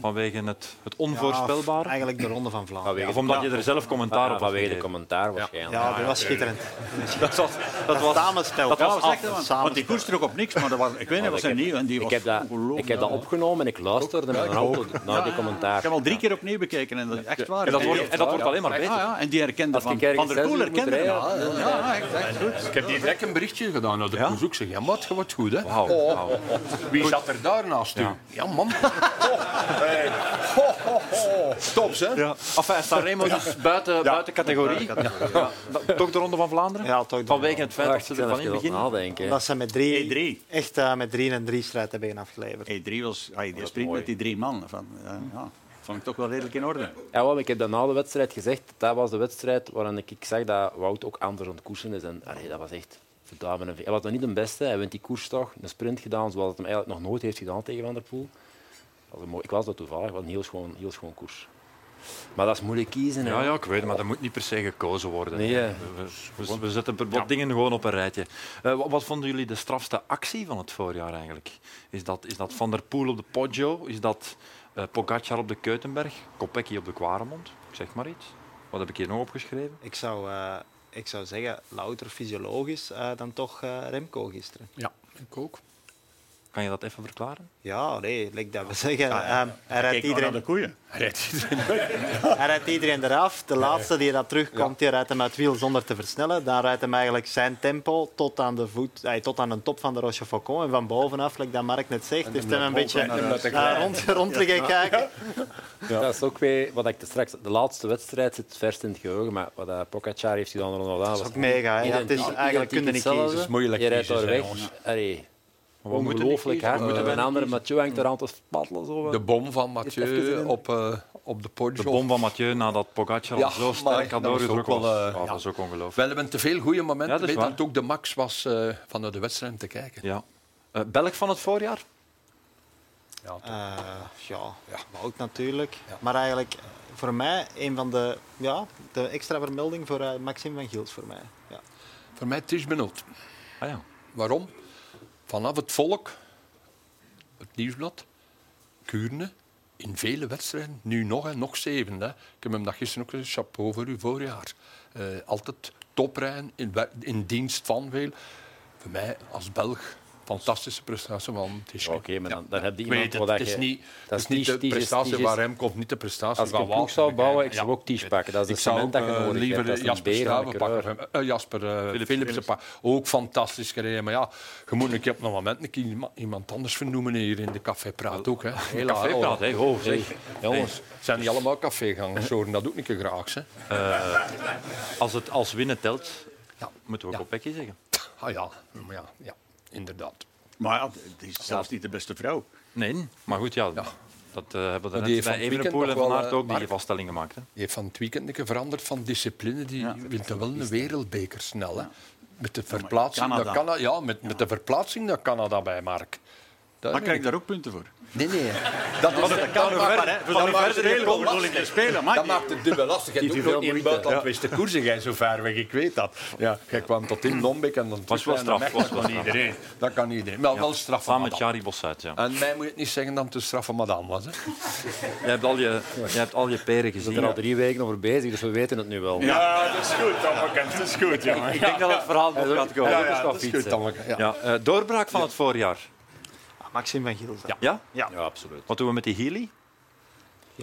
Speaker 1: Vanwege het, het
Speaker 4: Ja,
Speaker 1: onvoorspelbare?
Speaker 4: eigenlijk de Ronde van Vlaanderen.
Speaker 1: Of omdat je er zelf commentaar op had
Speaker 3: Ah, vanwege de
Speaker 1: gegeven?
Speaker 3: commentaar waarschijnlijk.
Speaker 4: Ja, dat was schitterend.
Speaker 1: Dat was, dat
Speaker 4: Dat
Speaker 1: was,
Speaker 4: was samenspel.
Speaker 1: dat was
Speaker 4: Ja, we
Speaker 1: af.
Speaker 4: zeggen dat,
Speaker 2: Want die koers trok op niks, maar dat was, ik weet niet, was
Speaker 3: ik
Speaker 2: er
Speaker 3: heb-
Speaker 2: nieuw. En die
Speaker 3: Ik
Speaker 2: was
Speaker 3: heb, dat,
Speaker 2: ongelooflijk.
Speaker 3: ik heb dat opgenomen en ik luisterde met een auto naar die commentaar.
Speaker 2: Ik heb al drie keer opnieuw bekeken en dat is echt waar.
Speaker 1: en dat wordt,
Speaker 2: die-
Speaker 1: en dat wordt alleen maar
Speaker 2: Ah,
Speaker 1: beter.
Speaker 2: ja, en die herkende
Speaker 3: Als
Speaker 2: van,
Speaker 3: ik ergens
Speaker 2: van der
Speaker 3: zes
Speaker 2: Poel
Speaker 3: uur
Speaker 2: herkende
Speaker 3: moet
Speaker 2: hem.
Speaker 3: rijden,
Speaker 2: Ja, ja, ja, echt, echt goed.
Speaker 5: Ik heb die direct een berichtje gedaan naar de koers ook. Zeg, ja, maat, je wordt goed, hè?
Speaker 1: Wauw,
Speaker 5: Oh,
Speaker 1: wauw.
Speaker 5: Wie zat er daar naast u? Ja, man. Hey. Ho, ho, ho. Stop, hè?
Speaker 1: Ja. Enfin, Sanremo is dus buiten, buiten categorie. Ja. Da- Toch de Ronde van Vlaanderen?
Speaker 4: Ja, toch de
Speaker 1: Vanwege het feit dat
Speaker 3: Wacht,
Speaker 1: ze
Speaker 3: Ah, ik
Speaker 1: er
Speaker 3: zal
Speaker 1: van in
Speaker 3: even
Speaker 1: het begin...
Speaker 3: nadenken.
Speaker 4: Omdat ze met drie,
Speaker 2: E3.
Speaker 4: echt eh, met drie en drie strijd hebben afgeleverd.
Speaker 2: E3 was, ah, die spreekt met die drie man. Van, ja, ja, vond ik toch wel redelijk in orde.
Speaker 3: Ja, want ik heb dat na de wedstrijd gezegd. Dat was de wedstrijd waarin ik, ik zag dat Wout ook anders aan het koersen is. En allee, dat was echt verduimen. Hij was nog niet de beste. Hij wint die koers toch. Een sprint gedaan zoals het hem eigenlijk nog nooit heeft gedaan tegen Van der Poel. Dat was een mooi, ik was dat toevallig. Wat een heel schoon, heel schoon koers. Maar dat is moeilijk kiezen. hè.
Speaker 1: Ja, ja, ik weet het, maar dat moet niet per se gekozen worden.
Speaker 3: Nee, hè.
Speaker 1: We, we- we zetten per- wat dingen gewoon op een rijtje. Eh, wat, wat vonden jullie de strafste actie van het voorjaar eigenlijk? Is dat, is dat Van der Poel op de Poggio? Is dat eh Pogacar op de Keutenberg? Kopecky op de Quaremond? Ik zeg maar iets. Wat heb ik hier nog opgeschreven?
Speaker 4: Ik zou, eh, ik zou zeggen, louter fysiologisch eh, dan toch eh, Remco gisteren.
Speaker 5: Ja, ik ook.
Speaker 1: Kan je dat even verklaren?
Speaker 4: Ja, nee, like dat we zeggen. ehm,
Speaker 2: Kijk nou
Speaker 4: hij, rijdt
Speaker 2: naar de
Speaker 4: iedereen,
Speaker 2: koeien.
Speaker 4: hij rijdt iedereen eraf. De laatste die dat terugkomt, die rijdt hem uit het wiel zonder te versnellen. Dan rijdt hem eigenlijk zijn tempo tot aan de, voet, eh, tot aan de top van de Rochefoucauld. En van bovenaf, like dat Mark net zegt, heeft hem een beetje eh, rond, rond liggen kijken.
Speaker 3: Dat is ook weer wat ik te straks. De laatste wedstrijd zit vers in het geheugen, maar wat eh, Pogacar heeft gedaan onder andere.
Speaker 4: Dat is ook mega. hè. Het is eigenlijk kunnen niet kiezen.
Speaker 5: moeilijk
Speaker 3: Je rijdt daar
Speaker 5: kiezen, hè,
Speaker 3: weg. Allee,
Speaker 1: moeten niet
Speaker 3: ongelooflijk
Speaker 1: kiezen,
Speaker 3: hard.
Speaker 1: we moeten
Speaker 3: een
Speaker 1: wel
Speaker 3: andere Mathieu hangt er aan te spattelen. Zo.
Speaker 5: De bom van
Speaker 3: Is het even
Speaker 5: Mathieu
Speaker 3: in-
Speaker 5: op, eh, op de
Speaker 1: De
Speaker 5: Poggio.
Speaker 1: bom van Mathieu nadat Pogacar
Speaker 5: Ja,
Speaker 1: al zo sterk
Speaker 5: maar
Speaker 1: had
Speaker 5: dat was ook
Speaker 1: doorgedrukt.
Speaker 5: wel,
Speaker 1: was.
Speaker 5: eh,
Speaker 1: Ja,
Speaker 5: ja.
Speaker 1: Dat is ook ongelooflijk.
Speaker 5: We hebben te veel goede momenten.
Speaker 1: Ja, dat is
Speaker 5: weet
Speaker 1: waar.
Speaker 5: dat het ook de max was eh van de wedstrijd te kijken.
Speaker 1: Ja. Eh, Belg van het voorjaar?
Speaker 4: Eh, ja, Wout natuurlijk. Maar eigenlijk eh, voor mij een van de, ja, de extra vermelding voor eh, Maxime van Gils voor mij. Ja.
Speaker 5: Voor mij Tish Benoot.
Speaker 1: Ah, ja.
Speaker 5: Waarom? Vanaf het volk, het nieuwsblad, Kuurne, in vele wedstrijden, nu nog en nog zeven. Hè. Ik heb hem dat gisteren ook gezegd, chapeau voor uw voorjaar. Eh, altijd toprijden, in, wer- in dienst van veel. Voor mij als Belg, fantastische prestatie van Tish.
Speaker 3: Ja, Oké, maar dan, dan heb je
Speaker 5: Ik
Speaker 3: iemand
Speaker 5: weet het,
Speaker 3: waar
Speaker 5: het
Speaker 3: dat
Speaker 5: is
Speaker 3: je-
Speaker 5: niet,
Speaker 3: dat
Speaker 5: het
Speaker 3: is
Speaker 5: is niet
Speaker 3: Tish,
Speaker 5: de
Speaker 3: Tish is-
Speaker 5: prestatie
Speaker 3: Tish is-
Speaker 5: waar hem komt, niet de prestatie
Speaker 3: Als ik
Speaker 5: van
Speaker 3: een ploeg
Speaker 5: Waalsen
Speaker 3: zou bouwen, ik
Speaker 5: bekijken.
Speaker 3: zou ook Tish pakken. Dat is
Speaker 5: Ik
Speaker 3: het
Speaker 5: zou
Speaker 3: cement
Speaker 5: ook,
Speaker 3: dat je
Speaker 5: eh,
Speaker 3: nodig hebt.
Speaker 5: liever
Speaker 3: Dat is een
Speaker 5: Jasper
Speaker 3: beer aan de
Speaker 5: Staven pakken.
Speaker 3: kruif.
Speaker 5: Eh, Jasper eh, Philipsen pakken. Ook fantastisch gereden. Maar ja, je moet een keer op een moment een keer iemand- iemand anders vernoemen hier in de Café Praat ook. Hè. Hela,
Speaker 1: Café
Speaker 5: hoor.
Speaker 1: praat, hè. Ho, zeg.
Speaker 5: Jongens, zijn niet allemaal cafégangers, horen dat ook niet graag. Hè.
Speaker 1: Als het als winnen telt,
Speaker 5: Ja.
Speaker 1: moeten we
Speaker 5: Ja.
Speaker 1: Kopecky zeggen.
Speaker 5: Ah ja, maar ja, ja inderdaad.
Speaker 2: Maar ja, het is zelfs niet de beste vrouw.
Speaker 1: Nee, maar goed, ja. Dat eh, hebben we er
Speaker 5: die heeft
Speaker 1: net
Speaker 5: van
Speaker 1: bij
Speaker 5: het weekend
Speaker 1: Evenepoel en
Speaker 5: nog
Speaker 1: Van
Speaker 5: wel,
Speaker 1: Aert
Speaker 5: eh,
Speaker 1: ook die
Speaker 5: Mark.
Speaker 1: vaststelling gemaakt. Hè.
Speaker 5: Die heeft van het weekend een keer veranderd van discipline. Die wint dan wel een wereldbeker snel. Hè. Met de verplaatsing
Speaker 2: Canada.
Speaker 5: naar Canada. Ja, met, met de verplaatsing naar Canada bij Mark.
Speaker 2: Maar
Speaker 5: Dat weet
Speaker 2: krijg ik
Speaker 5: ik.
Speaker 2: daar ook punten voor?
Speaker 5: Nee, nee. Dat is
Speaker 2: Dat kan ook maar, hè. Voor
Speaker 5: dat
Speaker 2: de
Speaker 5: maakt
Speaker 2: verdere
Speaker 5: het heel
Speaker 2: goal bedoel ik te spelen. maar
Speaker 5: Dat maakt het dubbel lastig. Je
Speaker 3: Die
Speaker 5: doet
Speaker 3: veel
Speaker 5: ook in het
Speaker 3: moeite.
Speaker 5: buitenland wist de koersen, jij zo ver weg, ik weet dat. Ja, jij kwam tot in Lombik en dan
Speaker 1: Was wel
Speaker 5: terug naar
Speaker 1: straf,
Speaker 5: Mechelen.
Speaker 1: was wel
Speaker 5: Dat kan
Speaker 1: straf.
Speaker 5: iedereen. Dat kan iedereen. Maar wel straf van
Speaker 1: Samen met
Speaker 5: madame.
Speaker 1: Jari Bossuit, ja.
Speaker 5: En mij moet je het niet zeggen dat het een straf van madame was. Hè.
Speaker 1: Jij hebt al je, jij hebt al je peren
Speaker 3: We zijn er
Speaker 1: gezien.
Speaker 3: al drie weken over bezig, dus we weten het nu wel.
Speaker 5: Ja, dat is goed, Tommeken. Dat is goed, jongen.
Speaker 1: Ik denk dat het verhaal nog gaat komen.
Speaker 5: dat is goed, Tommeke. Ja.
Speaker 1: Ja, eh, doorbraak van het voorjaar.
Speaker 4: Ah, Maxime van Gilde. Ja,
Speaker 1: Ja?
Speaker 3: Ja, absoluut.
Speaker 1: Wat doen we met die Healy?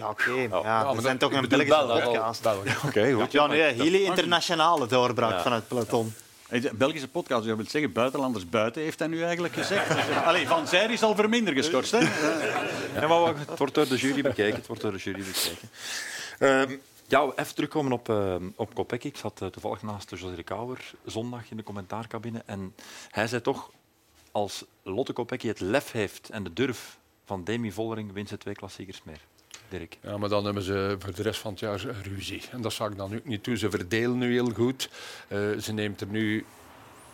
Speaker 4: oké. Ja,
Speaker 3: Ja,
Speaker 4: we zijn toch een
Speaker 5: bedoel
Speaker 4: Belgische
Speaker 5: Belgen.
Speaker 4: podcast.
Speaker 5: Belgen.
Speaker 1: Oké, goed.
Speaker 4: Ja, nee, hele internationale doorbraak
Speaker 3: Ja.
Speaker 4: van het peloton.
Speaker 2: Hey, de Belgische podcast, dat wil zeggen, buitenlanders buiten, heeft hij nu eigenlijk gezegd. Dus, eh, Allee, Van Zijr is al verminder geschorst. Hè?
Speaker 1: Ja, maar wacht, het wordt door de jury bekeken. Het wordt door de jury bekeken. Ehm, ja, even terugkomen op, eh op Kopecky. Ik zat eh, toevallig naast José de Kouwer zondag in de commentaarcabine. En hij zei toch, als Lotte Kopecky het lef heeft en de durf van Demi Vollering, wint ze twee klassiekers meer. Dirk.
Speaker 5: Ja, maar dan hebben ze voor de rest van het jaar ruzie. En dat zag ik dan ook niet toe. Ze verdelen nu heel goed. Eh, ze neemt er nu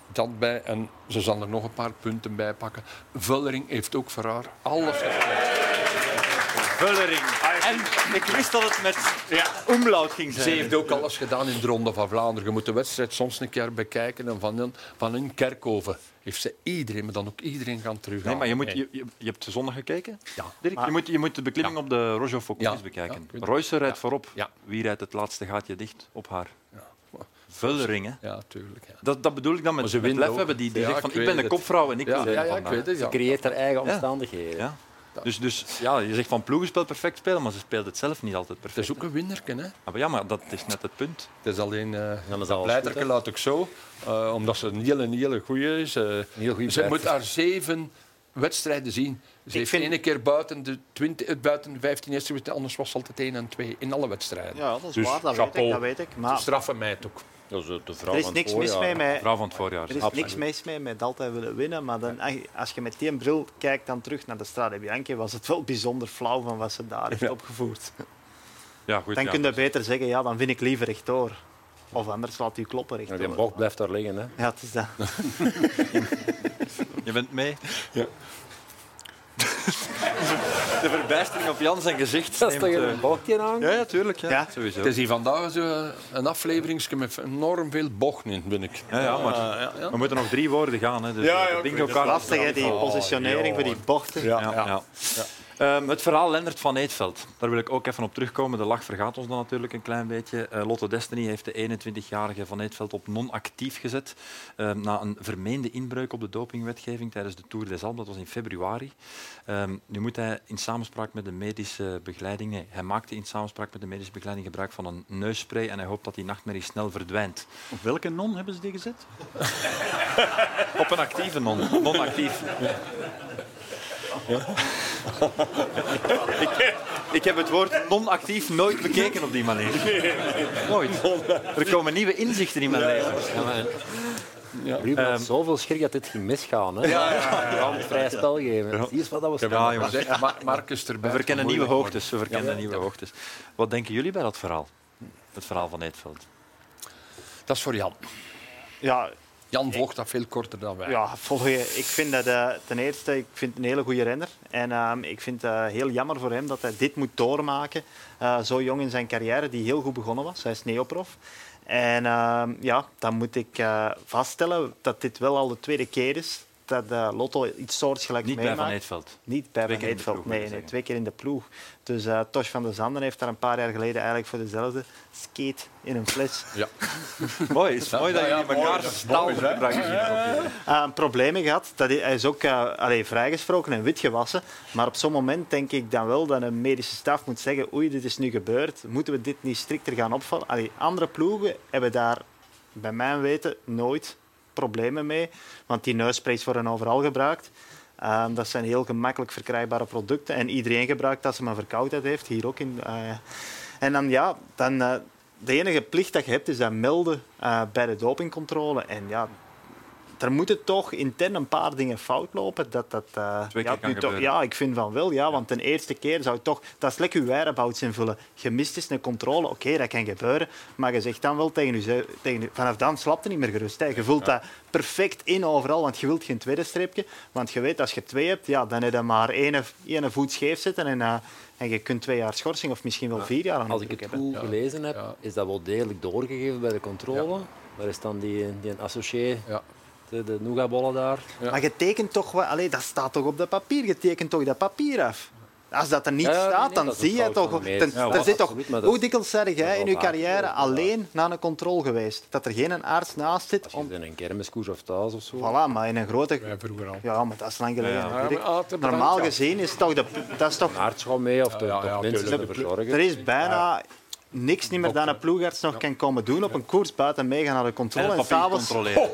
Speaker 5: dat bij en ze zal er nog een paar punten bij pakken. Vullering heeft ook voor haar alles gegeven.
Speaker 1: Vullering. En ik wist dat het met
Speaker 2: eh,
Speaker 1: ja. omlaut ging
Speaker 5: Ze heeft ook alles gedaan in de Ronde van Vlaanderen. Je moet de wedstrijd soms een keer bekijken. En van hun, van hun kerkhoven heeft ze iedereen, maar dan ook iedereen gaan terug.
Speaker 1: Nee, maar je, moet, je, je, je hebt zondag gekeken,
Speaker 5: Ja.
Speaker 1: Dirk. je, moet, je moet de beklimming op de Rojo Focus
Speaker 5: Ja.
Speaker 1: bekijken.
Speaker 5: Ja, ik weet het.
Speaker 1: Royce rijdt voorop.
Speaker 5: Ja.
Speaker 1: Wie rijdt het laatste gaatje dicht op haar? Vullering, hè?
Speaker 5: Ja, tuurlijk. Ja.
Speaker 1: Dat, dat bedoel ik dan met,
Speaker 5: Maar ze
Speaker 1: met
Speaker 5: winnen
Speaker 1: lef
Speaker 5: ook.
Speaker 1: hebben. Die, die
Speaker 5: Ja,
Speaker 1: zegt van,
Speaker 5: ik
Speaker 1: ik ben
Speaker 5: weet
Speaker 1: de
Speaker 5: het.
Speaker 1: kopvrouw en ik
Speaker 5: Ja,
Speaker 1: wil winnen
Speaker 5: ja, ja, ik
Speaker 1: vandaag.
Speaker 5: weet het.
Speaker 3: Ze
Speaker 5: Ja.
Speaker 3: Dus creëert haar eigen omstandigheden.
Speaker 1: Ja. Dus, dus ja, je zegt van ploegenspel perfect spelen, maar ze speelt het zelf niet altijd
Speaker 5: Het
Speaker 1: perfect.
Speaker 5: is ook een winnerken, hè.
Speaker 1: Ah, maar ja, maar dat is net het punt.
Speaker 5: Het is alleen... eh
Speaker 3: Dan is
Speaker 5: dat
Speaker 3: alles
Speaker 5: pleiterke laat ik zo, eh, omdat ze een hele, een hele goeie is. eh.
Speaker 3: heel goeie
Speaker 5: ze
Speaker 3: pleiter.
Speaker 5: moet haar zeven wedstrijden zien. Ze heeft
Speaker 4: vind-
Speaker 5: ene keer buiten de, 20, eh, buiten de 15 eerste wedstrijd, anders was ze altijd 1 en 2 in alle wedstrijden.
Speaker 4: Ja, dat is
Speaker 5: Dus
Speaker 4: waar, dat weet
Speaker 5: chapeau.
Speaker 4: ik. Dat weet ik.
Speaker 5: Ze
Speaker 4: Maar
Speaker 5: straffen mij het ook.
Speaker 3: Dat is de vrouw
Speaker 4: er is
Speaker 3: van
Speaker 4: niks
Speaker 3: het
Speaker 4: mis
Speaker 3: voorjaar.
Speaker 4: mee met...
Speaker 1: Vrouw van het voorjaar.
Speaker 4: Er Eh, is niks mis mee met altijd willen winnen, maar dan, als je met die bril kijkt dan terug naar de Strade Bianche, was het wel bijzonder flauw van wat ze daar heeft opgevoerd.
Speaker 1: Ja, goed,
Speaker 4: Dan
Speaker 1: ja.
Speaker 4: kun je beter zeggen, ja, dan vind ik liever rechtdoor. Of anders laat u kloppen
Speaker 3: Ja, die
Speaker 4: rechtdoor.
Speaker 3: bocht blijft daar liggen. Hè.
Speaker 4: Ja, het is dat.
Speaker 1: Je bent mee? de verbijstering op Jan zijn gezicht.
Speaker 3: Dat is
Speaker 1: neemt,
Speaker 3: toch
Speaker 1: eh,
Speaker 3: een bochtje aan?
Speaker 1: Ja, ja, tuurlijk. Ja.
Speaker 4: Ja.
Speaker 1: Sowieso.
Speaker 5: Het is hier vandaag zo eh, een aflevering met enorm veel bochten in, ben ik.
Speaker 1: Ja, ja, maar we moeten nog drie woorden gaan. Hè, dus
Speaker 5: Ja, ja,
Speaker 1: eh,
Speaker 5: ik
Speaker 1: bingo
Speaker 5: weet het.
Speaker 1: kaart.
Speaker 4: Lastig, hè, die positionering voor die bochten.
Speaker 1: Ja, ja. Ehm, het verhaal Lennart van Eetveld, daar wil ik ook even op terugkomen. De lach vergaat ons dan natuurlijk een klein beetje. Eh, Lotto Destiny heeft de 21-jarige van Eetveld op non-actief gezet ehm, na een vermeende inbreuk op de dopingwetgeving tijdens de Tour des Alpes. Dat was in februari. Ehm, nu moet hij in samenspraak met de medische begeleiding... Nee, hij maakte in samenspraak met de medische begeleiding gebruik van een neusspray en hij hoopt dat die nachtmerrie snel verdwijnt.
Speaker 2: Op welke non hebben ze die gezet?
Speaker 1: Op een actieve non. Non-actief. ik, ik heb het woord non-actief nooit bekeken op die manier. Nooit. Er komen nieuwe inzichten in mijn leven.
Speaker 3: Ruben
Speaker 5: Ehm,
Speaker 3: had zoveel schrik dat dit ging misgaan. Hè. Ja, vrij spel geven. Zie eens wat dat was.
Speaker 1: Ja, jongens.
Speaker 5: Zeg, Ma- Marcus erbij.
Speaker 1: We verkennen
Speaker 5: Het is
Speaker 1: nieuwe
Speaker 5: moeilijk
Speaker 1: hoogtes. We verkennen nieuwe hoogtes. Wat denken jullie bij dat verhaal? Het verhaal van Eetveld.
Speaker 5: worden. Dat is voor Jan.
Speaker 4: Ja,
Speaker 5: Jan volgt dat veel korter dan wij.
Speaker 4: Ja, volg je. Ik vind dat eh, ten eerste ik vind het een hele goede renner. En ehm, ik vind het eh, heel jammer voor hem dat hij dit moet doormaken. eh, zo jong in zijn carrière, die heel goed begonnen was. Hij is neoprof. En ehm, ja, dan moet ik eh, vaststellen dat dit wel al de tweede keer is dat eh, Lotto iets soortgelijks
Speaker 1: Niet bij
Speaker 4: meemaakt.
Speaker 1: Van Eetveld.
Speaker 4: Niet bij
Speaker 1: Twee
Speaker 4: Van
Speaker 1: keer in de
Speaker 4: Eetveld,
Speaker 1: ploeg, wil je
Speaker 4: nee, nee,
Speaker 1: zeggen.
Speaker 4: twee keer in de ploeg. Dus eh Tosh van der Zanden heeft daar een paar jaar geleden eigenlijk voor dezelfde skate in een fles
Speaker 1: Mooi. Het is mooi dat jullie elkaar staal gebruiken.
Speaker 4: eh, problemen gehad. Dat hij, hij is ook eh, allee, vrijgesproken en wit gewassen. Maar op zo'n moment denk ik dan wel dat een medische staf moet zeggen oei, dit is nu gebeurd. Moeten we dit niet strikter gaan opvallen? Allee, andere ploegen hebben daar, bij mijn weten, nooit problemen mee. Want die neussprays worden overal gebruikt. Eh, dat zijn heel gemakkelijk verkrijgbare producten. En iedereen gebruikt als ze maar verkoudheid heeft. Hier ook in... eh, en dan ja, dan... eh, de enige plicht dat je hebt is dat melden eh, bij de dopingcontrole. En ja, er moeten toch intern een paar dingen fout lopen. Dat, dat, eh,
Speaker 1: Twee keer
Speaker 4: ja,
Speaker 1: kan
Speaker 4: nu toch,
Speaker 1: gebeuren.
Speaker 4: ja, ik vind van wel. Ja, Want de eerste keer zou je toch... Dat is lekker je whereabouts invullen. Gemist is een controle. Oké, dat kan gebeuren. Maar je zegt dan wel tegen je... Tegen, je- vanaf dan slaapt je niet meer gerust. Hè. Je vult dat perfect in overal, want je wilt geen tweede streepje. Want je weet, als je twee hebt, ja, dan heb je maar één, één voet scheef zitten. En, eh, en je kunt twee jaar schorsing of misschien wel vier jaar aan
Speaker 3: Als ik
Speaker 4: druk
Speaker 3: het
Speaker 4: hebben.
Speaker 3: goed gelezen heb,
Speaker 5: Ja.
Speaker 3: is dat wel degelijk doorgegeven bij de controle. Daar is dan die, die een associé,
Speaker 5: Ja.
Speaker 3: de, de Nougabollen daar.
Speaker 5: Ja.
Speaker 4: Maar je tekent toch wel... Allee, dat staat toch op dat papier? Je tekent toch dat papier af? Als dat er niet
Speaker 3: Ja, ja, nee,
Speaker 4: staat, dan
Speaker 3: dat is
Speaker 4: zie
Speaker 3: een
Speaker 4: je
Speaker 3: fout
Speaker 4: toch...
Speaker 3: van mij.
Speaker 4: ten-
Speaker 3: Ja,
Speaker 4: er
Speaker 3: wel,
Speaker 4: zit toch
Speaker 3: absoluut, maar dat-
Speaker 4: hoe dikwijls zeg
Speaker 3: dat
Speaker 4: jij
Speaker 3: is
Speaker 4: in
Speaker 3: wel
Speaker 4: je
Speaker 3: vaak,
Speaker 4: carrière
Speaker 3: ja.
Speaker 4: alleen naar een controle geweest? Dat er geen arts naast zit?
Speaker 3: Als
Speaker 4: Om,
Speaker 3: je in een kermiskoers of thuis of zo.
Speaker 4: voilà, maar in een grote...
Speaker 5: Wij vroeger al.
Speaker 4: Ja, maar dat is lang geleden.
Speaker 1: Ja,
Speaker 5: maar
Speaker 4: natuurlijk.
Speaker 5: altijd bedankt,
Speaker 4: Normaal
Speaker 5: ja.
Speaker 4: gezien is toch... De, dat is toch
Speaker 3: Een aardschouw mee of de,
Speaker 5: Ja, ja,
Speaker 3: toch
Speaker 5: ja,
Speaker 3: mensen
Speaker 5: tuurlijk.
Speaker 3: te verzorgen.
Speaker 4: er is bijna... Niks niet meer dan een ploegarts nog kan komen doen op een koers buiten meegaan naar de
Speaker 1: En
Speaker 4: controle.
Speaker 1: het
Speaker 4: En
Speaker 1: papier
Speaker 4: s'avonds
Speaker 1: controleren.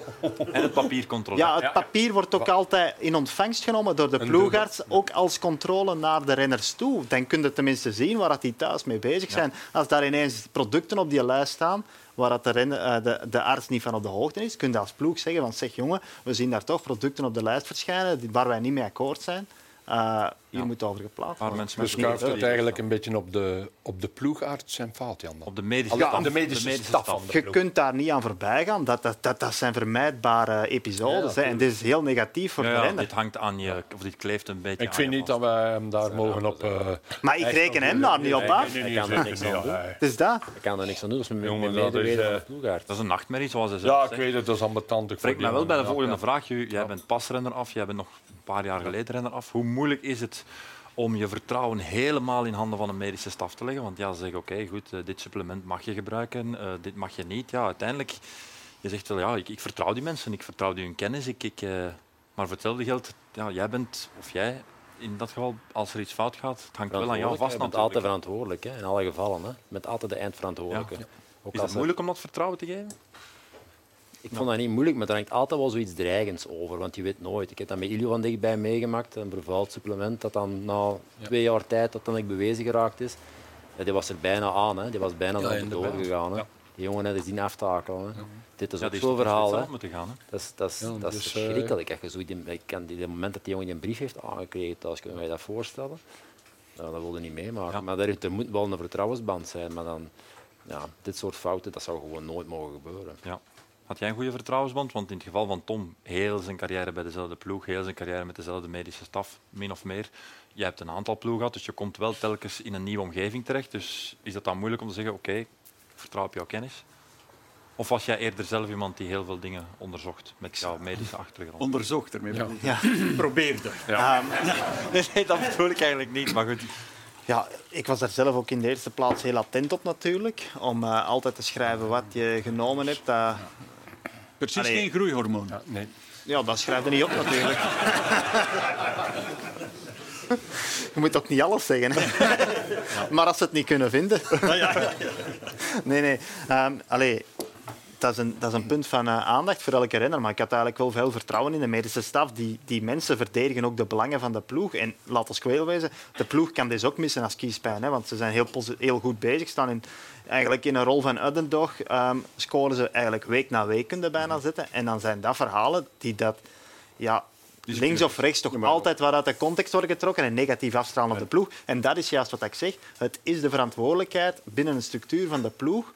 Speaker 1: En het papier controleren.
Speaker 4: Ja, het papier wordt ook altijd in ontvangst genomen door de ploegarts, ook als controle naar de renners toe. Dan kun je tenminste zien waar dat die thuis mee bezig zijn. Als daar ineens producten op die lijst staan waar dat de, renner- eh, de, de arts niet van op de hoogte is, kun je als ploeg zeggen van zeg jongen, we zien daar toch producten op de lijst verschijnen die- waar wij niet mee akkoord zijn. Eh, hier moet over geplaatst
Speaker 1: Waar
Speaker 4: worden.
Speaker 1: mensen
Speaker 5: Dus
Speaker 1: met
Speaker 5: schuift het
Speaker 1: medische-
Speaker 5: eigenlijk een beetje op de, op de ploegarts en fout, Jan. dan?
Speaker 1: op de medische
Speaker 5: Ja,
Speaker 1: staf.
Speaker 5: op de medische staf van de-
Speaker 4: Je kunt daar niet aan voorbij gaan. Dat, dat, dat, dat zijn vermijdbare episodes. hè. En dit is heel negatief voor
Speaker 1: Ja,
Speaker 4: de
Speaker 1: ja,
Speaker 4: renner.
Speaker 1: dit hangt aan je, of dit kleeft een beetje
Speaker 5: Ik
Speaker 1: aan
Speaker 5: vind
Speaker 1: je
Speaker 5: niet
Speaker 1: vast.
Speaker 5: dat wij hem daar mogen op... eh,
Speaker 4: Maar ik reken hem daar niet op af.
Speaker 5: Nee,
Speaker 3: Hij kan er niks aan doen.
Speaker 5: nee.
Speaker 4: Het is dat.
Speaker 3: Hij kan er niks aan doen. Dus met
Speaker 5: Jongen,
Speaker 3: met
Speaker 5: dat is,
Speaker 3: medeweten van
Speaker 5: eh,
Speaker 3: de ploegaard.
Speaker 1: Dat is een nachtmerrie, zoals hij
Speaker 5: Ja,
Speaker 1: zelf
Speaker 5: ik
Speaker 1: zegt.
Speaker 5: weet het, dat is ambetant. Ik
Speaker 1: Spreek
Speaker 5: me
Speaker 1: mij wel bij de volgende vraag. Jij jij bent pasrenner af, jij bent nog een paar jaar geleden renner af. Hoe moeilijk is het om je vertrouwen helemaal in handen van een medische staf te leggen? Want ja, ze zeggen, oké, goed, eh, dit supplement mag je gebruiken, eh, dit mag je niet. Ja, uiteindelijk, je zegt wel, ja, ik, ik vertrouw die mensen, ik vertrouw die hun kennis. Ik, ik, eh, maar voor hetzelfde geld, ja, jij bent, of jij, in dat geval, als er iets fout gaat, het hangt wel aan jou
Speaker 3: Verantwoordelijk,
Speaker 1: vast
Speaker 3: Je bent
Speaker 1: natuurlijk.
Speaker 3: altijd verantwoordelijk, hè, in alle gevallen. Hè. Je bent altijd de eindverantwoordelijke.
Speaker 1: Ja.
Speaker 3: Ook
Speaker 1: Is
Speaker 3: als
Speaker 1: het
Speaker 3: er-
Speaker 1: moeilijk om dat vertrouwen te geven?
Speaker 3: Ik vond dat niet moeilijk, maar er hangt altijd wel zoiets dreigends over, want je weet nooit. Ik heb dat met Ilio van dichtbij meegemaakt, een vervuild supplement dat dan na twee jaar tijd dat dan ik bewezen geraakt is. Ja, die was er bijna aan, hè. die was bijna
Speaker 5: Ja,
Speaker 3: ja, door
Speaker 5: inderdaad.
Speaker 3: gegaan. Hè. Die jongen hè, dat is die aftakelen. Hè. Dit is
Speaker 1: Ja,
Speaker 3: ook
Speaker 1: die is
Speaker 3: zo'n
Speaker 1: toch
Speaker 3: verhaal.
Speaker 1: zelf
Speaker 3: Hè.
Speaker 1: moeten gaan. Hè?
Speaker 3: Dat is, dat is,
Speaker 5: Ja,
Speaker 3: dat is
Speaker 5: dus, eh,
Speaker 3: verschrikkelijk. Als je zo die, ik kan die, het moment dat die jongen een brief heeft aangekregen thuis, kunnen wij dat voorstellen? Nou, dat wilde niet meemaken.
Speaker 1: Ja.
Speaker 3: Maar er, er moet wel een vertrouwensband zijn. Maar dan, ja, dit soort fouten, dat zou gewoon nooit mogen gebeuren.
Speaker 1: Ja. Had jij een goede vertrouwensband? Want in het geval van Tom, heel zijn carrière bij dezelfde ploeg, heel zijn carrière met dezelfde medische staf, min of meer. Jij hebt een aantal ploegen gehad, dus je komt wel telkens in een nieuwe omgeving terecht. Dus is dat dan moeilijk om te zeggen, oké, ik vertrouw op jouw kennis? Of was jij eerder zelf iemand die heel veel dingen onderzocht met jouw medische achtergrond?
Speaker 2: Onderzocht ermee.
Speaker 5: Ja.
Speaker 4: Ja.
Speaker 2: Probeerde.
Speaker 1: Ehm, Nee, dat bedoel ik eigenlijk niet. Maar goed,
Speaker 4: Ja, ik was daar zelf ook in de eerste plaats heel attent op natuurlijk. Om eh, altijd te schrijven wat je genomen hebt. Eh, Dat,
Speaker 2: Precies
Speaker 4: Allee.
Speaker 2: geen groeihormoon.
Speaker 5: Ja, nee.
Speaker 4: ja, dat schrijf je niet op natuurlijk. je moet ook niet alles zeggen. Hè? Maar als ze het niet kunnen vinden. nee, nee. Ehm allee, dat is, een, dat is een punt van eh, aandacht voor elke renner. Maar ik had eigenlijk wel veel vertrouwen in de medische staf. Die, die mensen verdedigen ook de belangen van de ploeg. En laat ons kweel wezen, de ploeg kan deze ook missen als kiespijn. Hè, want ze zijn heel, posi- heel goed bezig. Staan in, eigenlijk in een rol van Uddendog ehm scoren ze eigenlijk week na week, kunnen bijna zitten. En dan zijn dat verhalen die dat... Ja, links of rechts toch altijd wat uit de context worden getrokken en negatief afstralen op de ploeg. En dat is juist wat ik zeg. Het is de verantwoordelijkheid binnen een structuur van de ploeg...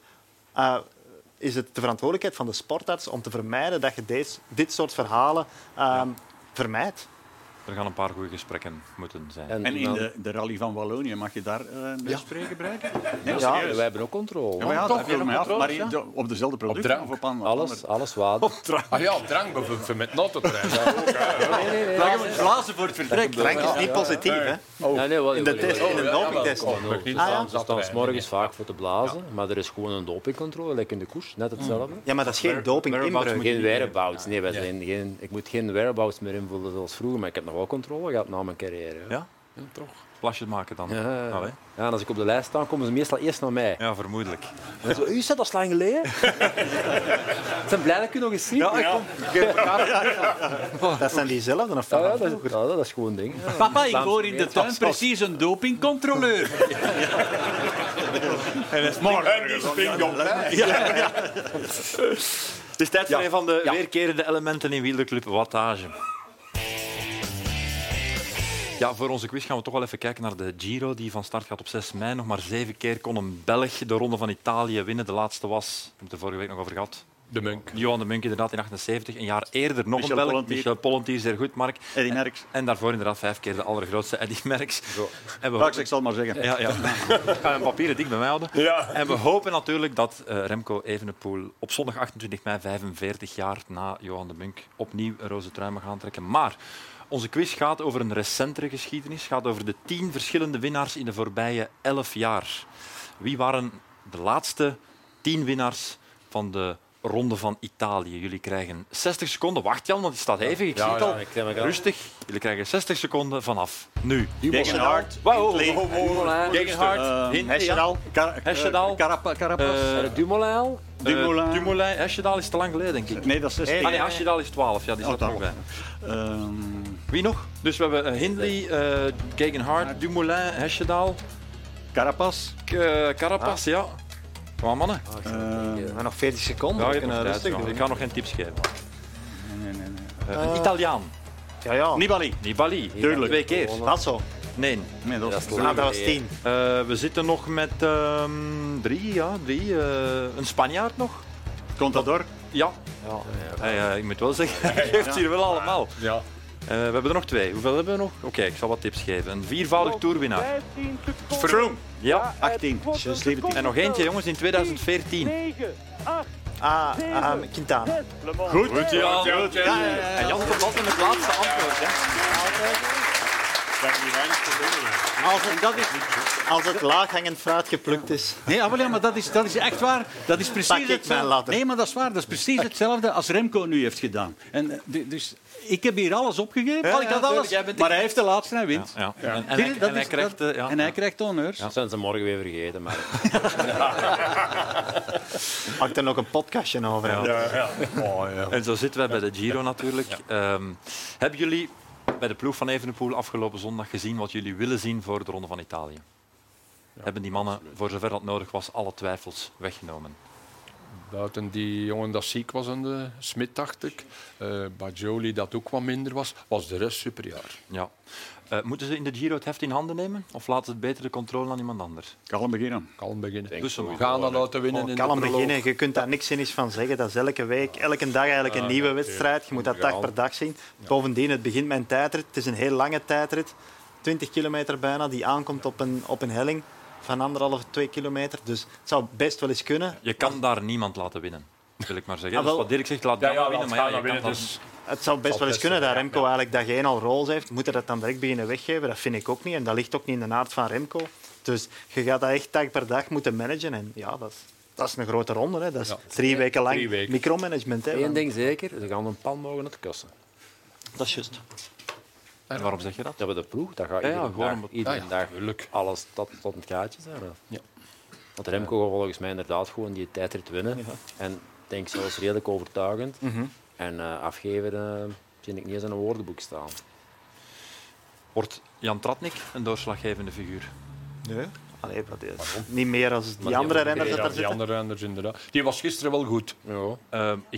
Speaker 4: eh, is het de verantwoordelijkheid van de sportarts om te vermijden dat je deze, dit soort verhalen ehm, vermijdt.
Speaker 1: er gaan een paar goede gesprekken moeten zijn.
Speaker 2: En in
Speaker 3: dan-
Speaker 2: de, de rally van Wallonië mag je daar eh mee spreken, Breik? Nee,
Speaker 4: Ja.
Speaker 2: serieus.
Speaker 3: wij hebben ook controle.
Speaker 2: Ja, maar ja, dat viel mij af. Maar je- de- op dezelfde producten
Speaker 5: drank.
Speaker 2: of op aan-
Speaker 3: Alles, alles water.
Speaker 5: Ah ja, drank bijvoorbeeld met notenterrein.
Speaker 2: Blazen voor het vertrek.
Speaker 4: Drank is niet positief, hè?
Speaker 3: Nee, nee, wel,
Speaker 4: In de
Speaker 3: wel,
Speaker 4: test,
Speaker 3: wel,
Speaker 4: in de
Speaker 5: ja,
Speaker 4: dopingtest.
Speaker 5: wel, kom.
Speaker 3: wel.
Speaker 5: Ah,
Speaker 3: Ze
Speaker 4: ja.
Speaker 3: staan- Ze staan 's morgens vaak voor te blazen, maar er is gewoon een dopingcontrole, lekker in de koers, net hetzelfde.
Speaker 4: Ja, maar dat is geen dopinginbreuk.
Speaker 3: Geen whereabouts, nee, wij zijn geen, ik moet geen whereabouts meer invullen zoals vroeger, maar ik heb nog wel controle gehad na mijn carrière. hè.
Speaker 1: Ja? Plasjes maken dan.
Speaker 3: Ja, ja, ja.
Speaker 1: Nou, hè.
Speaker 3: Ja, en als ik op de lijst sta, komen ze meestal eerst naar mij.
Speaker 1: ja, vermoedelijk.
Speaker 3: En Zo, u zat al lang geleden. Ze zijn blij dat ik u nog eens zie. Ja, Ah,
Speaker 4: Dat zijn diezelfde of
Speaker 3: ja,
Speaker 4: dat?
Speaker 3: dat, is, ja, dat is gewoon een ding. Ja.
Speaker 2: Papa, ik hoor in de tuin precies een dopingcontroleur.
Speaker 5: Maar die springt op.
Speaker 1: Het is tijd voor een van de weerkerende elementen in wielerclub wattage. Ja, voor onze quiz gaan we toch wel even kijken naar de Giro die van start gaat op 6 mei. Nog maar zeven keer kon een Belg de Ronde van Italië winnen. De laatste was, we hebben het er vorige week nog over gehad,
Speaker 5: De munk.
Speaker 1: Johan de Munk inderdaad in 78. Een jaar eerder nog
Speaker 2: Michel
Speaker 1: een Belg,
Speaker 2: Pollentier.
Speaker 1: Michel Pollentier, zeer goed, Mark.
Speaker 2: Eddie Merckx.
Speaker 1: En daarvoor inderdaad vijf keer de allergrootste Eddy Merckx. En we
Speaker 2: Straks, ik zal maar zeggen.
Speaker 1: ja, ja. Ik ga mijn papieren dik bij mij houden. En we hopen natuurlijk dat eh, Remco Evenepoel op zondag 28 mei, 45 jaar na Johan de Munk, opnieuw een roze trui mag aantrekken. Maar Onze quiz gaat over een recentere geschiedenis. Gaat over de tien verschillende winnaars in de voorbije elf jaar. Wie waren de laatste tien winnaars van de Ronde van Italië? Jullie krijgen 60 seconden. Wacht Jan, want die staat even. Ik zie het al.
Speaker 3: ik ken me rustig.
Speaker 1: Rustig. Jullie krijgen 60 seconden vanaf nu.
Speaker 2: Degenhard.
Speaker 1: Wow,
Speaker 2: Lee. Eh,
Speaker 1: Degenhard, Hesjedal. Hesjedal.
Speaker 2: Carapa- Carapaz.
Speaker 3: Dumoulin al?
Speaker 2: Dumoulin.
Speaker 1: Eh, Dumoulin. Hesjedal is te lang geleden, denk ik.
Speaker 2: nee, dat is 60.
Speaker 1: Ah nee, Hesjedal is 12. Ja, die staat
Speaker 2: Oh,
Speaker 1: er nog bij. Eh,
Speaker 2: Ehm,
Speaker 1: Wie nog? Dus we hebben eh, Hindley, eh Gegenhard, Dumoulin, Hesjedal,
Speaker 2: Carapaz.
Speaker 1: eh, Carapaz,
Speaker 2: Ah.
Speaker 1: ja. Kom maar, mannen.
Speaker 2: Eh, nee,
Speaker 4: Maar nog 40 seconden.
Speaker 1: Ja, je
Speaker 4: we
Speaker 1: hebt nog
Speaker 4: kunnen
Speaker 1: tijd,
Speaker 4: rustig
Speaker 1: ja.
Speaker 4: doen.
Speaker 1: Ik ga nog geen tips geven.
Speaker 2: nee, nee.
Speaker 1: Eh, een Italiaan.
Speaker 4: Ja, ja.
Speaker 2: Nibali.
Speaker 1: Nibali.
Speaker 2: Tuurlijk.
Speaker 1: Twee keer.
Speaker 4: Dat zo.
Speaker 1: Nee.
Speaker 2: Nee, dat is
Speaker 4: Ah, dat was 10.
Speaker 1: Eh, we zitten nog met ehm, drie, ja, drie. eh, een Spanjaard nog?
Speaker 2: Contador.
Speaker 1: Ja.
Speaker 4: Ja.
Speaker 1: Eh, eh, ik moet wel zeggen, hij geeft hier wel allemaal.
Speaker 5: Ja.
Speaker 1: Eh, we hebben er nog twee. Hoeveel hebben we nog? Oké, ik zal wat tips geven. Een viervoudig toerwinnaar.
Speaker 2: Froome.
Speaker 1: Ja.
Speaker 2: 18. Ze is 17.
Speaker 1: En nog eentje, jongens, in 2014.
Speaker 4: Ah, ehm, Quintana.
Speaker 2: Goed. Goed,
Speaker 1: Ja. En Jan komt altijd met het laatste antwoord. Hè.
Speaker 4: Als het, dat is, als het laaghangend fruit geplukt is.
Speaker 2: Nee, ah, wel ja, maar dat is, dat is echt waar. Dat is precies
Speaker 4: Pak ik mijn
Speaker 2: hetzelfde.
Speaker 4: ladder.
Speaker 2: Nee, maar dat is waar. Dat is precies hetzelfde als Remco nu heeft gedaan. En, eh, du- dus ik heb hier alles opgegeven.
Speaker 1: Ja,
Speaker 2: Al, ik had
Speaker 1: ja,
Speaker 2: alles.
Speaker 1: jij bent de-
Speaker 2: Maar hij heeft de laatste en hij wint.
Speaker 1: Ja. En, en,
Speaker 2: Zie
Speaker 1: hij,
Speaker 2: je, dat
Speaker 1: en hij
Speaker 2: is-
Speaker 1: krijgt...
Speaker 2: dat-
Speaker 1: eh, ja.
Speaker 2: En hij krijgt de honneurs.
Speaker 3: Dat zijn ze morgen weer vergeten, maar
Speaker 4: Maak er nog een podcastje over. hè.
Speaker 1: En zo zitten wij bij de Giro natuurlijk. Ehm, hebben jullie bij de ploeg van Evenepoel afgelopen zondag gezien wat jullie willen zien voor de Ronde van Italië? hebben die mannen, voor zover dat nodig was, alle twijfels weggenomen?
Speaker 5: Buiten die jongen dat ziek was aan de Smit, dacht ik. Eh Bajoli dat ook wat minder was, was de rest superjaar.
Speaker 1: Ja. Eh, moeten ze in de Giro het heft in handen nemen? Of laten ze het beter de controle aan iemand anders?
Speaker 2: Kalm beginnen.
Speaker 5: Kalm beginnen.
Speaker 1: Dus ze
Speaker 5: we
Speaker 1: mogen
Speaker 5: gaan dan laten winnen
Speaker 4: Gewoon
Speaker 5: in
Speaker 4: kalm
Speaker 5: de proloog.
Speaker 4: beginnen. Je kunt daar niks zinnigs van zeggen. Dat is elke week, elke dag eigenlijk
Speaker 5: Ah,
Speaker 4: een nieuwe wedstrijd. Je moet dat dag per dag zien. Bovendien, het begint met een tijdrit. Het is een heel lange tijdrit. 20 kilometer bijna, die aankomt op een, op een helling van anderhalf, twee kilometer. Dus het zou best wel eens kunnen.
Speaker 1: Je kan daar niemand laten winnen, wil ik maar zeggen. Dat
Speaker 4: Ah,
Speaker 1: is
Speaker 4: wel.
Speaker 1: wat Dirk zegt, laat
Speaker 5: Ja,
Speaker 1: ja,
Speaker 5: ja,
Speaker 1: winnen.
Speaker 5: winnen,
Speaker 1: Maar ja, je kan
Speaker 5: winnen.
Speaker 1: dat-
Speaker 5: Dus
Speaker 4: Het zou best wel eens kunnen dat Remco eigenlijk dag één al roze heeft. Moet hij dat dan direct beginnen weggeven? Dat vind ik ook niet. En dat ligt ook niet in de aard van Remco. Dus je gaat dat echt dag per dag moeten managen. En ja, dat is, dat is een grote ronde. Hè. Dat is drie weken lang
Speaker 5: drie weken.
Speaker 4: micromanagement. Hè.
Speaker 3: één ding zeker, ze gaan een pan mogen het kussen.
Speaker 4: Dat is juist.
Speaker 1: En waarom zeg je dat?
Speaker 3: Dat we de ploeg, dat gaat
Speaker 1: Ja, ja,
Speaker 3: iedere
Speaker 1: gewoon
Speaker 3: dag,
Speaker 1: omdat-
Speaker 3: iedere
Speaker 5: Ja, ja,
Speaker 3: dag
Speaker 5: tuurlijk.
Speaker 3: alles tot, tot het gaatje zijn. hè.
Speaker 5: Ja.
Speaker 3: Want Remco gaat volgens mij inderdaad gewoon die tijdrit winnen. En ik denk zelfs redelijk overtuigend. En eh, afgeven eh vind ik niet eens in een woordenboek staan.
Speaker 1: Wordt Jan Tratnik een doorslaggevende figuur?
Speaker 4: Nee. Allee, wat is- niet meer als die
Speaker 3: die
Speaker 4: andere
Speaker 3: andere
Speaker 4: renners dat
Speaker 5: Ja,
Speaker 4: daar
Speaker 5: die
Speaker 4: zitten.
Speaker 5: andere renders inderdaad. Die was gisteren wel goed,
Speaker 3: Ja.
Speaker 1: Eh, ik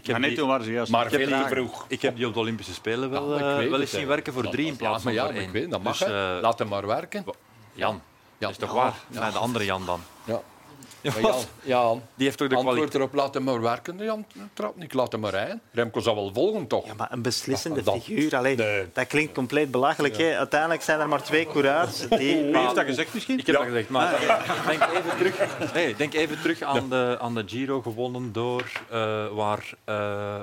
Speaker 1: heb
Speaker 2: Maar net
Speaker 1: die-
Speaker 2: toen waren ze juist.
Speaker 5: maar
Speaker 1: heb
Speaker 5: veel te
Speaker 1: die-
Speaker 5: vroeg.
Speaker 1: Ik heb die op de Olympische Spelen wel,
Speaker 5: Ja, ik
Speaker 1: eh,
Speaker 5: weet
Speaker 1: wel
Speaker 5: het,
Speaker 1: eens zien
Speaker 5: hè.
Speaker 1: werken voor
Speaker 5: Dat-
Speaker 1: drie in
Speaker 5: ja,
Speaker 1: plaats van
Speaker 5: maar ja,
Speaker 1: voor
Speaker 5: maar
Speaker 1: één.
Speaker 5: ik weet, dat mag.
Speaker 1: Dus,
Speaker 5: hè.
Speaker 1: eh,
Speaker 5: Laat hem maar werken.
Speaker 1: Jan,
Speaker 5: Ja,
Speaker 1: dat is toch
Speaker 5: ja,
Speaker 1: waar? Nee, de andere Jan dan.
Speaker 5: Ja. Maar
Speaker 1: Wat?
Speaker 5: Jan, Jan,
Speaker 1: Die heeft toch de kwaliteit.
Speaker 5: antwoord erop, laat hem maar werken. Jan trap niet, laat hem maar rijden. Remco zal wel volgen, toch?
Speaker 4: Ja, maar een beslissende
Speaker 5: Ah, dat-
Speaker 4: figuur, allee,
Speaker 5: Nee.
Speaker 4: dat klinkt compleet belachelijk. hè. Uiteindelijk zijn er maar twee coureurs. Die...
Speaker 2: Wie heeft dat gezegd misschien?
Speaker 1: Ik heb dat gezegd, maar denk, even terug, nee, denk even terug aan, de, aan de Giro gewonnen door eh, waar eh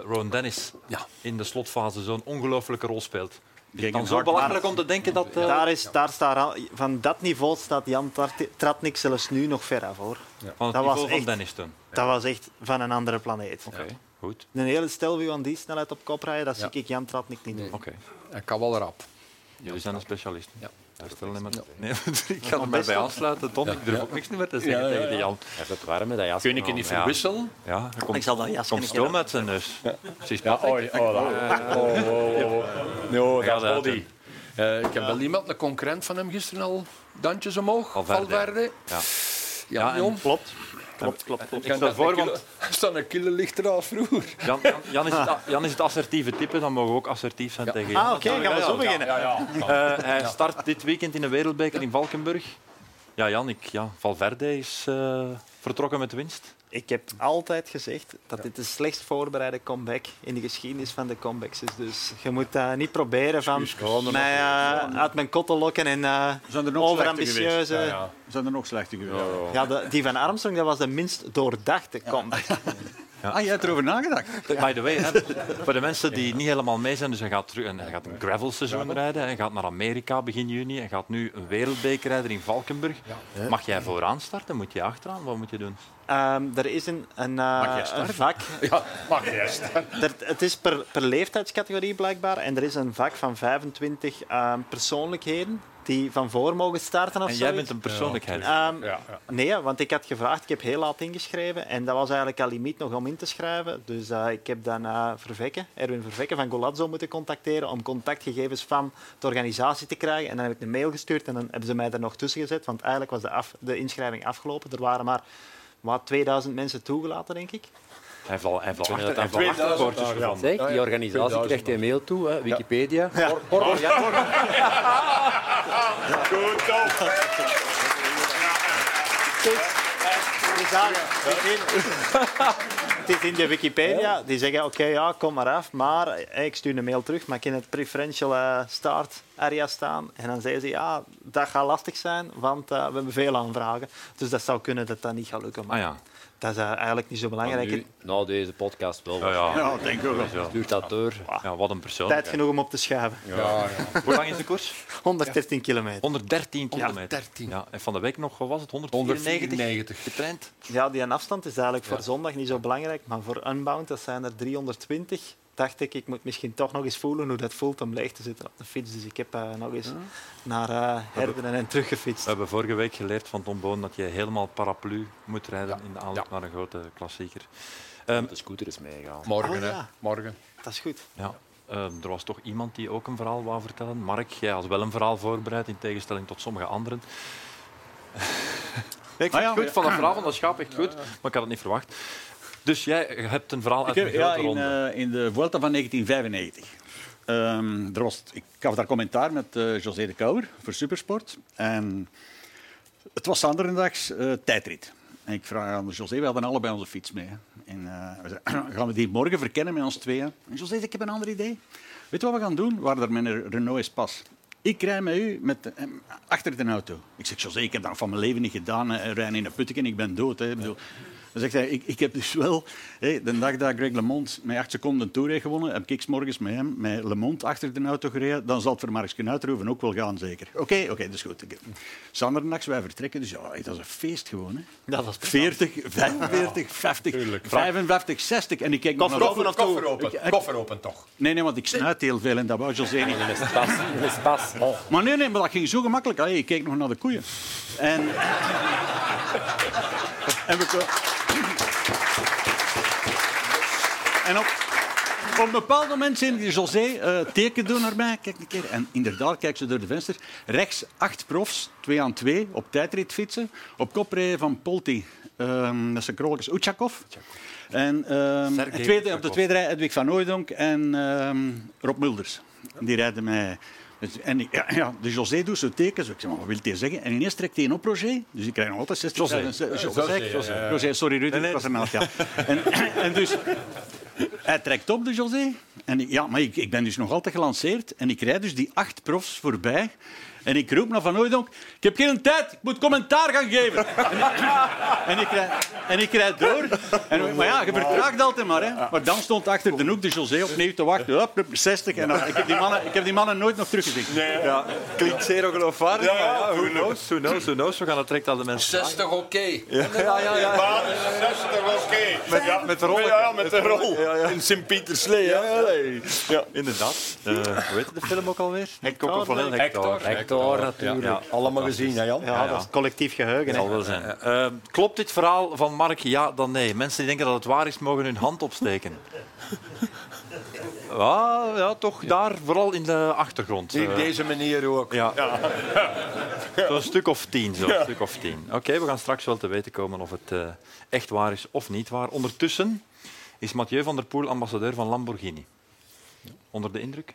Speaker 1: Rowan Dennis
Speaker 5: Ja.
Speaker 1: in de slotfase zo'n ongelooflijke rol speelt.
Speaker 2: Tegen
Speaker 1: Dan zo
Speaker 2: Hart.
Speaker 1: belachelijk om te denken dat... eh,
Speaker 4: Daar is, daar staat, al- van dat niveau staat Jan Tart- Tratnik zelfs nu nog ver af. Hoor.
Speaker 1: van het
Speaker 4: dat
Speaker 1: niveau
Speaker 4: was
Speaker 1: van
Speaker 4: echt-
Speaker 1: Dennis toen.
Speaker 4: Dat was echt van een andere planeet.
Speaker 1: Oké, Goed.
Speaker 4: Een hele stelview aan die snelheid op kop rijden, dat
Speaker 5: Ja.
Speaker 4: zie ik Jan Tratnik niet doen.
Speaker 1: Oké.
Speaker 5: Hij kan wel rap.
Speaker 1: Jullie zijn een specialist.
Speaker 5: Ja.
Speaker 1: Daar stel je maar... Nee, want ik ga er maar bij aansluiten, Tom. Ik durf ook niks meer te zeggen
Speaker 5: Ja, ja,
Speaker 1: tegen die Jan.
Speaker 3: Hij heeft het warm met dat jas.
Speaker 5: Kun ik je niet
Speaker 1: ja.
Speaker 5: verwisselen?
Speaker 1: Ja, er komt,
Speaker 4: Ik zal dat jasje
Speaker 1: komt
Speaker 4: niet
Speaker 1: stoom
Speaker 4: hebben.
Speaker 1: uit zijn neus. Precies.
Speaker 5: Ja, oei, oh, oh, oh, oh, oh. No,
Speaker 1: Hij gaat
Speaker 5: dat is
Speaker 1: uit,
Speaker 5: body. Eh, ik heb wel iemand, een concurrent van hem gisteren al, dandjes omhoog,
Speaker 1: Valverde.
Speaker 5: Valverde.
Speaker 1: Ja.
Speaker 5: Ja,
Speaker 1: Ja, en-
Speaker 5: jong.
Speaker 4: Klopt. Klopt, klopt, klopt.
Speaker 1: Ik stel voor, want
Speaker 5: Er staat een kille lichter af vroeger.
Speaker 1: Jan, Jan, Jan is het, Jan is het assertieve type, dan mogen we ook assertief zijn tegen Jan.
Speaker 4: Ah, oké, gaan we zo beginnen.
Speaker 5: Ja, ja.
Speaker 1: Eh, hij start dit weekend in de Wereldbeker in Valkenburg. Ja, Jan, ik, ja, Valverde is eh, vertrokken met winst.
Speaker 4: Ik heb altijd gezegd dat dit de slechtst voorbereide comeback in de geschiedenis van de comebacks is. Dus je moet dat niet proberen van mij eh, uit mijn kot te lokken en eh,
Speaker 2: Zijn er nog
Speaker 4: overambitieuze...
Speaker 5: Ja,
Speaker 4: Ja,
Speaker 5: ja.
Speaker 2: Zijn er nog slechte geweest?
Speaker 4: de- die van Armstrong dat was de minst doordachte comeback.
Speaker 2: Ah, jij hebt erover nagedacht.
Speaker 1: Eh, By the way, hè, voor de mensen die niet helemaal mee zijn, dus hij gaat, terug, en hij gaat een gravelseizoen rijden, hij gaat naar Amerika begin juni, hij gaat nu een wereldbeker rijden in Valkenburg. Mag jij vooraan starten? Moet je achteraan? Wat moet je doen?
Speaker 4: Ehm, er is een, een, eh,
Speaker 2: jij starten?
Speaker 4: een vak.
Speaker 5: Mag eerst.
Speaker 4: Er- het is per, per leeftijdscategorie blijkbaar. En er is een vak van 25 ehm, persoonlijkheden die van voor mogen starten. Of
Speaker 1: En jij
Speaker 4: zoiets.
Speaker 1: bent een persoonlijkheid.
Speaker 4: Ehm,
Speaker 5: Ja, ja.
Speaker 4: Nee, want ik had gevraagd, ik heb heel laat ingeschreven en dat was eigenlijk al limiet nog om in te schrijven. Dus eh, ik heb dan eh Vervekken, Erwin Vervekken van Golazzo moeten contacteren om contactgegevens van de organisatie te krijgen. En dan heb ik een mail gestuurd en dan hebben ze mij er nog tussen gezet, want eigenlijk was de, af, de inschrijving afgelopen. Er waren maar wat 2000 mensen toegelaten, denk ik.
Speaker 1: Hij heeft al, hij heeft al
Speaker 3: Ik denk
Speaker 1: achter,
Speaker 3: dat
Speaker 1: hij heeft al
Speaker 3: dat
Speaker 1: achterpoortjes gevonden.
Speaker 3: Zeg, die organisatie
Speaker 5: 2000
Speaker 3: krijgt een mail toe, hè, Wikipedia.
Speaker 4: Dus daar, het is in- Het is in de Wikipedia. Die zeggen, oké, ja, kom maar af. Maar eh, ik stuur een mail terug, maar ik in het preferential eh, start area staan. En dan zeggen ze, ja, dat gaat lastig zijn, want eh, we hebben veel aanvragen. Dus dat zou kunnen dat dat niet gaat lukken. Maar
Speaker 1: Ah ja.
Speaker 4: dat is eh, eigenlijk niet zo belangrijk.
Speaker 3: Nu, na Nou, deze podcast wel.
Speaker 1: Ja, ja.
Speaker 2: Ja, denk ik ook wel.
Speaker 3: Duurt dat door.
Speaker 1: Ja, wat een persoon.
Speaker 4: Tijd genoeg om op te schuiven.
Speaker 1: Hoe lang is de koers?
Speaker 4: 113 kilometer.
Speaker 1: 113 kilometer. Ja, en van de week nog, wat was het? 194?
Speaker 5: 194.
Speaker 1: Getraind?
Speaker 4: Ja, die aan afstand is eigenlijk voor zondag niet zo belangrijk. Maar voor Unbound, dat zijn er 320. Dacht ik, ik moet misschien toch nog eens voelen hoe dat voelt om leeg te zitten op de fiets. Dus ik heb eh, nog eens naar eh Herdenen en terug gefietst.
Speaker 1: We hebben vorige week geleerd van Tom Boon dat je helemaal paraplu moet rijden in de aanloop naar een grote klassieker. Ehm,
Speaker 3: De scooter is meegegaan.
Speaker 5: Morgen,
Speaker 4: Oh, ja.
Speaker 5: hè. Morgen.
Speaker 4: Dat is goed.
Speaker 1: ja. Ehm, er was toch iemand die ook een verhaal wou vertellen. Mark, jij had wel een verhaal voorbereid, in tegenstelling tot sommige anderen.
Speaker 4: Nee, ik vind
Speaker 2: Ah, ja.
Speaker 4: het goed.
Speaker 1: Goed, van dat verhaal van dat schaap, echt goed. Maar ik had het niet verwacht. Dus jij hebt een verhaal uit
Speaker 2: Ik
Speaker 1: een
Speaker 2: heb, ja,
Speaker 1: grote
Speaker 2: in,
Speaker 1: ronde.
Speaker 2: eh, in de Vuelta van 1995. Ehm, er was, ik gaf daar commentaar met eh, José de Kouwer voor Supersport. En het was zanderendags eh tijdrit. En ik vraag aan José, we hadden allebei onze fiets mee. hè. En eh, we zeiden, gaan we die morgen verkennen met ons tweeën? En José, zei, ik heb een ander idee. Weet je wat we gaan doen? Waar daar mijn Renault is pas. Ik rij met u met, eh, achter de auto. Ik zeg, José, ik heb dat van mijn leven niet gedaan. eh, Rijden in een putteken, ik ben dood. Hè. Ik bedoel, dan zegt hij, ik, ik heb dus wel... hè, de dag dat Greg LeMond met acht seconden Tour heeft gewonnen, heb ik 's morgens met hem, met LeMond, achter de auto gereden. Dan zal het voor Marks Uitroeven ook wel gaan, zeker. Oké, oké, dat is goed. Ik- Zandernachts, wij vertrekken. Dus ja, dat is een feest gewoon. Hè.
Speaker 4: Dat was
Speaker 2: 40, 45, 50, 55, 60. En ik kijk nog naar-
Speaker 5: Koffer, koffer
Speaker 2: eh,
Speaker 5: open. Koffer open toch.
Speaker 2: Nee, nee, want ik snuit heel veel en dat wou José niet.
Speaker 3: Dat is pas. Dat is pas.
Speaker 2: Maar nee, nee, maar dat ging zo gemakkelijk. Allee, ik keek nog naar de koeien. En... en we... ko- En op... Op een bepaald moment zien die José eh, teken doen naar mij. Kijk een keer. En inderdaad, kijk ze door de venster. Rechts acht profs, twee aan twee, op tijdrit fietsen. Op kop rijden van Polti. Ehm, dat is een krolijkers Uchakov. En ehm,
Speaker 1: Sergej
Speaker 2: en tweede, op de
Speaker 1: Ushakov.
Speaker 2: tweede rij Edwig van Ooydonk en ehm, Rob Mulders. Die rijden mij. Dus- En ik- ja, ja, de José doet zo'n teken. Zo, ik zeg, maar wat wil hij zeggen? En ineens trekt hij een op Roger. Dus ik krijg nog altijd 60
Speaker 5: José. Eh,
Speaker 2: José,
Speaker 5: José, ja,
Speaker 2: José.
Speaker 5: ja, ja.
Speaker 2: José, sorry Rudy, ik was ernaast. Ja. En, en dus hij trekt op, de José. En ik- ja, maar ik, ik ben dus nog altijd gelanceerd. En ik rijd dus die acht profs voorbij. En ik roep naar Van Ooydonk, ik heb geen tijd, ik moet commentaar gaan geven. en, ik, rijd- en ik rijd door. En, maar ja, je vertraagt altijd maar. Hè. Maar dan stond achter de hoek de José opnieuw te wachten. Hup, hup, 60. En dan, ik, heb die mannen, ik heb die mannen nooit nog teruggezien.
Speaker 1: Ja, klinkt zeer ongeloofwaardig. Ja, who knows, who knows, who knows. We gaan het direct aan de mensen.
Speaker 5: 60 oké.
Speaker 10: Maar 60, oké. Met, ja, met de rol. Ja, met de rol. In Sint-Pieterslee. Ja, ja.
Speaker 1: Inderdaad. Eh, hoe heet de film ook alweer?
Speaker 4: Hector,
Speaker 1: Coco van
Speaker 4: denk ik.
Speaker 1: Hector.
Speaker 3: Hector natuurlijk.
Speaker 1: Ja,
Speaker 10: Allemaal gezien, hè, Jan?
Speaker 4: Ja,
Speaker 1: Ja, ja.
Speaker 4: dat is collectief geheugen.
Speaker 1: Dat
Speaker 4: hè.
Speaker 1: zal wel zijn. Eh, klopt dit verhaal van Mark? Ja, dan nee. Mensen die denken dat het waar is, mogen hun hand opsteken. Ja, ja toch daar, vooral in de achtergrond.
Speaker 10: Op
Speaker 1: Eh,
Speaker 10: deze manier ook.
Speaker 1: ja. Zo'n stuk of tien. Zo'n stuk of tien. Oké, we gaan straks wel te weten komen of het eh, echt waar is of niet waar. Ondertussen is Mathieu van der Poel ambassadeur van Lamborghini. Onder de indruk?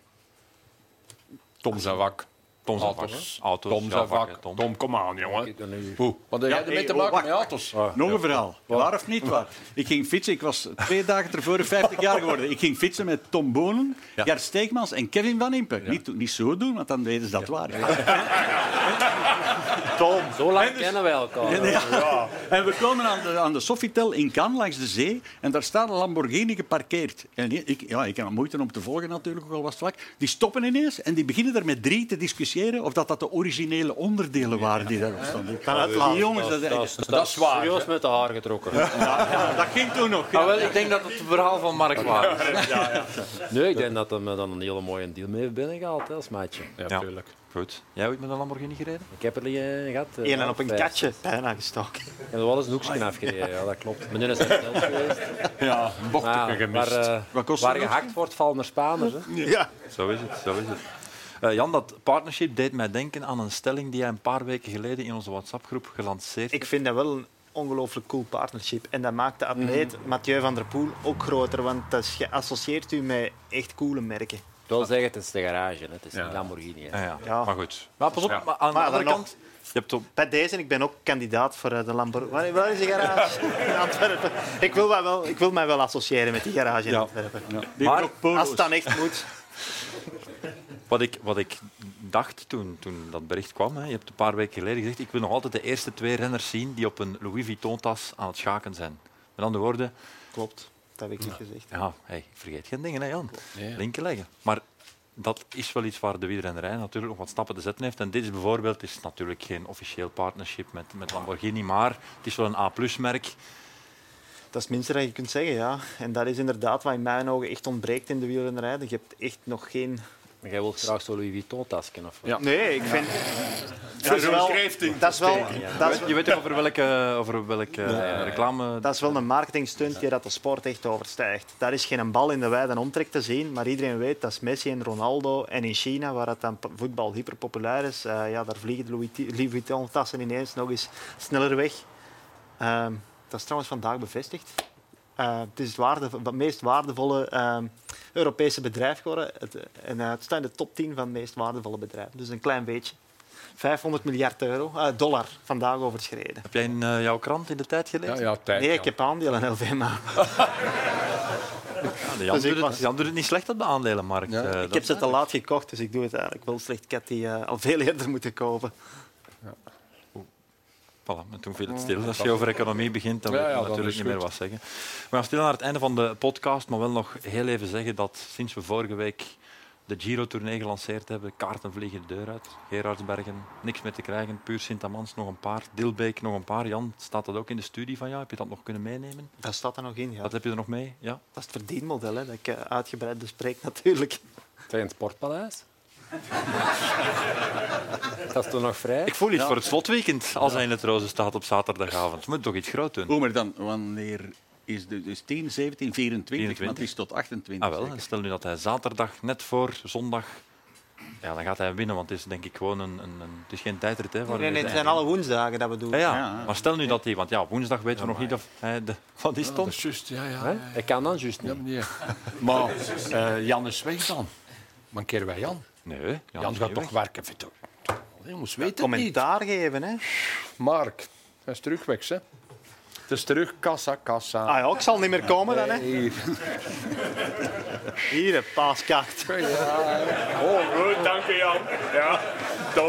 Speaker 5: Tom Zavak.
Speaker 1: Tom zijn vak,
Speaker 5: Autos.
Speaker 1: hè? Autos,
Speaker 5: Tom
Speaker 1: jouw vak,
Speaker 5: Zavak.
Speaker 1: hè, Tom.
Speaker 5: Tom, kom aan, jongen.
Speaker 3: Dan nu-
Speaker 5: Hoe? Wat heb jij
Speaker 2: Ja,
Speaker 5: ermee
Speaker 2: hey,
Speaker 5: te
Speaker 2: oh,
Speaker 5: maken
Speaker 2: wacht,
Speaker 5: met auto's?
Speaker 2: Nog een verhaal. Waar of niet waar? Ik ging fietsen. Ik was twee dagen tevoren 50 jaar geworden. Ik ging fietsen met Tom Bonen, Gert Steegmans en Kevin Van Impe. Niet, niet zo doen, want dan weten ze dat waar. is. En, Tom.
Speaker 3: Zo lang kennen wij elkaar.
Speaker 2: En, ja. en we komen aan de, aan de Sofitel in Cannes langs de zee en daar staat een Lamborghini geparkeerd. En ik, ja, ik heb moeite om te volgen natuurlijk, ook al was het vlak. Die stoppen ineens en die beginnen er met drie te discussiëren of dat, dat de originele onderdelen waren die daarop stonden. Die jongens, dat,
Speaker 3: Dat, is- dat is serieus met de haar getrokken.
Speaker 2: dat ging toen nog.
Speaker 1: Ah, wel, ik denk dat het het verhaal van Mark was.
Speaker 3: Nee, ik denk dat hij me dan een hele mooie deal mee heeft binnengehaald hè, als maatje.
Speaker 5: Ja,
Speaker 1: Ja.
Speaker 5: tuurlijk.
Speaker 1: Goed. Jij ooit met een Lamborghini gereden?
Speaker 3: Ik heb er liggen gehad. eh,
Speaker 4: Eén en op een
Speaker 3: vijf,
Speaker 4: katje,
Speaker 3: zes.
Speaker 4: bijna gestoken.
Speaker 3: Ik heb er wel eens een hoekje afgereden, ja, dat klopt. Maar nu is het zelf geweest.
Speaker 2: Ja, bocht
Speaker 3: Maar ja,
Speaker 2: gemist.
Speaker 3: Waar, eh,
Speaker 2: Wat kost
Speaker 3: waar
Speaker 2: dat?
Speaker 3: gehakt wordt, vallen er Spaanders. Hè.
Speaker 1: Zo is het, zo is het. Eh, Jan, dat partnership deed mij denken aan een stelling die jij een paar weken geleden in onze WhatsApp-groep gelanceerd
Speaker 4: Ik vind dat wel een ongelooflijk cool partnership. En dat maakt de atleet Mathieu van der Poel ook groter, want dat is- je associeert u met echt coole merken.
Speaker 3: Ik wil zeggen, het is de garage, hè. het is
Speaker 5: Ja.
Speaker 3: niet Lamborghini. Hè.
Speaker 1: Ah, ja.
Speaker 4: Ja.
Speaker 1: Maar goed. Maar pas op, maar aan
Speaker 4: Maar
Speaker 1: de andere
Speaker 4: dan
Speaker 1: kant... Je hebt op...
Speaker 4: Bij deze, ik ben ook kandidaat voor eh, de Lamborghini. Waar, waar is die garage in Antwerpen? Ik wil, mij wel, ik wil mij wel associëren met die garage in Antwerpen.
Speaker 1: Maar
Speaker 4: Als het dan echt moet.
Speaker 1: wat ik, wat ik dacht toen, toen dat bericht kwam, hè, je hebt een paar weken geleden gezegd, ik wil nog altijd de eerste twee renners zien die op een Louis Vuitton-tas aan het schaken zijn. Met andere woorden,
Speaker 4: Klopt, dat heb ik niet gezegd.
Speaker 1: ja, hey, ik vergeet geen dingen, hè, Jan.
Speaker 5: Nee.
Speaker 1: Linken leggen. Maar dat is wel iets waar de wielrennerij natuurlijk nog wat stappen te zetten heeft. En dit is bijvoorbeeld is natuurlijk geen officieel partnership met, met Lamborghini, maar het is wel een A-merk.
Speaker 4: Dat is het minste dat je kunt zeggen, ja. En dat is inderdaad wat in mijn ogen echt ontbreekt in de wielrennerij. Je hebt echt nog geen...
Speaker 3: Maar jij wilt graag zo'n Louis Vuitton-tasken of wat?
Speaker 5: Ja.
Speaker 4: Nee, ik vind... Dat is wel... Dat is wel... Dat is,
Speaker 1: Je weet toch over welke, over welke eh, reclame...
Speaker 4: Dat is wel een marketingstunt die dat de sport echt overstijgt. Daar is geen bal in de wijde omtrek te zien, maar iedereen weet dat is Messi en Ronaldo. En in China, waar het dan p- voetbal hyperpopulair is, eh, ja, daar vliegen de Louis Ti- Louis Vuitton-tassen ineens nog eens sneller weg. Ehm, dat is trouwens vandaag bevestigd. Eh, het is het, waardevo- het meest waardevolle ehm, Europese bedrijf geworden. Het, eh, en eh, het staat in de top 10 van het meest waardevolle bedrijven. Dus een klein beetje. 500 miljard euro, eh, dollar, vandaag overschreden.
Speaker 1: Heb jij in eh, jouw krant in de tijd gelezen?
Speaker 5: Ja, ja, tijd.
Speaker 4: Nee,
Speaker 5: ja.
Speaker 4: ik heb aandelen in LVMH.
Speaker 1: Ja, de Jan,
Speaker 4: Dus ik
Speaker 1: doet het,
Speaker 4: was-
Speaker 1: Jan doet het niet slecht op de aandelenmarkt.
Speaker 5: Ja.
Speaker 1: eh,
Speaker 4: Ik
Speaker 1: dat-
Speaker 4: heb ze te laat gekocht, dus ik doe het eigenlijk wel slecht. Ik had die eh, al veel eerder moeten kopen.
Speaker 1: Voilà, en toen viel het stil. Als je over economie begint, dan
Speaker 5: Ja,
Speaker 1: wil je
Speaker 5: ja, dan
Speaker 1: natuurlijk
Speaker 5: is
Speaker 1: niet meer
Speaker 5: goed.
Speaker 1: wat zeggen. We gaan stil naar het einde van de podcast, maar wel nog heel even zeggen dat sinds we vorige week de Giro-tournee gelanceerd hebben, kaarten vliegen de deur uit. Gerardsbergen, niks meer te krijgen. Puur Sint-Amans, nog een paar. Dilbeek, nog een paar. Jan, staat dat ook in de studie van jou? Heb je dat nog kunnen meenemen?
Speaker 4: Dat staat er nog in. Ja.
Speaker 1: Wat heb je er nog mee? Ja?
Speaker 4: Dat is het verdienmodel hè, dat ik eh, uitgebreid bespreek, natuurlijk.
Speaker 3: Tegen het Sportpaleis. dat is toch nog vrij?
Speaker 1: Ik voel iets voor het slotweekend, als hij in het rozen staat op zaterdagavond. We moeten toch iets groot doen?
Speaker 2: Hoe maar dan, wanneer is de, dus 10, 17, 24, maar het is tot 28.
Speaker 1: Ah, wel. En
Speaker 2: zeker?
Speaker 1: stel nu dat hij zaterdag, net voor zondag, ja, dan gaat hij winnen, want het is denk ik gewoon een, een, een- het is geen tijdrit. Hè, waar
Speaker 4: Nee, nee,
Speaker 1: we-
Speaker 4: het zijn alle woensdagen dat we doen.
Speaker 1: ja, ja.
Speaker 2: Ja, ja.
Speaker 1: maar stel nu dat hij, want ja, op woensdag weten we nog niet of hij de, wat is het
Speaker 5: Ja, dat
Speaker 1: dan?
Speaker 5: is juist, ja, ja. ja.
Speaker 3: Hè? Ik kan dan juist
Speaker 5: Ja,
Speaker 3: niet.
Speaker 5: meneer. Maar eh, Jan is weg dan. Mankeren wij Jan?
Speaker 1: Nee, Jan,
Speaker 5: Jan,
Speaker 1: is
Speaker 5: gaat
Speaker 1: niet
Speaker 5: toch
Speaker 1: weg.
Speaker 5: werken, Vito? Hij moest weten het niet.
Speaker 4: Commentaar geven, hè?
Speaker 5: Mark, hij is terug weg, hè? Het is terug, kassa, kassa.
Speaker 4: Ah ja, ik zal niet meer komen dan, hè?
Speaker 5: Hier.
Speaker 4: Hier, een paaskaart.
Speaker 10: Goed, dank je Jan. Ja, Tom.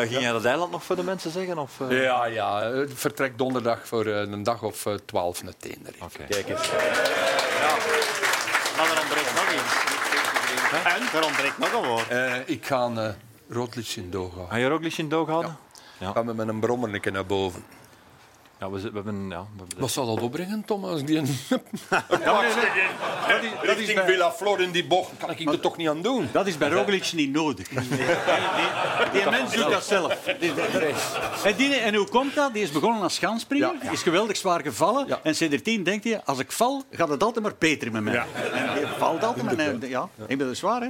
Speaker 1: Eh, ging jij dat eiland nog voor de mensen zeggen? Of, eh?
Speaker 5: Ja, ja. het Vertrekt donderdag voor eh, een dag of eh, twaalf naar Tenerife.
Speaker 1: Oké.
Speaker 3: Kijk eens.
Speaker 4: Maar er ontbreekt nog iets. En? Er ontbreekt nog een woord.
Speaker 5: Eh, ik ga een uh, roodlicht in doorgaan.
Speaker 1: Ga je er ook liefst in doog houden?
Speaker 5: Ik ga met een brommerke naar boven.
Speaker 1: Ja, we, z- we hebben... Ja, we hebben
Speaker 5: Wat zou dat opbrengen, Tom? Als ik die...
Speaker 10: Richting Villa Flor in die bocht.
Speaker 5: kan ik hier toch niet aan doen?
Speaker 2: Dat is bij Roglic niet nodig. Die mens doet dat zelf. En, die, en hoe komt dat? Die is begonnen als schaanspringer,
Speaker 5: Ja.
Speaker 2: is geweldig zwaar gevallen.
Speaker 5: Ja.
Speaker 2: En sinds 10 denkt hij, als ik val, gaat het altijd maar beter met mij. En hij valt altijd maar... en hij- Ja, ik ben er zwaar, hè?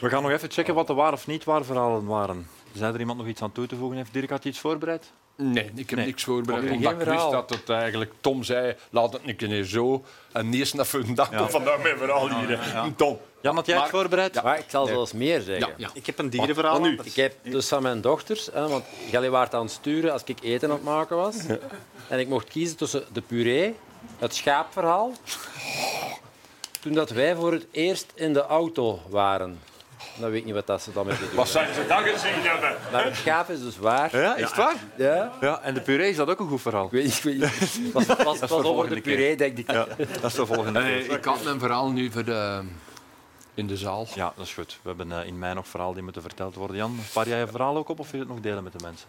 Speaker 1: We gaan nog even checken wat de waar of niet waar verhalen waren. Zijn er iemand nog iets aan toe te voegen? Heeft Dirk had je iets voorbereid?
Speaker 5: Nee, ik heb
Speaker 1: Nee.
Speaker 5: niks voorbereid.
Speaker 1: Oké.
Speaker 5: Omdat
Speaker 1: Geen
Speaker 5: ik wist
Speaker 1: verhaal.
Speaker 5: dat het eigenlijk... Tom zei, laat het een keer zo. En niet eens naar een dag.
Speaker 10: Tot vandaag mijn verhaal hier. hè. Tom.
Speaker 1: Jan, had jij het voorbereid?
Speaker 3: Maar ik zal zelfs meer zeggen.
Speaker 4: Ik heb een dierenverhaal.
Speaker 3: Ik heb dus van mijn dochters, hè, want Gally waart aan het sturen als ik eten aan het maken was. En ik mocht kiezen tussen de puree, het schaapverhaal. Toen dat wij voor het eerst in de auto waren. Dan weet ik niet wat dat ze dan met die doen.
Speaker 10: Wat zijn ze dan gezien hebben?
Speaker 3: Maar het gaaf is dus waar.
Speaker 1: Ja, is het waar?
Speaker 3: Ja.
Speaker 1: Ja, en de puree is dat ook een goed verhaal.
Speaker 3: Ik weet niet, ik weet niet. Het was, het was, het was over de
Speaker 1: volgende keer.
Speaker 3: puree, denk ik.
Speaker 1: Ja, dat is de volgende keer.
Speaker 5: ik had mijn verhaal nu voor de, in de zaal.
Speaker 1: Ja, dat is goed. We hebben eh, in mei nog verhalen die moeten verteld worden. Jan, spaar jij je verhaal ook op of wil je het nog delen met de mensen?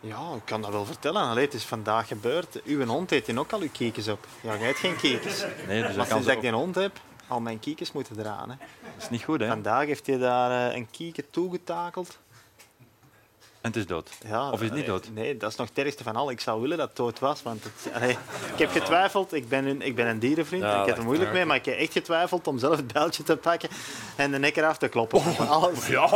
Speaker 4: Ja, ik kan dat wel vertellen. Allee, het is vandaag gebeurd. Uw hond eet in ook al uw kiekjes op. Ja, jij hebt geen kiekjes.
Speaker 1: Nee, dus
Speaker 4: Maar
Speaker 1: dat kan
Speaker 4: sinds
Speaker 1: ze
Speaker 4: dat ik
Speaker 1: ook-
Speaker 4: die hond heb, al mijn kiekjes moeten eraan. Hè.
Speaker 1: dat is niet goed, hè? En
Speaker 4: Vandaag heeft hij daar eh, een kieken toegetakeld.
Speaker 1: het is dood.
Speaker 4: Ja,
Speaker 1: Of is het niet
Speaker 4: allee,
Speaker 1: dood?
Speaker 4: Nee, dat is nog het ergste van al. Ik zou willen dat het dood was. Want het, allee, ik heb getwijfeld. Ik ben een, ik ben een dierenvriend.
Speaker 3: Ja,
Speaker 4: ik heb
Speaker 3: dat
Speaker 4: er moeilijk mee. Maar ik heb echt getwijfeld om zelf het bijltje te pakken en de nek eraf te kloppen.
Speaker 3: Oh,
Speaker 4: Alles.
Speaker 10: Ja,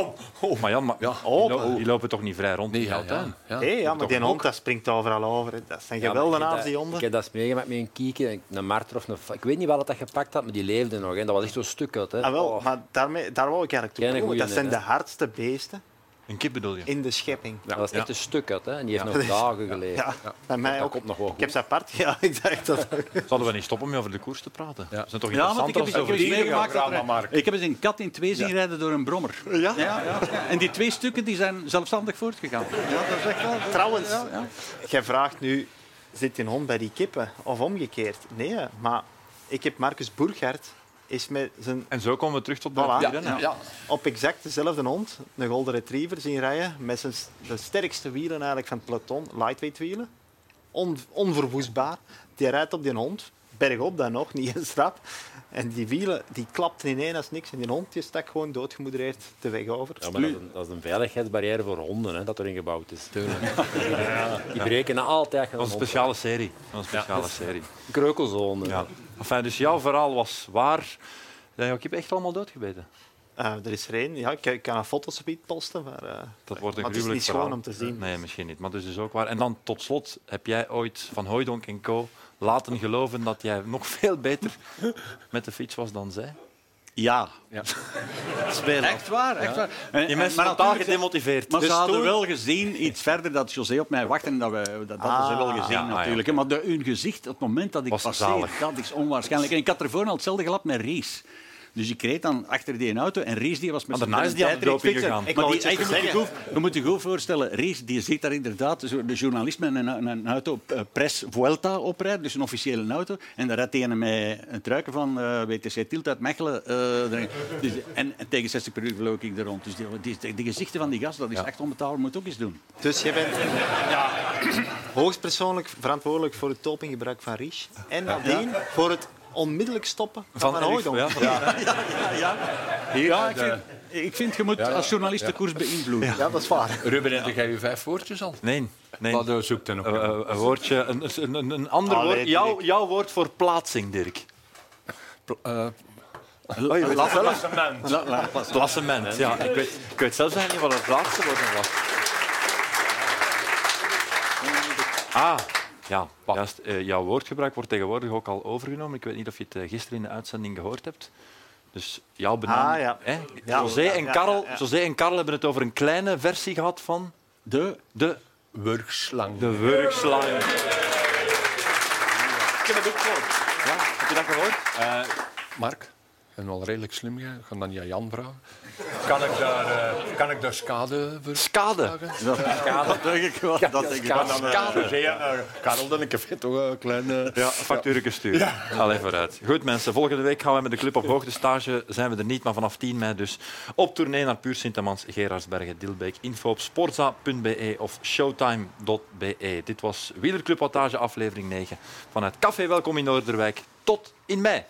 Speaker 1: Maar Jan, maar, die, lo- die lopen toch niet vrij rond
Speaker 5: Nee,
Speaker 1: in jouw
Speaker 5: ja,
Speaker 1: tuin?
Speaker 5: ja, ja.
Speaker 4: Hé, ja, maar die hond dat springt overal over. hè. Dat zijn
Speaker 3: Ja, maar ik heb
Speaker 4: geweldige
Speaker 3: dat-
Speaker 4: die
Speaker 3: Ik
Speaker 4: honden.
Speaker 3: heb dat eens meegemaakt met een kieken, een marter of een... fa- Ik weet niet wat dat gepakt had, maar die leefde nog. Hè. Dat was echt zo'n stuk uit. Hè.
Speaker 4: Ah, wel,
Speaker 3: Oh.
Speaker 4: maar daarmee, daar wou ik eigenlijk toe
Speaker 3: Geen
Speaker 4: komen.
Speaker 3: goeie
Speaker 4: Dat zijn
Speaker 3: net,
Speaker 4: de
Speaker 3: hè.
Speaker 4: hardste beesten
Speaker 1: Een kip bedoel je?
Speaker 4: in de schepping.
Speaker 3: Dat was echt een stuk uit. Hè. En die heeft nog
Speaker 4: Dat is-
Speaker 3: dagen geleefd.
Speaker 4: Ja, bij mij
Speaker 3: Dat
Speaker 4: ook.
Speaker 3: komt nog wel
Speaker 4: Ik heb ze apart. Ja, ik dacht dat.
Speaker 1: Zouden we niet stoppen met over de koers te praten?
Speaker 5: Ja.
Speaker 1: Is dat toch
Speaker 2: Ja, want
Speaker 1: interessant
Speaker 2: ik heb
Speaker 1: als
Speaker 2: eens, ik heb
Speaker 1: over
Speaker 2: eens
Speaker 1: dieren
Speaker 2: meegemaakt
Speaker 1: gaat?
Speaker 2: dat er- ik heb eens een kat in twee zien rijden door een brommer. Ja? Ja, En die twee stukken die zijn zelfstandig voortgegaan. Ja, dat is echt wel.
Speaker 4: Trouwens, jij vraagt nu: zit een hond bij die kippen of omgekeerd? Nee, hè. maar ik heb Marcus Burghardt is met zijn,
Speaker 1: En zo komen we terug tot
Speaker 4: Voilà.
Speaker 1: de
Speaker 5: Ja,
Speaker 1: dieren.
Speaker 5: ja. ja.
Speaker 4: op exact dezelfde hond, een Golden Retriever, zien rijden met zijn s- de sterkste wielen eigenlijk van het peloton, lightweight wielen, On- onverwoestbaar. Die rijdt op die hond, bergop dan nog, niet eens rap. En die wielen die klapten ineen als niks en die hond die stak gewoon doodgemoedereerd de weg over.
Speaker 3: Ja, maar dat, is een, dat is een veiligheidsbarrière voor honden hè, dat erin gebouwd is. Die breken altijd
Speaker 1: Dat was een speciale serie. Dat was een speciale serie.
Speaker 3: kreukelzone.
Speaker 1: Ja. Enfin, dus jouw verhaal was waar. Ja, jouw kip echt allemaal doodgebeten.
Speaker 4: Eh, er is er één, ja, ik, ik kan een foto's op iets posten, maar eh,
Speaker 1: Dat wordt een
Speaker 4: Maar het is
Speaker 1: gruwelijk
Speaker 4: niet schoon
Speaker 1: verhaal.
Speaker 4: om te zien.
Speaker 1: Nee, misschien niet. Maar dus is ook waar. En dan tot slot heb jij ooit van Hooydonk en Co. laten geloven dat jij nog veel beter met de fiets was dan zij.
Speaker 2: Ja.
Speaker 5: Ja.
Speaker 2: Echt waar, echt waar.
Speaker 1: Die
Speaker 2: En- en-
Speaker 1: mensen zijn totaal
Speaker 2: natuurlijk-
Speaker 1: gedemotiveerd.
Speaker 2: Maar ze
Speaker 1: Dus
Speaker 2: hadden
Speaker 1: toen-
Speaker 2: wel gezien, iets verder, dat José op mij wacht. En dat, we, dat hadden ze wel gezien,
Speaker 1: Ja, ah, ja,
Speaker 2: natuurlijk. hè. Maar de, hun gezicht, op het moment dat ik
Speaker 1: Was
Speaker 2: passeer,
Speaker 1: zalig.
Speaker 2: dat is onwaarschijnlijk. En ik had ervoor al hetzelfde gehad met Rees. Dus ik reed dan achter die auto en Rees die was met
Speaker 1: Maar
Speaker 2: zijn
Speaker 1: daarna is die aan de
Speaker 2: tijdrit
Speaker 1: doping
Speaker 2: fixer.
Speaker 1: gegaan.
Speaker 2: Maar
Speaker 4: wou
Speaker 2: die,
Speaker 4: iets zeggen.
Speaker 2: je, moet je goed, je moet je goed voorstellen, Rees die zit daar inderdaad, zo de journalist met een, een auto eh, Pres Vuelta oprijdt, dus een officiële auto. En daar rijdt hij met een truiken van eh, WTC Tilt uit Mechelen. eh, erin. dus, en, en tegen 60 per uur vloog ik er rond. Dus die, die- de gezichten van die gast, dat is echt onbetaalbaar, moet ook eens doen.
Speaker 4: Dus je bent hoogstpersoonlijk verantwoordelijk voor het dopinggebruik van Rich. En nadien voor het onmiddellijk stoppen van,
Speaker 1: Van
Speaker 4: Van
Speaker 1: Erik,
Speaker 4: Hooydonk.
Speaker 1: ja, van-
Speaker 2: ja, ik vind, ik vind je moet als journalist de koers beïnvloeden.
Speaker 4: Ja, dat is waar.
Speaker 5: Ruben, heb jij je vijf woordjes al?
Speaker 1: Nee, nee.
Speaker 5: Wat eh, zoekt er nog?
Speaker 1: Eh, eh, een woordje, een, een, een- een ander
Speaker 4: Allee,
Speaker 1: woord.
Speaker 4: Dirk.
Speaker 1: Jouw, jouw woord voor plaatsing, Dirk.
Speaker 5: Eh,
Speaker 2: La- la- pas.
Speaker 1: Klassement. Ja, ik weet, ik weet zelfs eigenlijk niet wat het laatste woord nog was. Ah, ja, juist. Eh, jouw woordgebruik wordt tegenwoordig ook al overgenomen. Ik weet niet of je het eh, gisteren in de uitzending gehoord hebt. Dus jouw benaming.
Speaker 4: Ah, ja.
Speaker 1: hè?
Speaker 4: Ja.
Speaker 1: José,
Speaker 4: Ja,
Speaker 1: en
Speaker 4: ja,
Speaker 1: Karel,
Speaker 4: ja, ja.
Speaker 1: José en Karel hebben het over een kleine versie gehad van
Speaker 2: De
Speaker 1: de,
Speaker 5: Wurgslang.
Speaker 1: de wurgslang. Ik heb het ook gehoord. Ja, heb je dat gehoord?
Speaker 5: Mark, en wel redelijk slim, jij. ik ga dan niet aan Jan vragen. Kan ik daar, eh, kan ik daar schade voor?
Speaker 1: Skade.
Speaker 2: dat denk ik wel.
Speaker 5: Karel, dan ik heb toch een kleine...
Speaker 1: Ja, factuurtje sturen. Allee, vooruit. Goed, mensen. Volgende week gaan we met de club op hoogtestage. Zijn we er niet, maar vanaf 10 mei dus op tournee naar Puur Sint-Amans, Gerardsbergen, Dilbeek. Info op sportza.be of showtime.be. Dit was Wielerclub Wattage, aflevering 9 vanuit Café Welkom in Noorderwijk. Tot in mei.